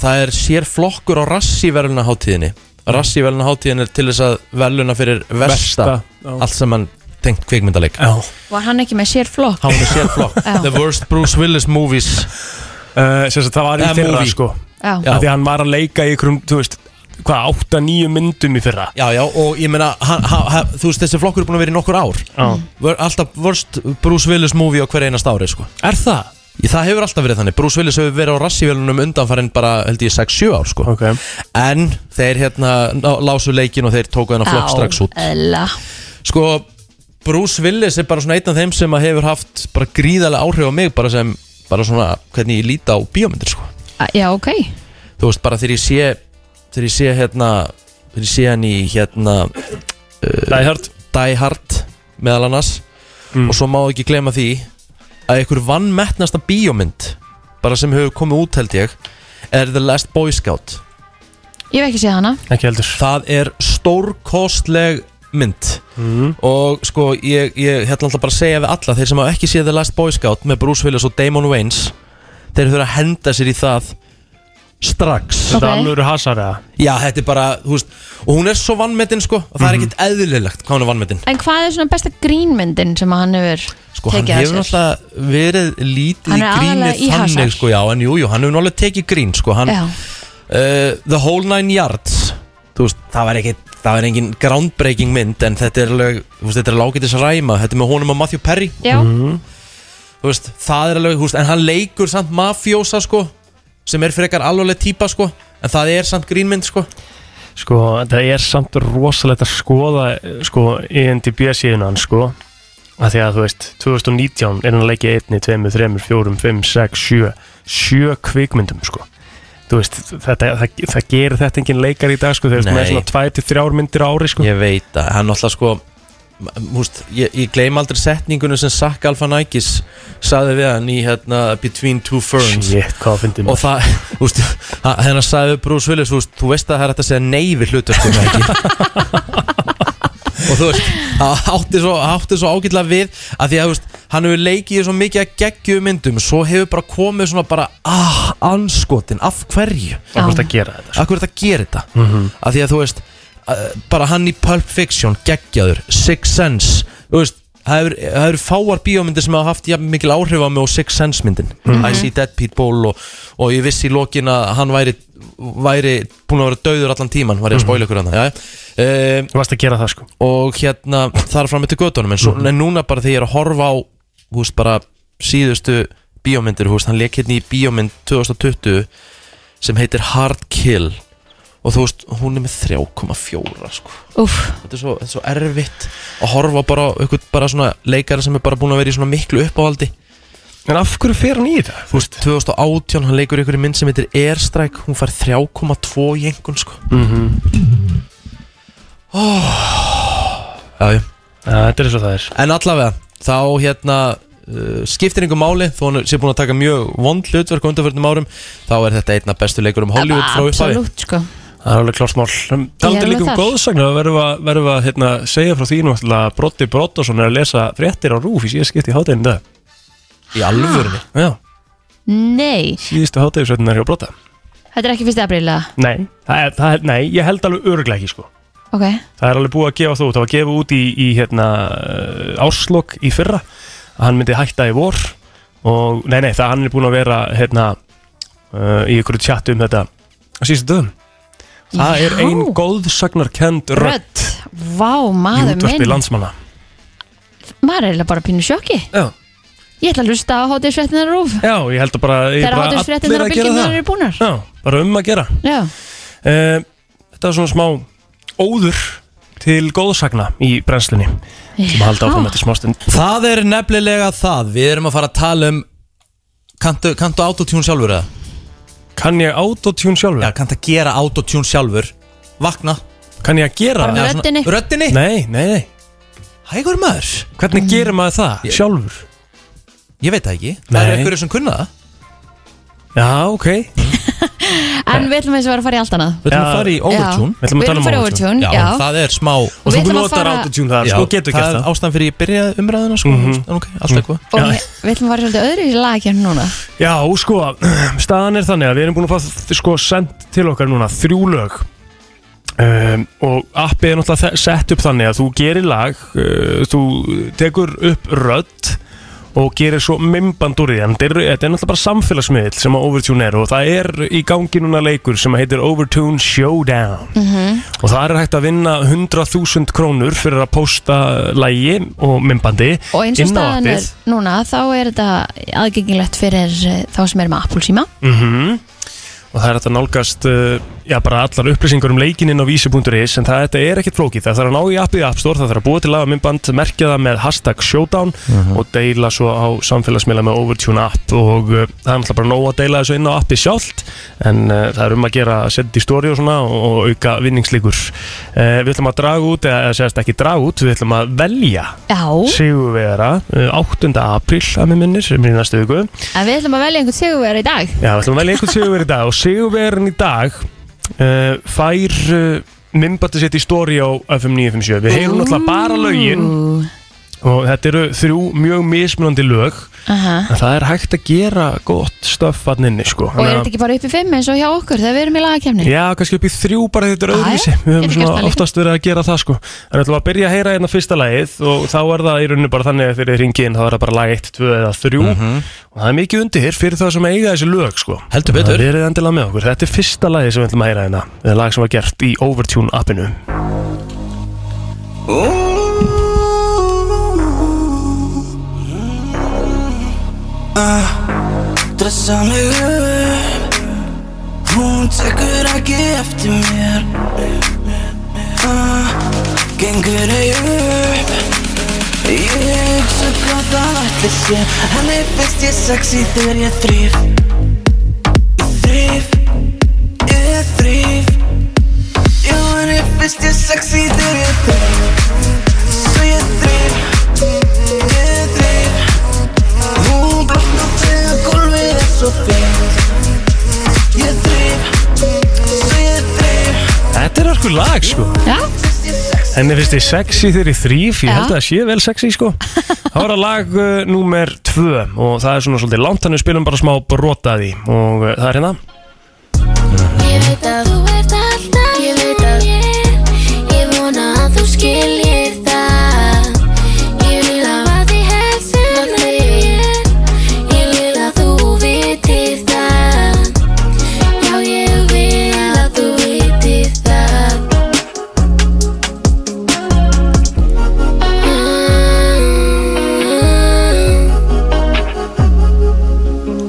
Speaker 1: það er sér flokkur á rassíverluna hátíðinni Rassíverluna hátíðin er til þess að verluna fyrir versta,
Speaker 11: Versta, já.
Speaker 1: allt sem hann tengt kvikmyndaleik Hann
Speaker 2: Var hann ekki með sér flokk?
Speaker 1: var með sér flokk
Speaker 2: <laughs> Já.
Speaker 1: The worst Bruce Willis movies
Speaker 3: uh, sagt, Það var í
Speaker 1: Eða
Speaker 3: fyrra
Speaker 1: movie.
Speaker 3: sko
Speaker 2: Já.
Speaker 3: Af Því að hann var að leika í einhverjum, þú veist Hvað, átta, nýju myndum í fyrra
Speaker 1: Já, já, og ég meina, hann, hann, hann, þú veist, þessi flokkur er búin að vera í nokkur ár Vör, Alltaf worst Bruce Willis movie á hver einast ári, sko
Speaker 3: Er það?
Speaker 1: Það hefur alltaf verið þannig, Bruce Willis hefur verið á rassívélunum undanfarinn bara, held ég, 6-7 ár, sko
Speaker 3: okay.
Speaker 1: En þeir, hérna, ná- lásu leikin og þeir tóku hennar flokk strax út
Speaker 2: Ella.
Speaker 1: Sko, Bruce Willis er bara svona einn af þeim sem að hefur haft bara gríðarlega áhrif á mig Bara sem, bara svona, hvernig ég líti á bíómyndir, sko
Speaker 2: Að- Já, ok.
Speaker 1: þú veist bara þegar ég sé þegar ég sé hérna þegar ég sé hann í hérna uh,
Speaker 3: Die Hard Mm.
Speaker 1: Die Hard meðal annars og svo má ekki glema því að einhver vannmettnasta bíómynd bara sem hefur komið út held ég er The Last Boy Scout
Speaker 2: Ég hef ekki séð hana.
Speaker 3: ekki heldur
Speaker 1: það er stórkostleg mynd
Speaker 3: Mhm.
Speaker 1: og sko ég, ég hérna alltaf bara að segja við alla þeir sem hafa ekki séð The Last Boy Scout með Bruce Willis og Damon Wayans þeir þurfa að henda sér í það strax
Speaker 3: Þetta er alveg hasar eða
Speaker 1: Já, þetta er bara, þú veist Og hún er svo vannmetinn, sko Og það
Speaker 3: Mhm.
Speaker 1: er ekkert eðlilegt hvað hún er vannmetinn
Speaker 2: En hvað er svona besta grínmyndin sem að hann hefur
Speaker 1: Sko, hann
Speaker 2: tekið að
Speaker 1: hefur
Speaker 2: sér?
Speaker 1: náttúrulega verið lítið
Speaker 2: Hann
Speaker 1: í
Speaker 2: er
Speaker 1: gríni
Speaker 2: aðallega í hasar.
Speaker 1: þannig, sko, já En jú, jú, hann hefur náttúrulega tekið grín, sko hann,
Speaker 2: Já.
Speaker 1: uh, The Whole Nine Yards Þú veist, það var ekkert Það var engin groundbreaking mynd En þetta er alveg, þú veist, þetta er lágetis ræma Þetta er með honum og Matthew Perry
Speaker 2: Já. Mhm.
Speaker 1: Þú veist, það er alveg, þú veist En hann leikur samt mafjósa, sko Sem er frekar alvarleg típa, sko En það er samt grínmynd, sko
Speaker 3: Sko, það er samt rosalegt að skoða eh, sko, INDB síðan hann sko að því að þú veist, 2019 er hann að leikja 1, 2, 3, 4, 5, 6, 7 7 kvikmyndum sko þú veist, þetta, það, það gerir þetta engin leikar í dag sko, þeir eru með
Speaker 1: Nei.
Speaker 3: svona 2-3 myndir á ári sko
Speaker 1: Ég veit það, hann alltaf sko m- Húst, ég, ég gleym aldrei setningunum sem Sack Alfanakis sagði við hann í hérna Between Two Ferns
Speaker 3: Shit, hvað það fyndi
Speaker 1: Og það, <laughs> húst, hennar sagði við Bruce Willis, húst, þú veist að það er hægt að segja nei við hlutastum ekki Og þú veist, það átti svo, átti svo ágætlega við að því að, húst, hann hefur leikið í svo mikið að geggju myndum Svo hefur bara komið svona bara, ah, anskotin, af hverju?
Speaker 3: Af hverju ertu að gera þetta? sko?
Speaker 1: Af hverju ertu að gera þetta?
Speaker 3: Mhm.
Speaker 1: að því að þú veist að, bara hann í Pulp Fiction, geggjaður Six Sense, þú veist það eru- það eru fáar bíómyndir sem hafa haft jafn mikil áhrif á mig og Six Sense myndin
Speaker 3: Mhm.
Speaker 1: I See Dead People og, og ég vissi í lokin að hann væri, væri búin að vera döður allan tíman var ég að spóla ykkur hann Þú
Speaker 3: Mhm. varst að gera það sko
Speaker 1: Eh,
Speaker 3: Mhm.
Speaker 1: og hérna þar fram eftir göttunum en, svo, en núna bara þegar ég er að horfa á þú veist bara síðustu bíómyndir, þú veist hann leik hérna í bíómynd 2020 sem heitir Hard Kill og þú veist hún er með 3,4 sko
Speaker 2: Úff.
Speaker 1: þetta er svo, þetta er svo erfitt að horfa bara á einhvern bara svona leikara sem er bara búin að vera í svona miklu uppáhaldi
Speaker 3: En af hverju fer hann í þetta?
Speaker 1: 2018, hann leikur ykkur í mynd sem heitir Airstrike, hún fær 3,2 í engun sko
Speaker 3: mm -hmm.
Speaker 1: Já, já.
Speaker 3: Þetta er eins og það er
Speaker 1: En allavega, þá hérna uh, skiptir einhver máli, þó hann sé búin að taka mjög vond hlutverk á undanförnum árum þá er þetta einna bestu leikur um Hollywood frá upphafi
Speaker 2: Absolutt, sko.
Speaker 3: Það er alveg klársmál
Speaker 2: Ég
Speaker 3: Talandi
Speaker 2: er
Speaker 3: líka um
Speaker 2: alveg þar.
Speaker 3: góðsagnar þá verðum við að, verðum við að hérna, segja frá því nú að Brotti Brottason er að lesa fréttir á Rúf í síðast skipti í hátæðinu dag
Speaker 1: Í alvörunni?
Speaker 3: <gasps> Já,
Speaker 2: Nei,
Speaker 3: síðustu hátæðisveitin er hjá Brotta
Speaker 2: þetta er ekki fyrst apríla.
Speaker 3: Nei, það er, það er, nei, ég held alveg örglega ekki sko
Speaker 2: Ok.
Speaker 3: Það er alveg búið að gefa það út Það var gefið út í, í hérna, áslokk í fyrra að hann myndi hætta í vor og nei, nei, það hann er búin að vera hérna, uh, í ykkur tjattu um þetta á síðustu dögum Það er
Speaker 2: Já.
Speaker 3: ein góðsagnarkend rödd
Speaker 2: Rödd. Vá,
Speaker 3: í
Speaker 2: maður
Speaker 3: útvarpi
Speaker 2: minn.
Speaker 3: landsmanna
Speaker 2: Maður er eiginlega bara pínu sjokki.
Speaker 3: Já.
Speaker 2: Ég ætla að hlusta á hátisfréttina rúf.
Speaker 3: Já, ég held að bara, ég
Speaker 2: Þegar
Speaker 3: bara
Speaker 2: hátisfréttina á bylgjum eru búnar.
Speaker 3: Já, bara um að gera
Speaker 2: Já.
Speaker 3: uh, Þetta er svona smá óður til góðsagna í brennslunni sem að halda áfram eftir smástund
Speaker 1: Það er nefnilega það, við erum að fara að tala um kanntu, kanntu autotune sjálfur eða?
Speaker 3: Kann ég autotune sjálfur?
Speaker 1: Já, kanntu að gera autotune sjálfur Vakna
Speaker 3: Kann ég að gera
Speaker 1: Bara með
Speaker 3: það?
Speaker 1: röddinni. Röddinni?
Speaker 3: Nei, nei, nei
Speaker 1: Hægur maður
Speaker 3: Hvernig gerir maður það sjálfur?
Speaker 1: Ég veit það ekki, það eru
Speaker 3: Nei.
Speaker 1: einhverju sem kunna það
Speaker 3: Já, ok
Speaker 2: En við ætlum eins og vera að fara í allt annað.
Speaker 1: Við ætlum að fara í
Speaker 2: Já.
Speaker 1: overtune
Speaker 2: Við ætlum að tala um overtune. já.
Speaker 1: það er smá
Speaker 2: Og við ætlum að fara-
Speaker 3: Já,
Speaker 1: það
Speaker 3: það
Speaker 1: er
Speaker 3: er
Speaker 1: ástæðan fyrir ég byrja umræðuna sko, mm -hmm. ok, alltaf eitthvað
Speaker 2: Og við við ætlum að fara í svolítið öðru í lagkjörn núna.
Speaker 3: Já, sko, staðan er þannig að við erum búin að fá sko, send til okkar núna þrjú lög Um, og appið er náttúrulega þe- sett upp þannig að þú gerir lag uh, þú tekur upp rödd og gerir svo mymband úr því en þetta er, þetta er náttúrulega bara samfélagsmiðl sem að Overtune er og það er í gangi núna leikur sem heitir Overtune Showdown og það er hægt að vinna 100.000 krónur fyrir að posta lægi og mymbandi
Speaker 2: Og eins og staðan er núna, þá er þetta aðgengilegt fyrir eh, þá sem er með Apple síma.
Speaker 3: Mhm. Og það er hægt að nálgast uh, já, bara allar upplýsingar um leikinn inn á vísi.is en það þetta er ekkert flókið. Það þarf að ná í appið í App Store, það þarf að búa til lagaminnband, merkja það með hashtag showdown og deila svo á samfélagsmiðla með Overtune app og uh, það er náttúrulega bara nóg að deila þessu inn á appið sjálft en uh, það er um að gera að setja í stóri og svona og, og auka vinningslíkur. Uh, við ætlum að draga út, eða eða segast ekki draga út, við ætlum að velja
Speaker 2: Já.
Speaker 3: Sigurvera 8. apríl að mér minnir sem er í næstu viku.
Speaker 2: En við ætlum að velja einhvern sigurverð í dag.
Speaker 3: Já, við ætlum að velja einhvern sigurverð í dag og sigurverðin í dag uh, fær uh, mymbandi sitt í stóri á FM 957 Við heyrum náttúrulega bara lögin og þetta eru þrjú mjög mismunandi lög
Speaker 2: Aha.
Speaker 3: en það er hægt að gera gott stöff hann inni sko
Speaker 2: Og er þetta ekki bara upp í fimm eins og hjá okkur þegar við erum í lagakefni?
Speaker 3: Já, kannski upp í þrjú bara þetta er
Speaker 2: Jæja,
Speaker 3: öðruvísi
Speaker 2: getur
Speaker 3: Við höfum
Speaker 2: gert það
Speaker 3: svona
Speaker 2: líka.
Speaker 3: oftast verið að gera það sko En við ætlum að byrja að heyra hérna fyrsta lagið Og þá er það í rauninu bara þannig að fyrir ringin Þá er það bara lag 1, 2 eða 3 Og það er mikið undir fyrir það sem eiga þessi lög sko Heldur
Speaker 1: betur.
Speaker 3: Það verið endilega með okkur Þetta er fyrsta lagið sem við ætlum að heyra hérna Það er lag sem var gert í Overtune appinu
Speaker 10: Ah, Dressa mig upp Hún tekur ekki eftir mér Ah, Gengur ei upp Ég hugsa hvað það ætli sé Henni finnst ég sexy þegar ég þrýf Ég þrýf Ég þrýf Já, henni finnst ég sexy þegar ég þrýf Svo ég þrýf Ég þrýf Hún blotnar þegar gólfið er svo fínt Ég þrýf, svo ég þrýf
Speaker 3: Þetta er okkur lag sko
Speaker 2: Já,
Speaker 3: Henni finnst þið sexy þegar ég þrýf Ég
Speaker 2: Já.
Speaker 3: held að það sé vel sexy
Speaker 2: <laughs>
Speaker 3: sko Það var að lag uh, númer 2 Og það er svona svolítið langt Þannig við spilum bara smá brotaði Og uh, það er hérna
Speaker 17: Ég veit að þú ert alltaf Ég veit að Ég vona að þú skiljir það Ég vil hafa þig helst sem þér Ég vil að þú vitir það Já, ég vil að þú vitir það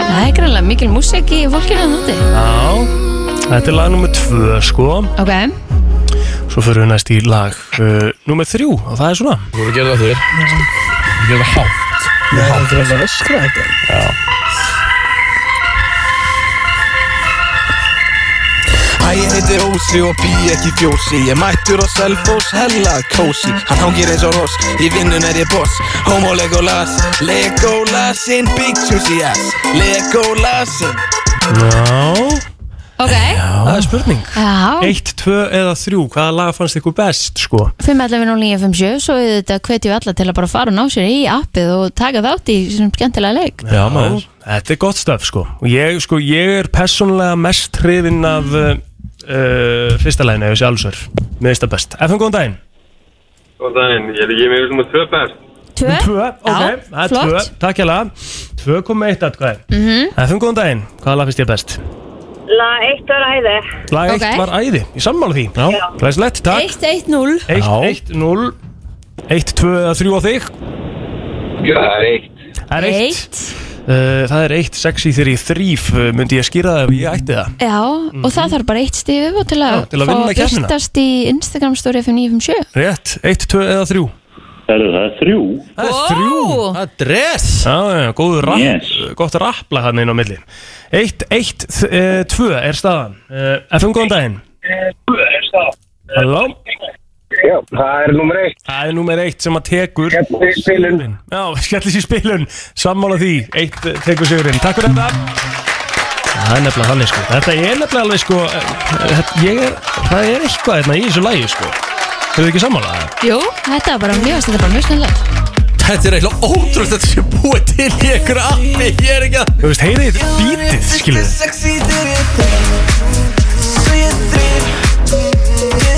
Speaker 2: Það er greinlega mikil músik í hérna fólkinu að núti.
Speaker 3: Já Þetta er lag númer 2 sko
Speaker 2: Ok,
Speaker 3: Svo förum við næst í lag uh, Númer 3 og það er svona Þú verður að gera það þér Þú verður að hátt
Speaker 18: Nei, þetta er alveg öskra þetta
Speaker 19: Æ, ég heitir Ósi og bý ekki í fjósi Ég mættur á Selfoss, hella kósi Hann hangir eins og ross, í vinnun er ég boss Homo Legolas, Legolas in big juicy ass Legolas in
Speaker 3: Já
Speaker 2: ok.
Speaker 3: Það er spurning
Speaker 2: Já,
Speaker 3: 1, 2 eða 3 Hvaða lag fannst ykkur best sko
Speaker 2: 511 og 957, svo þetta hvetjum við alla til að bara fara og ná sér í appið og taka þátt í svona skemmtilega leik.
Speaker 3: Já, maður Þetta er gott stöf, sko Og ég, sko, ég er persónlega mest hrifinn af uh, uh, fyrsta læginu, ef ég sé alveg sér Mér finnst það best FM, góðan daginn
Speaker 5: Góðan daginn, ég er ekki með sem að tvö best.
Speaker 2: Tvö?
Speaker 3: Tvö, ok, það er tvö
Speaker 5: flott.
Speaker 3: Takk hjá lag 2,1 atkvæði
Speaker 5: Mhm.
Speaker 3: FM, góðan daginn Hvaða lag finnst ég best?
Speaker 20: Lag eitt var æði.
Speaker 3: Lag 1 var æði Ég sammála því Já Læslegt, takk
Speaker 2: 1-1-0
Speaker 3: 1, 1, 0 1, 2 eða 3 á þig
Speaker 5: Já, það er eitt.
Speaker 3: Það er 1 Uh, Það er 1, 6 í þeirri þrýf Myndi ég skýra það ef ég ætti það
Speaker 2: Já, og það þarf bara eitt stíð upp og til að,
Speaker 3: Mhm. Já, til að
Speaker 2: fá
Speaker 3: vinna keppnina.
Speaker 2: birtast í Instagram story F957.
Speaker 3: Rétt, 1, 2 eða 3
Speaker 21: Herðu, það er þrjú
Speaker 3: Það er þrjú Það er dress Já, já, góður rapp yes. Gott rappla hann inn á milli 1, 1, 2 eh, er staðan uh, FM, góðan daginn Halló Já, það er nummer 1 Það er nummer 1 sem að tekur Skellis í spilun Já, <laughs> skellis í spilun Sammála því 1 tekur sigurinn Takk fyrir þetta Það er nefnilega þannig sko Þetta er nefnilega alveg sko eh, þetta- ég er, Það er eitthvað hérna í þessu lagi sko Þau ekki sammála það?
Speaker 2: Jú, þetta er bara mjög, þetta er bara mjög snillegt.
Speaker 1: Þetta er eiginlega ótrúst Þetta sé búið til í einhverju appi Ég er ekki að
Speaker 3: Þú veist, heyrið bítið, skilur
Speaker 19: Sexy þegar ég þrýf Svo ég þrýf, ég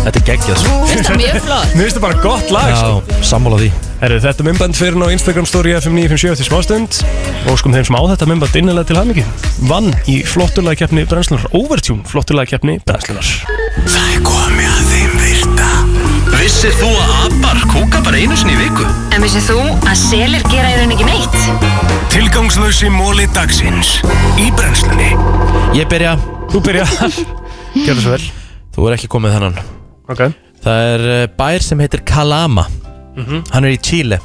Speaker 1: Þetta er geggjað sko.
Speaker 2: Mér finnst það mjög flott.
Speaker 3: Mér finnst það bara gott lag sko.
Speaker 1: Já, sammála því
Speaker 3: Herru, þetta er mymband fyrir á Instagram story FM957 til smástund og skum þeim sem á þetta mymband innilega til hamingi Vann í flotturlagkeppni brennslunar Overtune flotturlagkeppni brennslunar
Speaker 10: Það er komið að þeim virta Vissir þú að abar kúka bara einu sinni í viku?
Speaker 22: En vissið þú að selir gera í raun ekki neitt?
Speaker 10: Tilgangslösi móli dagsins Í brennslunni
Speaker 1: Ég byrja
Speaker 3: Þú byrja Gjörðu svo vel
Speaker 1: Þú er ekki komið þennan
Speaker 3: Ok
Speaker 1: Það er eh, bær sem heitir Calama
Speaker 3: Mhm.
Speaker 1: Hann er í Chile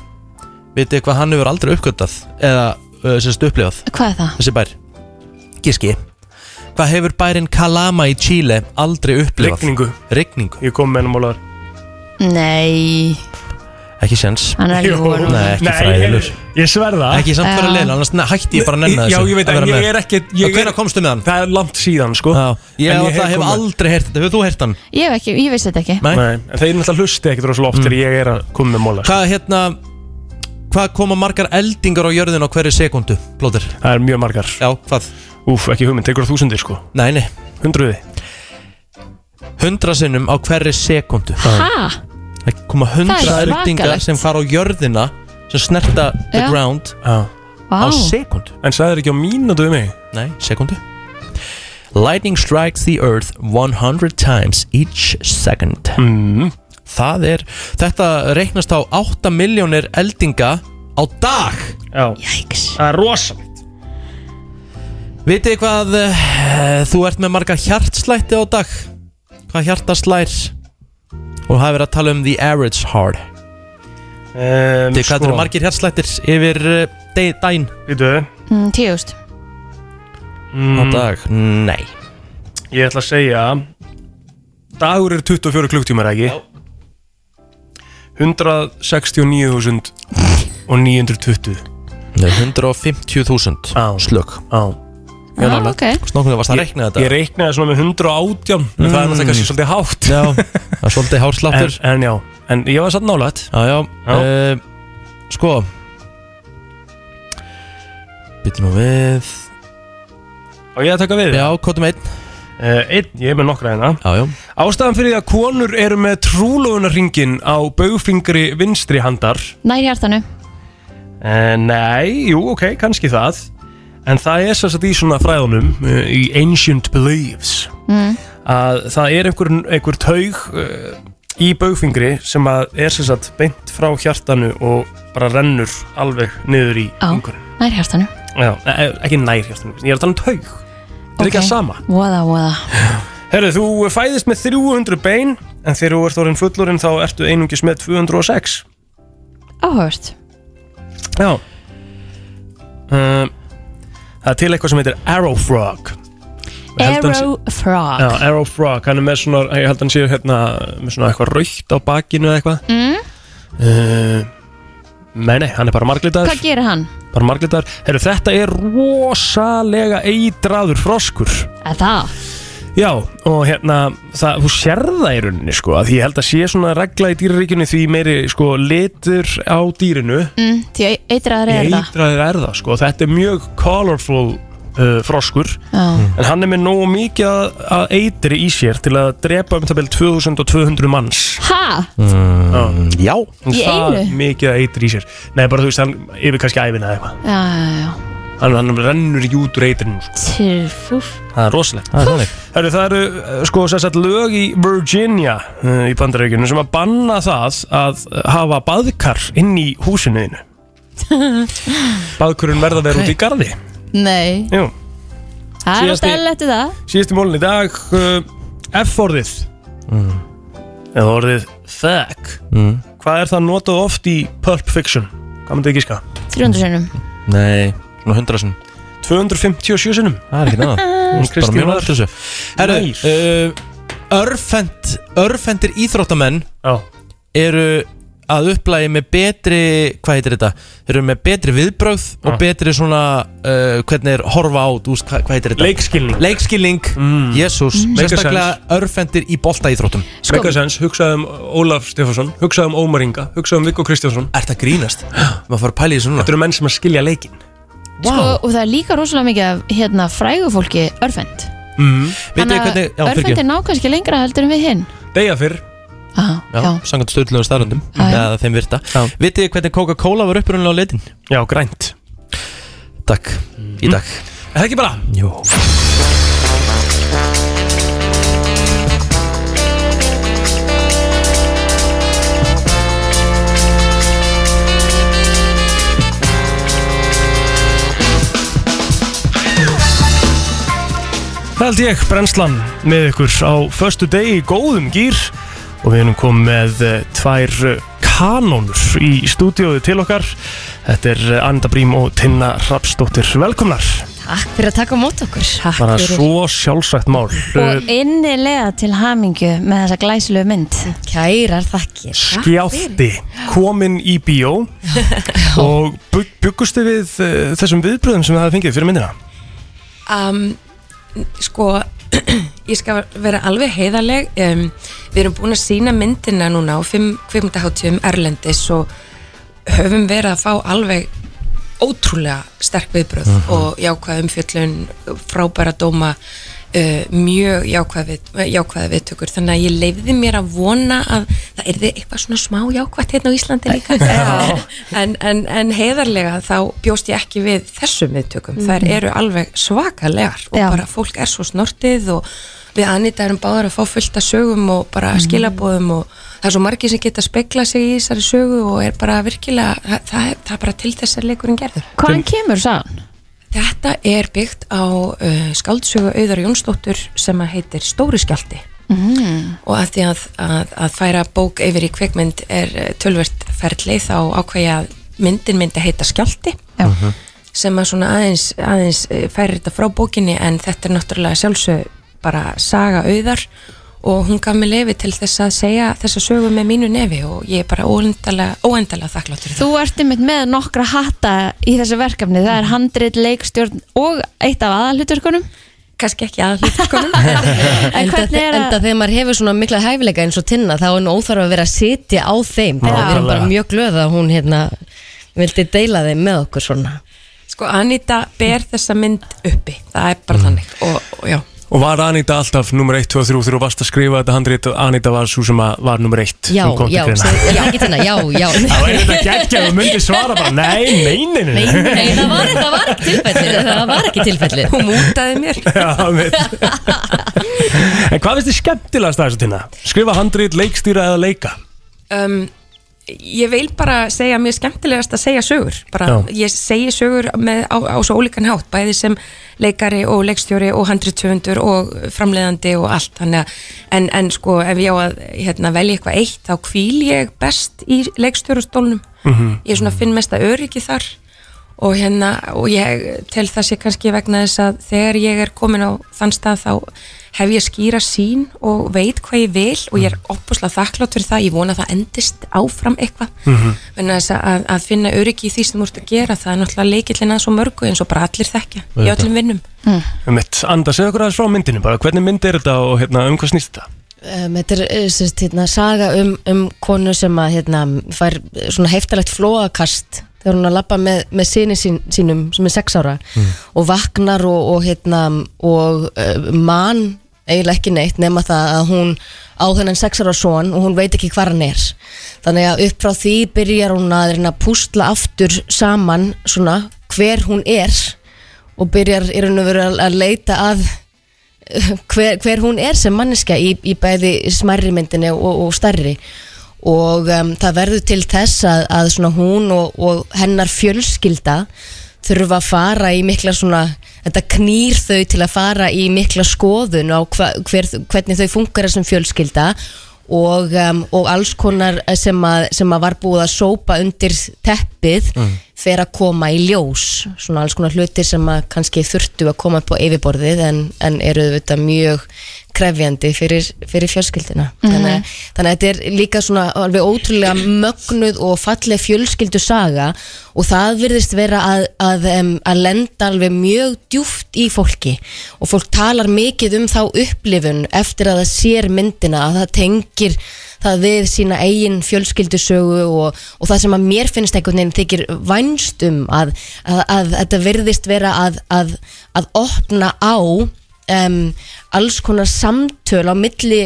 Speaker 1: Vitið hvað hann hefur aldrei uppgötað Eða uh, sérst upplifað
Speaker 2: Hvað er það?
Speaker 1: Þessi bær Gíski Hvað hefur bærin Calama í Chile aldrei upplifað?
Speaker 3: Rigningu.
Speaker 1: Rigningu
Speaker 3: Ég kom með um hennar málaður
Speaker 2: Nei
Speaker 1: Ekki séns
Speaker 2: Hann er alveg vonum.
Speaker 1: Nei, ekki
Speaker 3: Nei,
Speaker 1: fræðilur
Speaker 3: Ég sverða
Speaker 1: Ekki samt
Speaker 2: Já.
Speaker 1: fyrir leil, annars ne- hætti ég bara að nenna
Speaker 3: Já,
Speaker 1: þessu
Speaker 3: ég veit,
Speaker 1: að
Speaker 3: en
Speaker 1: vera
Speaker 3: ég
Speaker 1: með.
Speaker 3: er ekki
Speaker 1: Og hvenær komstu með hann?
Speaker 3: Það er langt síðan, sko Já,
Speaker 1: Ég, ég það hef aldrei heyrt þetta, hefur þú heyrt hann?
Speaker 2: Ég, hef ekki, ég vissi þetta ekki.
Speaker 3: Nei, en þeir náttúrulega hlusti ekkert rosalega oft þegar ég er að koma með móla
Speaker 1: Mm. Hvað hérna Hvað koma margar eldingar á jörðin á hverju sekundu, Plóter?
Speaker 3: Það er mjög margar
Speaker 1: Já, hvað?
Speaker 3: Úf, ekki hugmynd, tekur þúsundir sko
Speaker 1: Nei, nei
Speaker 3: Hundruði
Speaker 1: Hundra sinnum á hverju sekundu
Speaker 2: Ha?
Speaker 1: Það koma
Speaker 2: Það
Speaker 1: hundra
Speaker 2: er
Speaker 1: eldingar
Speaker 2: svakalegt.
Speaker 1: sem fara á jörðina sem snerta the
Speaker 2: Já.
Speaker 1: ground
Speaker 3: Já.
Speaker 1: á
Speaker 2: Vá.
Speaker 1: sekundu
Speaker 3: En sagðir ekki á mínútu um mig?
Speaker 1: Nei, sekundu Lightning strikes the earth 100 times each second
Speaker 3: mm.
Speaker 1: Það er, þetta reiknast á 8 miljónir eldinga á dag
Speaker 3: Já Jæks Það er rosalegt
Speaker 1: Vitið þið hvað eh, þú ert með marga hjartslætti á dag? Hvað hjarta slær? Og það er verið að tala um the average heart
Speaker 3: um,
Speaker 1: Þið hvað
Speaker 3: sko.
Speaker 1: eru margir hjartslættir yfir eh, deg- daginn?
Speaker 3: Býtu
Speaker 2: Mm, Tíust.
Speaker 1: Á dag? Nei
Speaker 3: Mm. Ég ætla að segja Dagur er 24 klukktímar, ekki? Já 169.920
Speaker 1: Nei, 150.000 slökk
Speaker 3: Já
Speaker 1: Já, Já, ok. Snokkulega varst að
Speaker 3: Ég-
Speaker 1: reikna þetta.
Speaker 3: Ég reiknaði svona með 118 En það er náttúrulega kannski svolítið hátt
Speaker 1: Mm. Já,
Speaker 3: <laughs>
Speaker 1: það er svolítið hársláttur
Speaker 3: en, en já, en ég var satt nálægt
Speaker 1: Já, já,
Speaker 3: Já.
Speaker 1: Eh, Sko Býtum nú við
Speaker 3: Og ég að taka við
Speaker 1: Já, kvotum einn
Speaker 3: uh, Einn, ég er með nokkra hérna
Speaker 1: Já, já
Speaker 3: Ástæðan fyrir því að konur eru með trúlóðunarringin á baugfingri vinstri handar
Speaker 2: Nær hjartanu.
Speaker 3: uh, Nei, jú, ok, kannski það En það er svo að í svona fræðunum uh, Í Ancient Beliefs
Speaker 2: Mm.
Speaker 3: að það er einhver, einhver taug uh, í baugfingri sem að er sem sagt beint frá hjartanu og bara rennur alveg niður í
Speaker 2: Á. Nær hjartanu.
Speaker 3: Já, e- e- ekki nær hjartanu, ég er að tala um taug Það er ekki að sama
Speaker 2: Voða, voða.
Speaker 3: Herru, þú fæðist með 300 bein en þegar þú ert orðin fullorinn þá ertu einungis með 206
Speaker 2: Áhört.
Speaker 3: Já um, Það er til eitthvað sem heitir Arrow Frog Ég held að hann sé-
Speaker 2: Arrow frog.
Speaker 3: Já, Arrow Frog, hann er með svona, ég held að hann séu hérna, með svona eitthvað raukt á bakinu eða eitthvað
Speaker 2: Mm.
Speaker 3: uh, Nei, nei, hann er bara
Speaker 2: Hvað
Speaker 3: marglitaður
Speaker 2: gerir hann?
Speaker 3: Bara marglitaður Herru, þetta er rosalega eitraður froskur
Speaker 2: Er það?
Speaker 3: Já, og hérna, það, þú sérð það í rauninni, sko að Því ég held að sé svona regla í dýraríkjunni því meiri, sko, litur á dýrinu
Speaker 2: Mm, því eitraður er það.
Speaker 3: Eitraður er það, sko Þetta er mjög colorful uh, froskur
Speaker 2: Já.
Speaker 3: En hann er með nógu mikið að- að eitri í sér til að drepa um tabel 2200 manns
Speaker 2: Ha?
Speaker 3: mm,
Speaker 1: Já
Speaker 2: Í
Speaker 3: Það
Speaker 2: einu?
Speaker 3: mikið að eitri í sér Nei, bara þú veist, hann yfir kannski æfina eða eitthvað
Speaker 2: Já, já, já.
Speaker 3: Hann, hann rennur ekki út úr eitrinu sko.
Speaker 2: Til fúf.
Speaker 3: Það er rosalegt Heru, Það eru uh, sko sem sagt lög í Virginia uh, í bandarækjunum sem að banna það að uh, hafa baðkar inn í húsinu þínu Baðkurinn verða að vera út í garði
Speaker 2: <laughs> Nei.
Speaker 3: Jú
Speaker 2: Það er
Speaker 3: Síðasti-
Speaker 2: alltaf ellettu það.
Speaker 3: Síðusti mólun í dag uh, F-orðið Eða orðið Fuck
Speaker 1: Mm.
Speaker 3: Hvað er það notað oft í Pulp Fiction? Hvað myndið ekki ská?
Speaker 2: 300 sinum.
Speaker 1: Nei, svona 100 sinn
Speaker 3: 257 sinum
Speaker 1: Það er ekki
Speaker 3: <laughs>
Speaker 1: náða Hérna, Bara
Speaker 3: Kristín
Speaker 1: mjög
Speaker 3: var
Speaker 1: nátt þessu Herru, uh, örfend, örfendir íþróttamenn
Speaker 3: Já.
Speaker 1: eru að upplægi með betri, hvað heitir þetta? Þeir eru með betri viðbrögð og
Speaker 3: Já.
Speaker 1: betri svona, uh, hvernig er horfa át, úst, hvað, hvað heitir þetta?
Speaker 3: Leikskilning.
Speaker 1: Leikskilning, jésús,
Speaker 2: Mm.
Speaker 3: Make a
Speaker 1: sérstaklega örfendir í boltaíþróttum
Speaker 3: sko, Megasens, hugsaði um Ólaf Stefansson Hugsaði um Ómar Inga, hugsaði um Viggo Kristjánsson
Speaker 1: Er þetta
Speaker 3: <gasps>
Speaker 1: grínast? Maður fara að pæla í þessu núna
Speaker 3: Þetta eru menn sem að skilja leikin
Speaker 2: Sko, og það er líka rosalega mikið af hérna frægu fólki örfend.
Speaker 3: mm.
Speaker 2: Þannig að örfend er nákvæmst ekki lengra heldur en við hinn.
Speaker 3: Deyja fyrr
Speaker 2: Já.
Speaker 1: Sangat stöðlunum starrandum
Speaker 2: Já, já.
Speaker 1: Eða þeim virta Vitið þið hvernig Coca-Cola var upprunnilega á litin? Já, grænt Takk, í dag
Speaker 11: Er það ekki bara?
Speaker 1: Jó
Speaker 11: Það held ég, brennslan með ykkur á förstu degi í góðum gýr og við erum komið með eh, tvær eh, kanónur í stúdíóðu til okkar. Þetta er eh, Anda Brím og Tinna Rapsdóttir. Velkomnar.
Speaker 6: Takk fyrir að taka á mót okkur Takk
Speaker 11: Bara svo sjálfsagt mál. Eh,
Speaker 6: Og innilega til hamingju með þessa glæsilegu mynd Kærar þakkir
Speaker 11: Skjátti, komin í bíó og bu- bjuggustu við eh, þessum viðbröðum sem það fengið fyrir myndina?
Speaker 23: um, sko <clears throat> ég skal vera alveg heiðarleg um, við erum búin að sína myndina núna á 5 kvipmyndaháttum Erlendis og höfum verið að fá alveg ótrúlega sterk viðbröð
Speaker 24: Mhm.
Speaker 23: og jákvæð umfjöllun frábæra dóma uh, mjög jákvæð við, jákvæða viðtökur þannig að ég leifði mér að vona að það erði eitthvað svona smá jákvætt hérna á Íslandi líka en, en, en heiðarlega þá bjóst ég ekki við þessum viðtökum, þær
Speaker 6: Mhm.
Speaker 23: eru alveg svakalegar og bara fólk er svo snortið og við Anita erum báðar að fá fullt að sögum og bara
Speaker 2: Mhm.
Speaker 23: mm. skilabóðum og það er svo margir sem geta speklað sig í þessari sögu og er bara virkilega, það, það, er- það er bara til þess að leikurinn gerður.
Speaker 2: Hvaðan kemur sann?
Speaker 23: Þetta er byggt á uh, skáldsögu Auðar Jónsdóttur sem að heitir Stóri Skjaldi
Speaker 2: Mm.
Speaker 23: og að því að, að, að færa bók yfir í kvikmynd er eh, tölvert ferli þá ákveðja að myndin myndi heita Skjaldi
Speaker 25: Mhm,
Speaker 23: sem að svona aðeins, aðeins eh, færir þetta frá bókinni en þetta er náttúrulega sjálfsög bara saga auðar og hún gaf mér lefi til þess að segja þessa sögu með mínu nefi og ég er bara óendalega, óendalega þakkláttur fyrir
Speaker 2: Þú ert einmitt með nokkra hatta í þessu verkefni, það er handrit, leikstjórn og eitt af aðalhuturkunum
Speaker 23: Kanski ekki
Speaker 2: <laughs>
Speaker 23: aðalhuturkunum
Speaker 2: En
Speaker 24: Enda,
Speaker 2: hvernig er
Speaker 24: sko. enda
Speaker 2: að
Speaker 24: þegar maður hefur svona mikla hæfileika eins og tinna þá er nú óþarf að vera að sitja á þeim þannig að við
Speaker 23: Nákvæmlega.
Speaker 24: erum bara mjög glöð að hún hérna vildi deila þeim með okkur svona
Speaker 23: Sko Anita ber þessa mynd uppi það er bara þannig og, og já
Speaker 11: Og var Anita alltaf nummer 1, 2, 3 þegar þú varst að skrifa þetta handrið og Anita var svo sem að var nummer 1
Speaker 24: Já, já, seg- er það ekki Tinna? Já, já.
Speaker 11: Það var þetta geggjað og myndi svara bara, nei, neinin
Speaker 24: Nei, nei, það
Speaker 11: <laughs>
Speaker 24: var, það var ekki tilfellið Það var ekki tilfellið
Speaker 23: Hún mútaði mér
Speaker 11: Já, mitt En hvað finnst þið skemmtilegast að þessu tína? Skrifa handrið, leikstýra eða leika?
Speaker 23: um, ég vil bara segja mér er skemmtilegast að segja sögur bara, ég segi sögur með, á, á svo ólíkan hátt bæði sem leikari og leikstjóri og handritöfundur og framleiðandi og allt þannig að en, en sko ef ég á að hérna, velja eitthvað eitt þá kvíl ég best í leikstjórastólnum
Speaker 26: Mhm.
Speaker 23: ég svona finn mesta öryggi þar og hérna og ég tel það sé kannski vegna þess að þegar ég er komin á þann stað þá hef ég skýra sín og veit hvað ég vil og ég er opposlega þakklátt fyrir það, ég vona að það endist áfram eitthvað Vegna þess að, að finna öryggi í því sem þú ert að gera það er náttúrulega leikillin að svo mörgu eins og bara allir þekkja í
Speaker 11: Auðvitað.
Speaker 23: öllum vinnum
Speaker 11: Mitt, Anda, segðu okkur aðeins frá myndinu bara, hvernig mynd er þetta og hérna, um hvað snýst þetta?
Speaker 24: Um, þetta er eh, sérst, hérna, saga um, um konu sem að hérna, fær eh, svona heftalegt flóakast þegar hún er að labba með, með sinni sín, sínum sem er sex ára
Speaker 25: mhm,
Speaker 24: og vaknar og, og, hérna, og uh, man eiginlega ekki neitt nema það að hún á þennan sex ára son og hún veit ekki hvar hann er þannig að upp frá því byrjar hún að reyna að púsla aftur saman svona hver hún er og byrjar í raun og veru að- að leita að hver, hver hún er sem manneska í, í bæði smærri myndinni og, og stærri og um, það verður til þess að, að svona hún og, og hennar fjölskylda þurfa að fara í mikla svona þetta knýr þau til að fara í mikla skoðun á hva, hver, hvernig þau funkar sem fjölskylda og, um, og alls konar sem að, sem að var búið að sópa undir teppið
Speaker 25: mhm.
Speaker 24: Mm. fer að koma í ljós svona alls konar hlutir sem að kannski þurftu að koma upp á yfirborðið en, en eru þetta mjög krefjandi fyrir, fyrir fjölskyldina
Speaker 6: Mhm.
Speaker 24: þannig, að- þannig að þetta er líka svona alveg ótrúlega mögnuð og falleg fjölskyldu saga og það virðist vera að, að, um, að lenda alveg mjög djúft í fólki og fólk talar mikið um þá upplifun eftir að það sér myndina að það tengir það við sína eigin fjölskyldusögu og, og það sem að mér finnst einhvern veginn þykir vænst um að, að, að þetta virðist vera að, að, að opna á um, alls konar samtöl á milli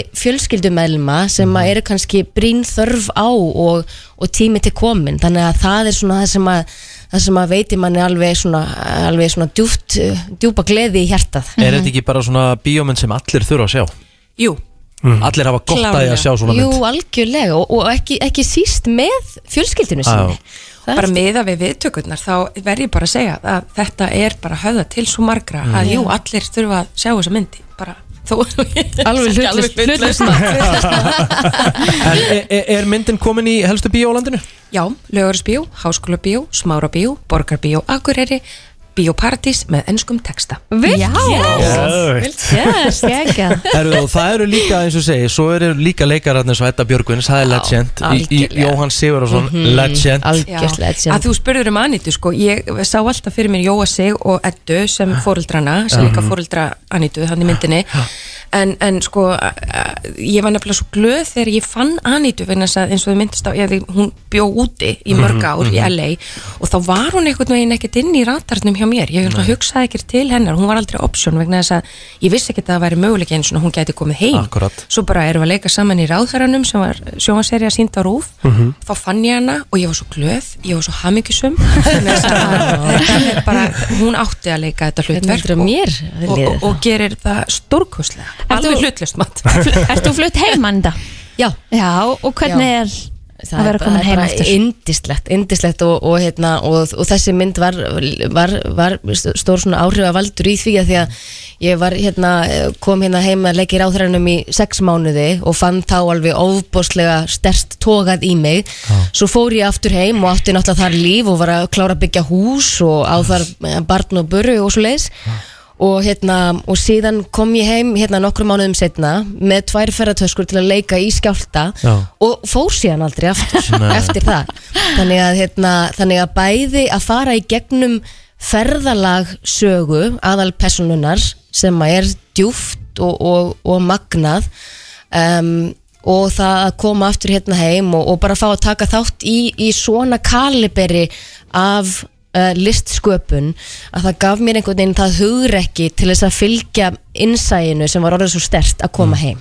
Speaker 24: fjölskyldumælma sem
Speaker 1: Mhm.
Speaker 24: að eru kannski brín þörf á og, og tími til komin þannig að það er svona það sem að það sem að veiti manni alveg svona, alveg svona djúpt, uh, djúpa gleði í hjartað Mhm.
Speaker 1: Er þetta ekki bara svona bíómynd sem allir þurfa að sjá? Mm.
Speaker 24: Jú,
Speaker 1: Allir hafa gott að því að sjá svona
Speaker 24: Jú,
Speaker 1: mynd
Speaker 24: algjörlega og, og ekki, ekki síst með fjölskyldinu sinni
Speaker 23: bara miða við viðtökurnar þá verð ég bara að segja að þetta er bara höfða til svo margra
Speaker 24: Mm.
Speaker 23: að jú,
Speaker 24: Já.
Speaker 23: allir þurfa að sjá þessa myndi bara þó
Speaker 24: Alveg hlutlaust-
Speaker 23: <laughs>
Speaker 24: hlutlaust
Speaker 1: En er, er- er myndin komin í helstu bíó á landinu?
Speaker 23: Já, Lögurisbíó, Háskólabíó, Smárabíó, Borgarbíó, Akureyri Bíóparadís með ennskum texta
Speaker 2: Vel
Speaker 23: Já.
Speaker 1: Geðveikt. Herru, og það eru líka eins og segi Svo eru líka leikararnir svo Edda Björgvins Það er legend Í- í- Jóhann Sigurðarsson
Speaker 23: Mhm.
Speaker 1: Legend
Speaker 23: Já, að þú spurður um Anitu sko ég sá alltaf fyrir mér Jóa sig og Eddu sem fóreldrana, sem
Speaker 1: Já.
Speaker 23: líka fóreldra Anitu þannig í myndinni en, en sko, a- a- ég var nefnilega svo glöð þegar ég fann Anitu vegna þess að eins og þið myndist á, ég, hún bjó úti í mörg Mhm, ár í mhm. LA og þá var hún einhvern veginn ekkert inn í ratarnum hjá mér, ég
Speaker 1: Nei.
Speaker 23: hugsaði ekkert til hennar hún var aldrei option vegna þess að ég vissi ekkert að það væri möguleik eins og hún gæti komið heim
Speaker 1: Akkurat
Speaker 23: svo bara erum við að leika saman í ráðherranum sem var sjónvaserja sínd á rúf
Speaker 1: Mhm.
Speaker 23: þá fann ég hana og ég var svo glöð ég var svo hamingisum bara, hún átti að leika þetta hlutverk og, mér, og, og, og gerir það stórkoslega alveg hlutlust mat
Speaker 2: Ert þú flutt heim, Anda?
Speaker 24: Já.
Speaker 2: Já, og hvernig
Speaker 24: Já.
Speaker 2: er
Speaker 24: Það
Speaker 2: að
Speaker 24: er
Speaker 2: vera
Speaker 24: bara-
Speaker 2: komin heim
Speaker 24: bara
Speaker 2: aftur?
Speaker 24: Indislegt, indislegt og, og, hérna, og, og þessi mynd var, var, var stór svona áhrifa valdur í því að því að ég var, hérna, kom hérna heim að leggja í ráðhræðanum í sex mánuði og fann þá alveg óbóðslega stert tókað í mig svo fór ég aftur heim og átti náttúrulega þar líf og var að klára að byggja hús og á þar eh, barn og börru og svo leis og hérna, og síðan kom ég heim hérna nokkrum mánuðum setna með tvær ferratöskur til að leika í skjálta
Speaker 10: Já.
Speaker 24: og fór síðan aldrei aftur
Speaker 10: Nei.
Speaker 24: eftir það þannig að, hérna, þannig að bæði að fara í gegnum ferðalag sögu aðal personunar sem að er djúft og, og, og magnað um, og það að koma aftur hérna heim og, og bara fá að taka þátt í, í svona kaliberi af uh, listsköpun að það gaf mér einhvern veginn það hugrekki til þess að fylgja innsæginu sem var orðið svo stert að koma heim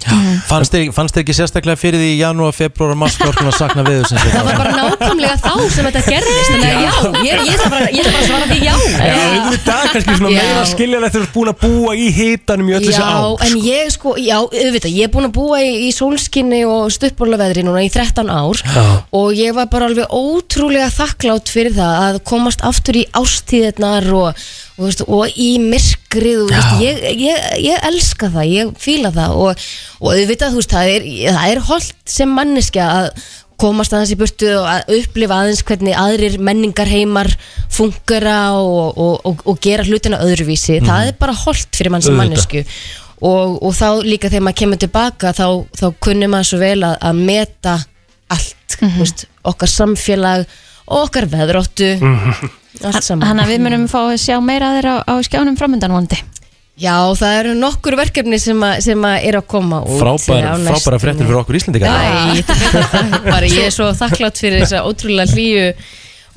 Speaker 1: Fannst þér, fannst þér ekki sérstaklega fyrir því í janúar, februar og mars hvað orkun að sakna við þessum
Speaker 24: Það var bara nákvæmlega þá sem þetta gerðist Þannig að já, ég, ég ætla bara, ég ætla bara að svara því já
Speaker 3: Já, auðvitað kannski svona
Speaker 24: Já.
Speaker 3: meira skiljanlegt þegar þú ert búin að búa í hitanum í öll þessi
Speaker 24: Já,
Speaker 3: á
Speaker 24: en ég sko, já, auðvitað, ég er búin að búa í, í sólskinni og stuppbólaveðri núna í 13 ár
Speaker 10: Já.
Speaker 24: og ég var bara alveg ótrúlega þakklátt fyrir það að komast aftur í ástíðirnar og, og, veist, og í myrkrið og, veist, ég, ég, ég elska það, ég fíla það og, og auðvitað, þú veist, það er, það er holdt sem manneskja að komast aðeins í burtu og að upplifa aðeins hvernig aðrir menningar heimar fungera og, og, og, og gera hlutina öðruvísi, það er bara holdt fyrir mann sem
Speaker 10: Auðvitað.
Speaker 24: mannesku og, og þá líka þegar maður kemur tilbaka þá, þá kunnum maður svo vel að, að meta allt, mm veist, okkar samfélag okkar veðróttu allt saman
Speaker 2: Þannig að við munum fá að sjá meira að þeirra á, á skjánum framöndan vondi.
Speaker 24: Já, það eru nokkur verkefni sem, að, sem að er að koma út
Speaker 1: Frábæra,
Speaker 24: á næstunni.
Speaker 1: frábæra fréttir fyrir okkur Íslendingar
Speaker 24: Æ, bara ég er svo þakklátt fyrir þess að ótrúlega hlýju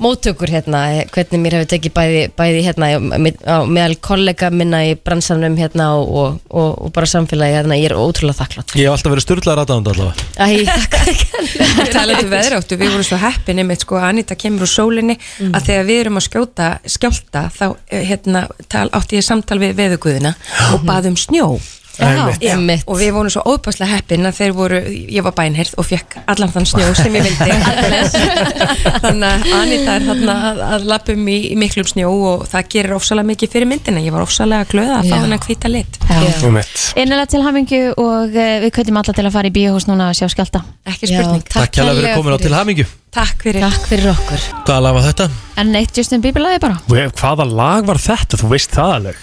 Speaker 24: móttökur hérna, hvernig mér hefur tekið bæði, bæði hérna með, á, meðal kollega minna í bransanum hérna og, og, og, og bara samfélagi hérna, ég er ótrúlega þakklátt
Speaker 1: Ég hef alltaf verið styrlaðar aðdáðandi allavega
Speaker 23: <laughs>
Speaker 24: Æ, þakka
Speaker 23: talandi um veðráttu, við vorum svo heppin einmitt sko, Anita kemur úr sólinni
Speaker 24: Mm.
Speaker 23: að þegar við erum að skjóta, skjálta þá eh, hérna, tal, átti ég samtal við veðuguðina og baðum snjó
Speaker 10: Já,
Speaker 23: Já,
Speaker 10: einmitt.
Speaker 23: og við vorum svo óbærslega heppin að þeir voru, ég var bænherð og fekk allan þann snjó sem ég vildi
Speaker 24: <laughs>
Speaker 23: þannig að Anita er þarna að, að lappum í, í miklum snjó og það gerir ofsalega mikið fyrir myndina ég var ofsalega glöða að fá
Speaker 2: Já.
Speaker 23: hann að hvita lit
Speaker 3: Einmitt.
Speaker 2: Einlega til hamingju og eh, við kveitum alla til að fara í bíóhús núna að sjá skjálta.
Speaker 23: Ekki
Speaker 2: spurning.
Speaker 1: Takk hérlega fyrir komin á til hamingju
Speaker 23: Takk fyrir.
Speaker 24: Takk fyrir okkur.
Speaker 1: Hvaða lag var þetta?
Speaker 2: En eitt Justin Bieber lagi bara.
Speaker 3: Við- eh, Hvaða lag var þetta? Þú veist það alveg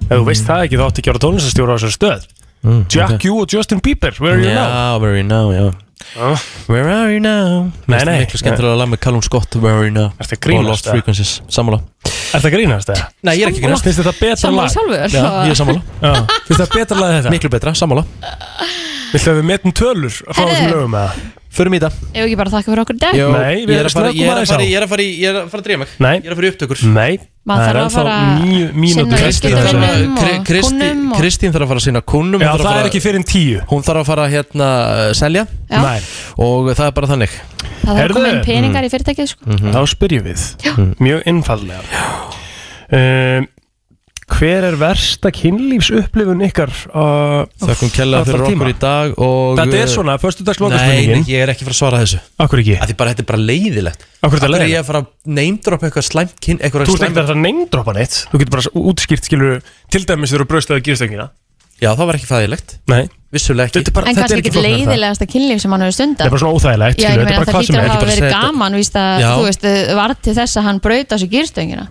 Speaker 3: Ef þú veist það ekki þá áttu ekki að gera tónlistastjóra á þessar stöð Jack U og Justin Bieber, where are you now?
Speaker 1: Mm, Já, Where Are You Now, já Where Are You Now
Speaker 3: Nei, nei.
Speaker 1: Miklu skemmtilega lag með Callum Scott Where Are You Now
Speaker 3: Ertu að grínast,
Speaker 1: Og Lost
Speaker 3: eða?
Speaker 1: Frequencies, sammála
Speaker 3: Er það grínast eða?
Speaker 1: Nei, ég er ekki að grínast.
Speaker 3: Finnst þetta betra
Speaker 1: Sammála
Speaker 3: lag?
Speaker 1: sjálfur. Já, ég er sammála.
Speaker 3: Já. Finnst þetta betra lag þetta?
Speaker 1: Miklu betra, sammála
Speaker 3: Viltu að við metum tölur frá
Speaker 2: Herðu.
Speaker 3: þessum lögum eða?
Speaker 1: Förum í það
Speaker 2: Ef ekki bara þakka fyrir okkur í dag.
Speaker 1: Jó,
Speaker 3: Nei, við
Speaker 1: ég er að fara-
Speaker 3: slökum
Speaker 1: ég er að
Speaker 3: aðeins á.
Speaker 1: fara í- ég er að fara í- ég er að fara að dreyja mig
Speaker 3: Nei
Speaker 1: Ég er að fara í upptökur
Speaker 3: Nei
Speaker 2: Maður þarf að fara sinna fjölskylduvinum og kúnum og
Speaker 27: Kristín þarf að fara að sinna kunnum
Speaker 3: Já, það er ekki
Speaker 27: fyrir en tíu Hún þarf að fara að hérna uh, selja
Speaker 2: Já. Nei.
Speaker 27: Og það er bara þannig Mhm.
Speaker 2: það þarf að koma inn
Speaker 3: Mm.
Speaker 2: peningar í fyrirtækið sko.
Speaker 3: Þá spyrjum við Mm.
Speaker 2: Já.
Speaker 3: Mjög innfallega um, Hver er versta kynlífsupplifun ykkar uh,
Speaker 1: Þökkum kella fyrir
Speaker 3: allra
Speaker 1: okkur
Speaker 3: tíma?
Speaker 1: í dag og eh,
Speaker 3: Þetta er svona, föstudagslokaspurningin.
Speaker 1: Nei, nei, ég er ekki fara að svara þessu
Speaker 3: Akkur ekki?
Speaker 1: Þetta er bara, þetta er bara leiðilegt
Speaker 3: Af hverju þetta er
Speaker 1: er
Speaker 3: leiðilegt?
Speaker 1: ég að fara að neymdropa eitthvað slæmt kyn eitthvað
Speaker 3: Þú ert ekki að neymdropa neitt Þú getur bara útskýrt skilur Til dæmis þegar þú bröstaði gírstöngina
Speaker 1: Já, það var ekki fæðilegt
Speaker 3: Nei
Speaker 1: Vissulega ekki
Speaker 3: Þetta er bara,
Speaker 2: En
Speaker 3: þetta
Speaker 2: kannski
Speaker 3: er ekki
Speaker 2: ekki
Speaker 3: flóknara en það.
Speaker 2: leiðilegasta kynlíf sem hann hefur
Speaker 3: Þetta
Speaker 2: stundan
Speaker 3: er bara svona óþægilegt
Speaker 2: Já, ég
Speaker 3: skilur,
Speaker 2: meina
Speaker 3: þetta er bara
Speaker 2: það
Speaker 3: hvað sem
Speaker 2: lítur að hafa
Speaker 3: er Ekki bara
Speaker 2: verið
Speaker 3: segja þetta-
Speaker 2: gaman víst að,
Speaker 3: Já.
Speaker 2: þú veist, uh, var til þess að hann braut á sig gýrstöngina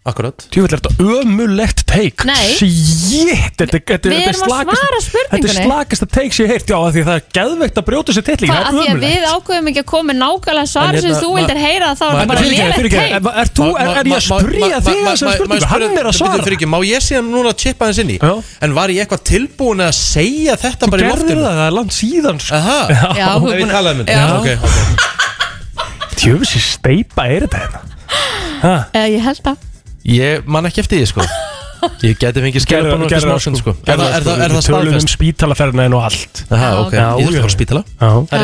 Speaker 1: Akkurat
Speaker 3: Tjúvill er þetta ömulegt teik
Speaker 2: Nei.
Speaker 3: Shit, þetta, þetta, þetta,
Speaker 2: Við
Speaker 3: er
Speaker 2: erum að
Speaker 3: slakasta-
Speaker 2: svara
Speaker 3: Þetta er
Speaker 2: spurningunni.
Speaker 3: slakasta teik sem ég heirt Já, af því að það er geðveikt að brjóta sér titling
Speaker 2: Hvað, af
Speaker 3: Það
Speaker 2: því
Speaker 3: er
Speaker 2: að
Speaker 3: ömulegt
Speaker 2: við ákveðum ekki að koma með nákvæmlega svar
Speaker 3: hérna,
Speaker 2: sem þú vildir heyra þá er það bara lélegt teik
Speaker 3: er- ert þú- er- er ég að spyrja þig þessari spurningu? Hann er að svara.
Speaker 1: fyrir ekki, Má ég síðan núna chippa hans inn í En var ég eitthvað tilbúin að segja þetta bara í
Speaker 3: gerðir
Speaker 1: loftinu
Speaker 3: það, það er langt síðan sko.
Speaker 1: Aha,
Speaker 3: Já, þú ert
Speaker 1: er ég
Speaker 3: búin að-
Speaker 1: talaði mynd
Speaker 3: Já.
Speaker 1: um ok, ok
Speaker 3: Tjúvill sér steipa er þetta hérna
Speaker 2: Eh, Ég held það
Speaker 27: Ég man ekki eftir því sko Ég geti fengið skilja bara
Speaker 3: Gerðu
Speaker 27: eftir smásinn sko Er það- er það- er það
Speaker 3: Tölum um
Speaker 27: staðfest?
Speaker 3: spítalaferðin og allt
Speaker 27: Aha, ok. Ég þurfti að fara á spítala.
Speaker 3: Það
Speaker 2: Já, já, það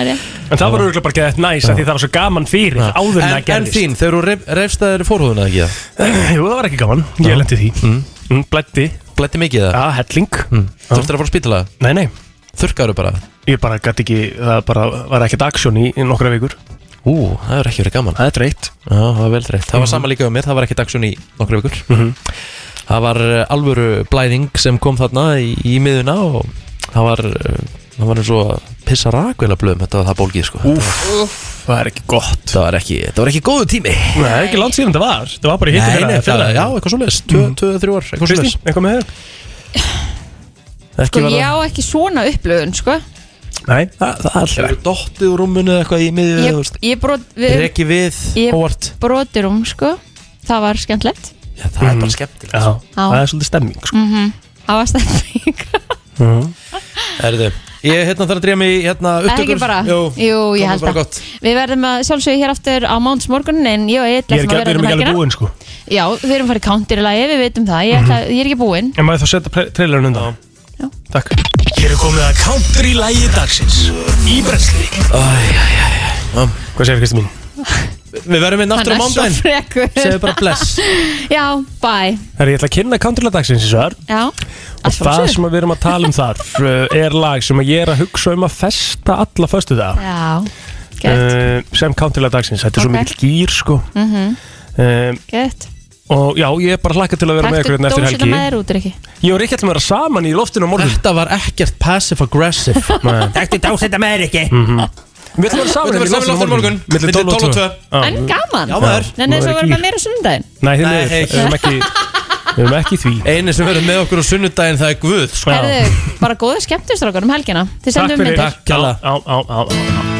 Speaker 2: er rétt.
Speaker 3: En það var auðvitað bara gett næs að því það var svo gaman fyrir áður en
Speaker 1: En,
Speaker 3: það
Speaker 1: en
Speaker 3: gerðist Eh,
Speaker 1: þín, þegar þú reyfst að þeir fórhúðuna ekki það?
Speaker 3: Jú, það var ekki gaman, ég lendi því mm. Blætti
Speaker 1: Blætti mikið það?
Speaker 3: Já, helling mm.
Speaker 1: Þurftir að fara á spítala?
Speaker 3: Nei, nei
Speaker 1: Þurrkaður bara?
Speaker 3: Ég bara gæti ekki, það bara var ekkert aksjón í, í nokkra vikur
Speaker 1: Ú, það er ekki verið gaman
Speaker 3: Það er dreitt
Speaker 1: Já, það var vel dreitt
Speaker 3: Mm.
Speaker 1: Það var sama líka um mér, það var ekki dagsjón í nokkra vikur
Speaker 3: Mhm.
Speaker 1: Það var eh, alvöru blæðing sem kom þarna í, í miðuna og það var, eh, það var eins og að pissa rakvela blöðum Þetta var það bólgið sko Úf,
Speaker 3: það er ekki gott
Speaker 1: Það var ekki, það var ekki góðu tími
Speaker 3: Nei, ekki langt síðan það var Það var bara hittir
Speaker 1: Nei, nei, það, já, eitthvað svo leis, 2-3 ár, eitthvað svo leis
Speaker 3: Kristín, eitthvað með þér?
Speaker 2: Sko, ég á ekki svona upplöfun, sko
Speaker 3: Nei, það, það er alltaf
Speaker 1: Hefur dottið úr rúmunu eða eitthvað í miðju
Speaker 2: Ég,
Speaker 1: þú veist?
Speaker 2: ég brot við,
Speaker 1: Reki við,
Speaker 2: Ég
Speaker 1: óvart
Speaker 2: brotir um, sko Það var skemmtlegt
Speaker 1: Já, það er bara skemmtilegt
Speaker 3: Mm.
Speaker 1: sko.
Speaker 3: Já,
Speaker 2: Já.
Speaker 3: það er svolítið stemming sko.
Speaker 2: mm Það var stefni
Speaker 1: Erðu, Mhm. ég hérna þarf að dreyja mig í hérna
Speaker 2: Það er ekki
Speaker 1: upptökur
Speaker 2: bara,
Speaker 1: Jú,
Speaker 2: ég
Speaker 1: komum
Speaker 2: held
Speaker 1: bara
Speaker 2: það
Speaker 1: gott.
Speaker 2: Við verðum að sjálfsögja hér aftur á mánds morgun En ég og ég
Speaker 3: Ég er
Speaker 2: ætlum
Speaker 3: ekki,
Speaker 2: að
Speaker 3: við
Speaker 2: vera
Speaker 3: erum
Speaker 2: hérna
Speaker 3: ekki
Speaker 2: helgina
Speaker 3: alveg búin sko
Speaker 2: Já, við erum farið counter í lagi, við veitum það Ég,
Speaker 3: Mhm.
Speaker 2: ætla, ég er ekki búinn
Speaker 3: En maður þá setja pre- trailerinn undan Takk
Speaker 25: Hér er komið að counter í lægi dagsins Í brensli
Speaker 3: Hvað segir Kristi mín?
Speaker 1: Við verðum inn aftur á mándaginn
Speaker 2: frekur
Speaker 1: Segðu bara bless.
Speaker 2: <laughs> Já, bye
Speaker 3: Herri, ég ætla að kynna countrylag dagsins í svar
Speaker 2: Já,
Speaker 3: Og það sem við erum að tala um
Speaker 2: <laughs>
Speaker 3: þar uh, er lag sem að ég er að hugsa um að festa alla föstu það
Speaker 2: Já, gett
Speaker 3: uh, sem countrylag dagsins, þetta er
Speaker 2: Ok.
Speaker 3: svo mikill gýr sko
Speaker 2: Mhm,
Speaker 3: um,
Speaker 2: Gett
Speaker 3: og já, ég er bara hlakka til að vera með ykkur hérna eftir
Speaker 2: dósina
Speaker 3: helgi
Speaker 2: með þér út, Rikki
Speaker 3: Ég og Rikki ætlum að vera saman í loftinu á morgun
Speaker 1: Þetta var ekkert passive-aggressive Þetta er dásetta með þér ekki
Speaker 3: Mhm. Við ætlum að vera saman hérna
Speaker 1: Við ætlum að vera saman í loftinu á morgun.
Speaker 3: Milli
Speaker 1: Milli
Speaker 3: 12 og 2 Já.
Speaker 2: En gaman
Speaker 3: Já, Ah. maður.
Speaker 2: Nei, nei,
Speaker 3: Nú
Speaker 2: svo
Speaker 3: er
Speaker 2: verður
Speaker 3: gír.
Speaker 2: með mér á sunnudaginn
Speaker 3: Nei, því miður,
Speaker 1: Nei.
Speaker 3: við erum
Speaker 2: <laughs>
Speaker 3: ekki Við erum ekki í því
Speaker 1: Einu sem verður með okkur á sunnudaginn það er Guð sko.
Speaker 2: Herðu, bara góða skemmtistrákar um helgina Þið
Speaker 3: Takk
Speaker 2: sendum
Speaker 3: fyrir
Speaker 2: myndir
Speaker 3: Takk, Kjalla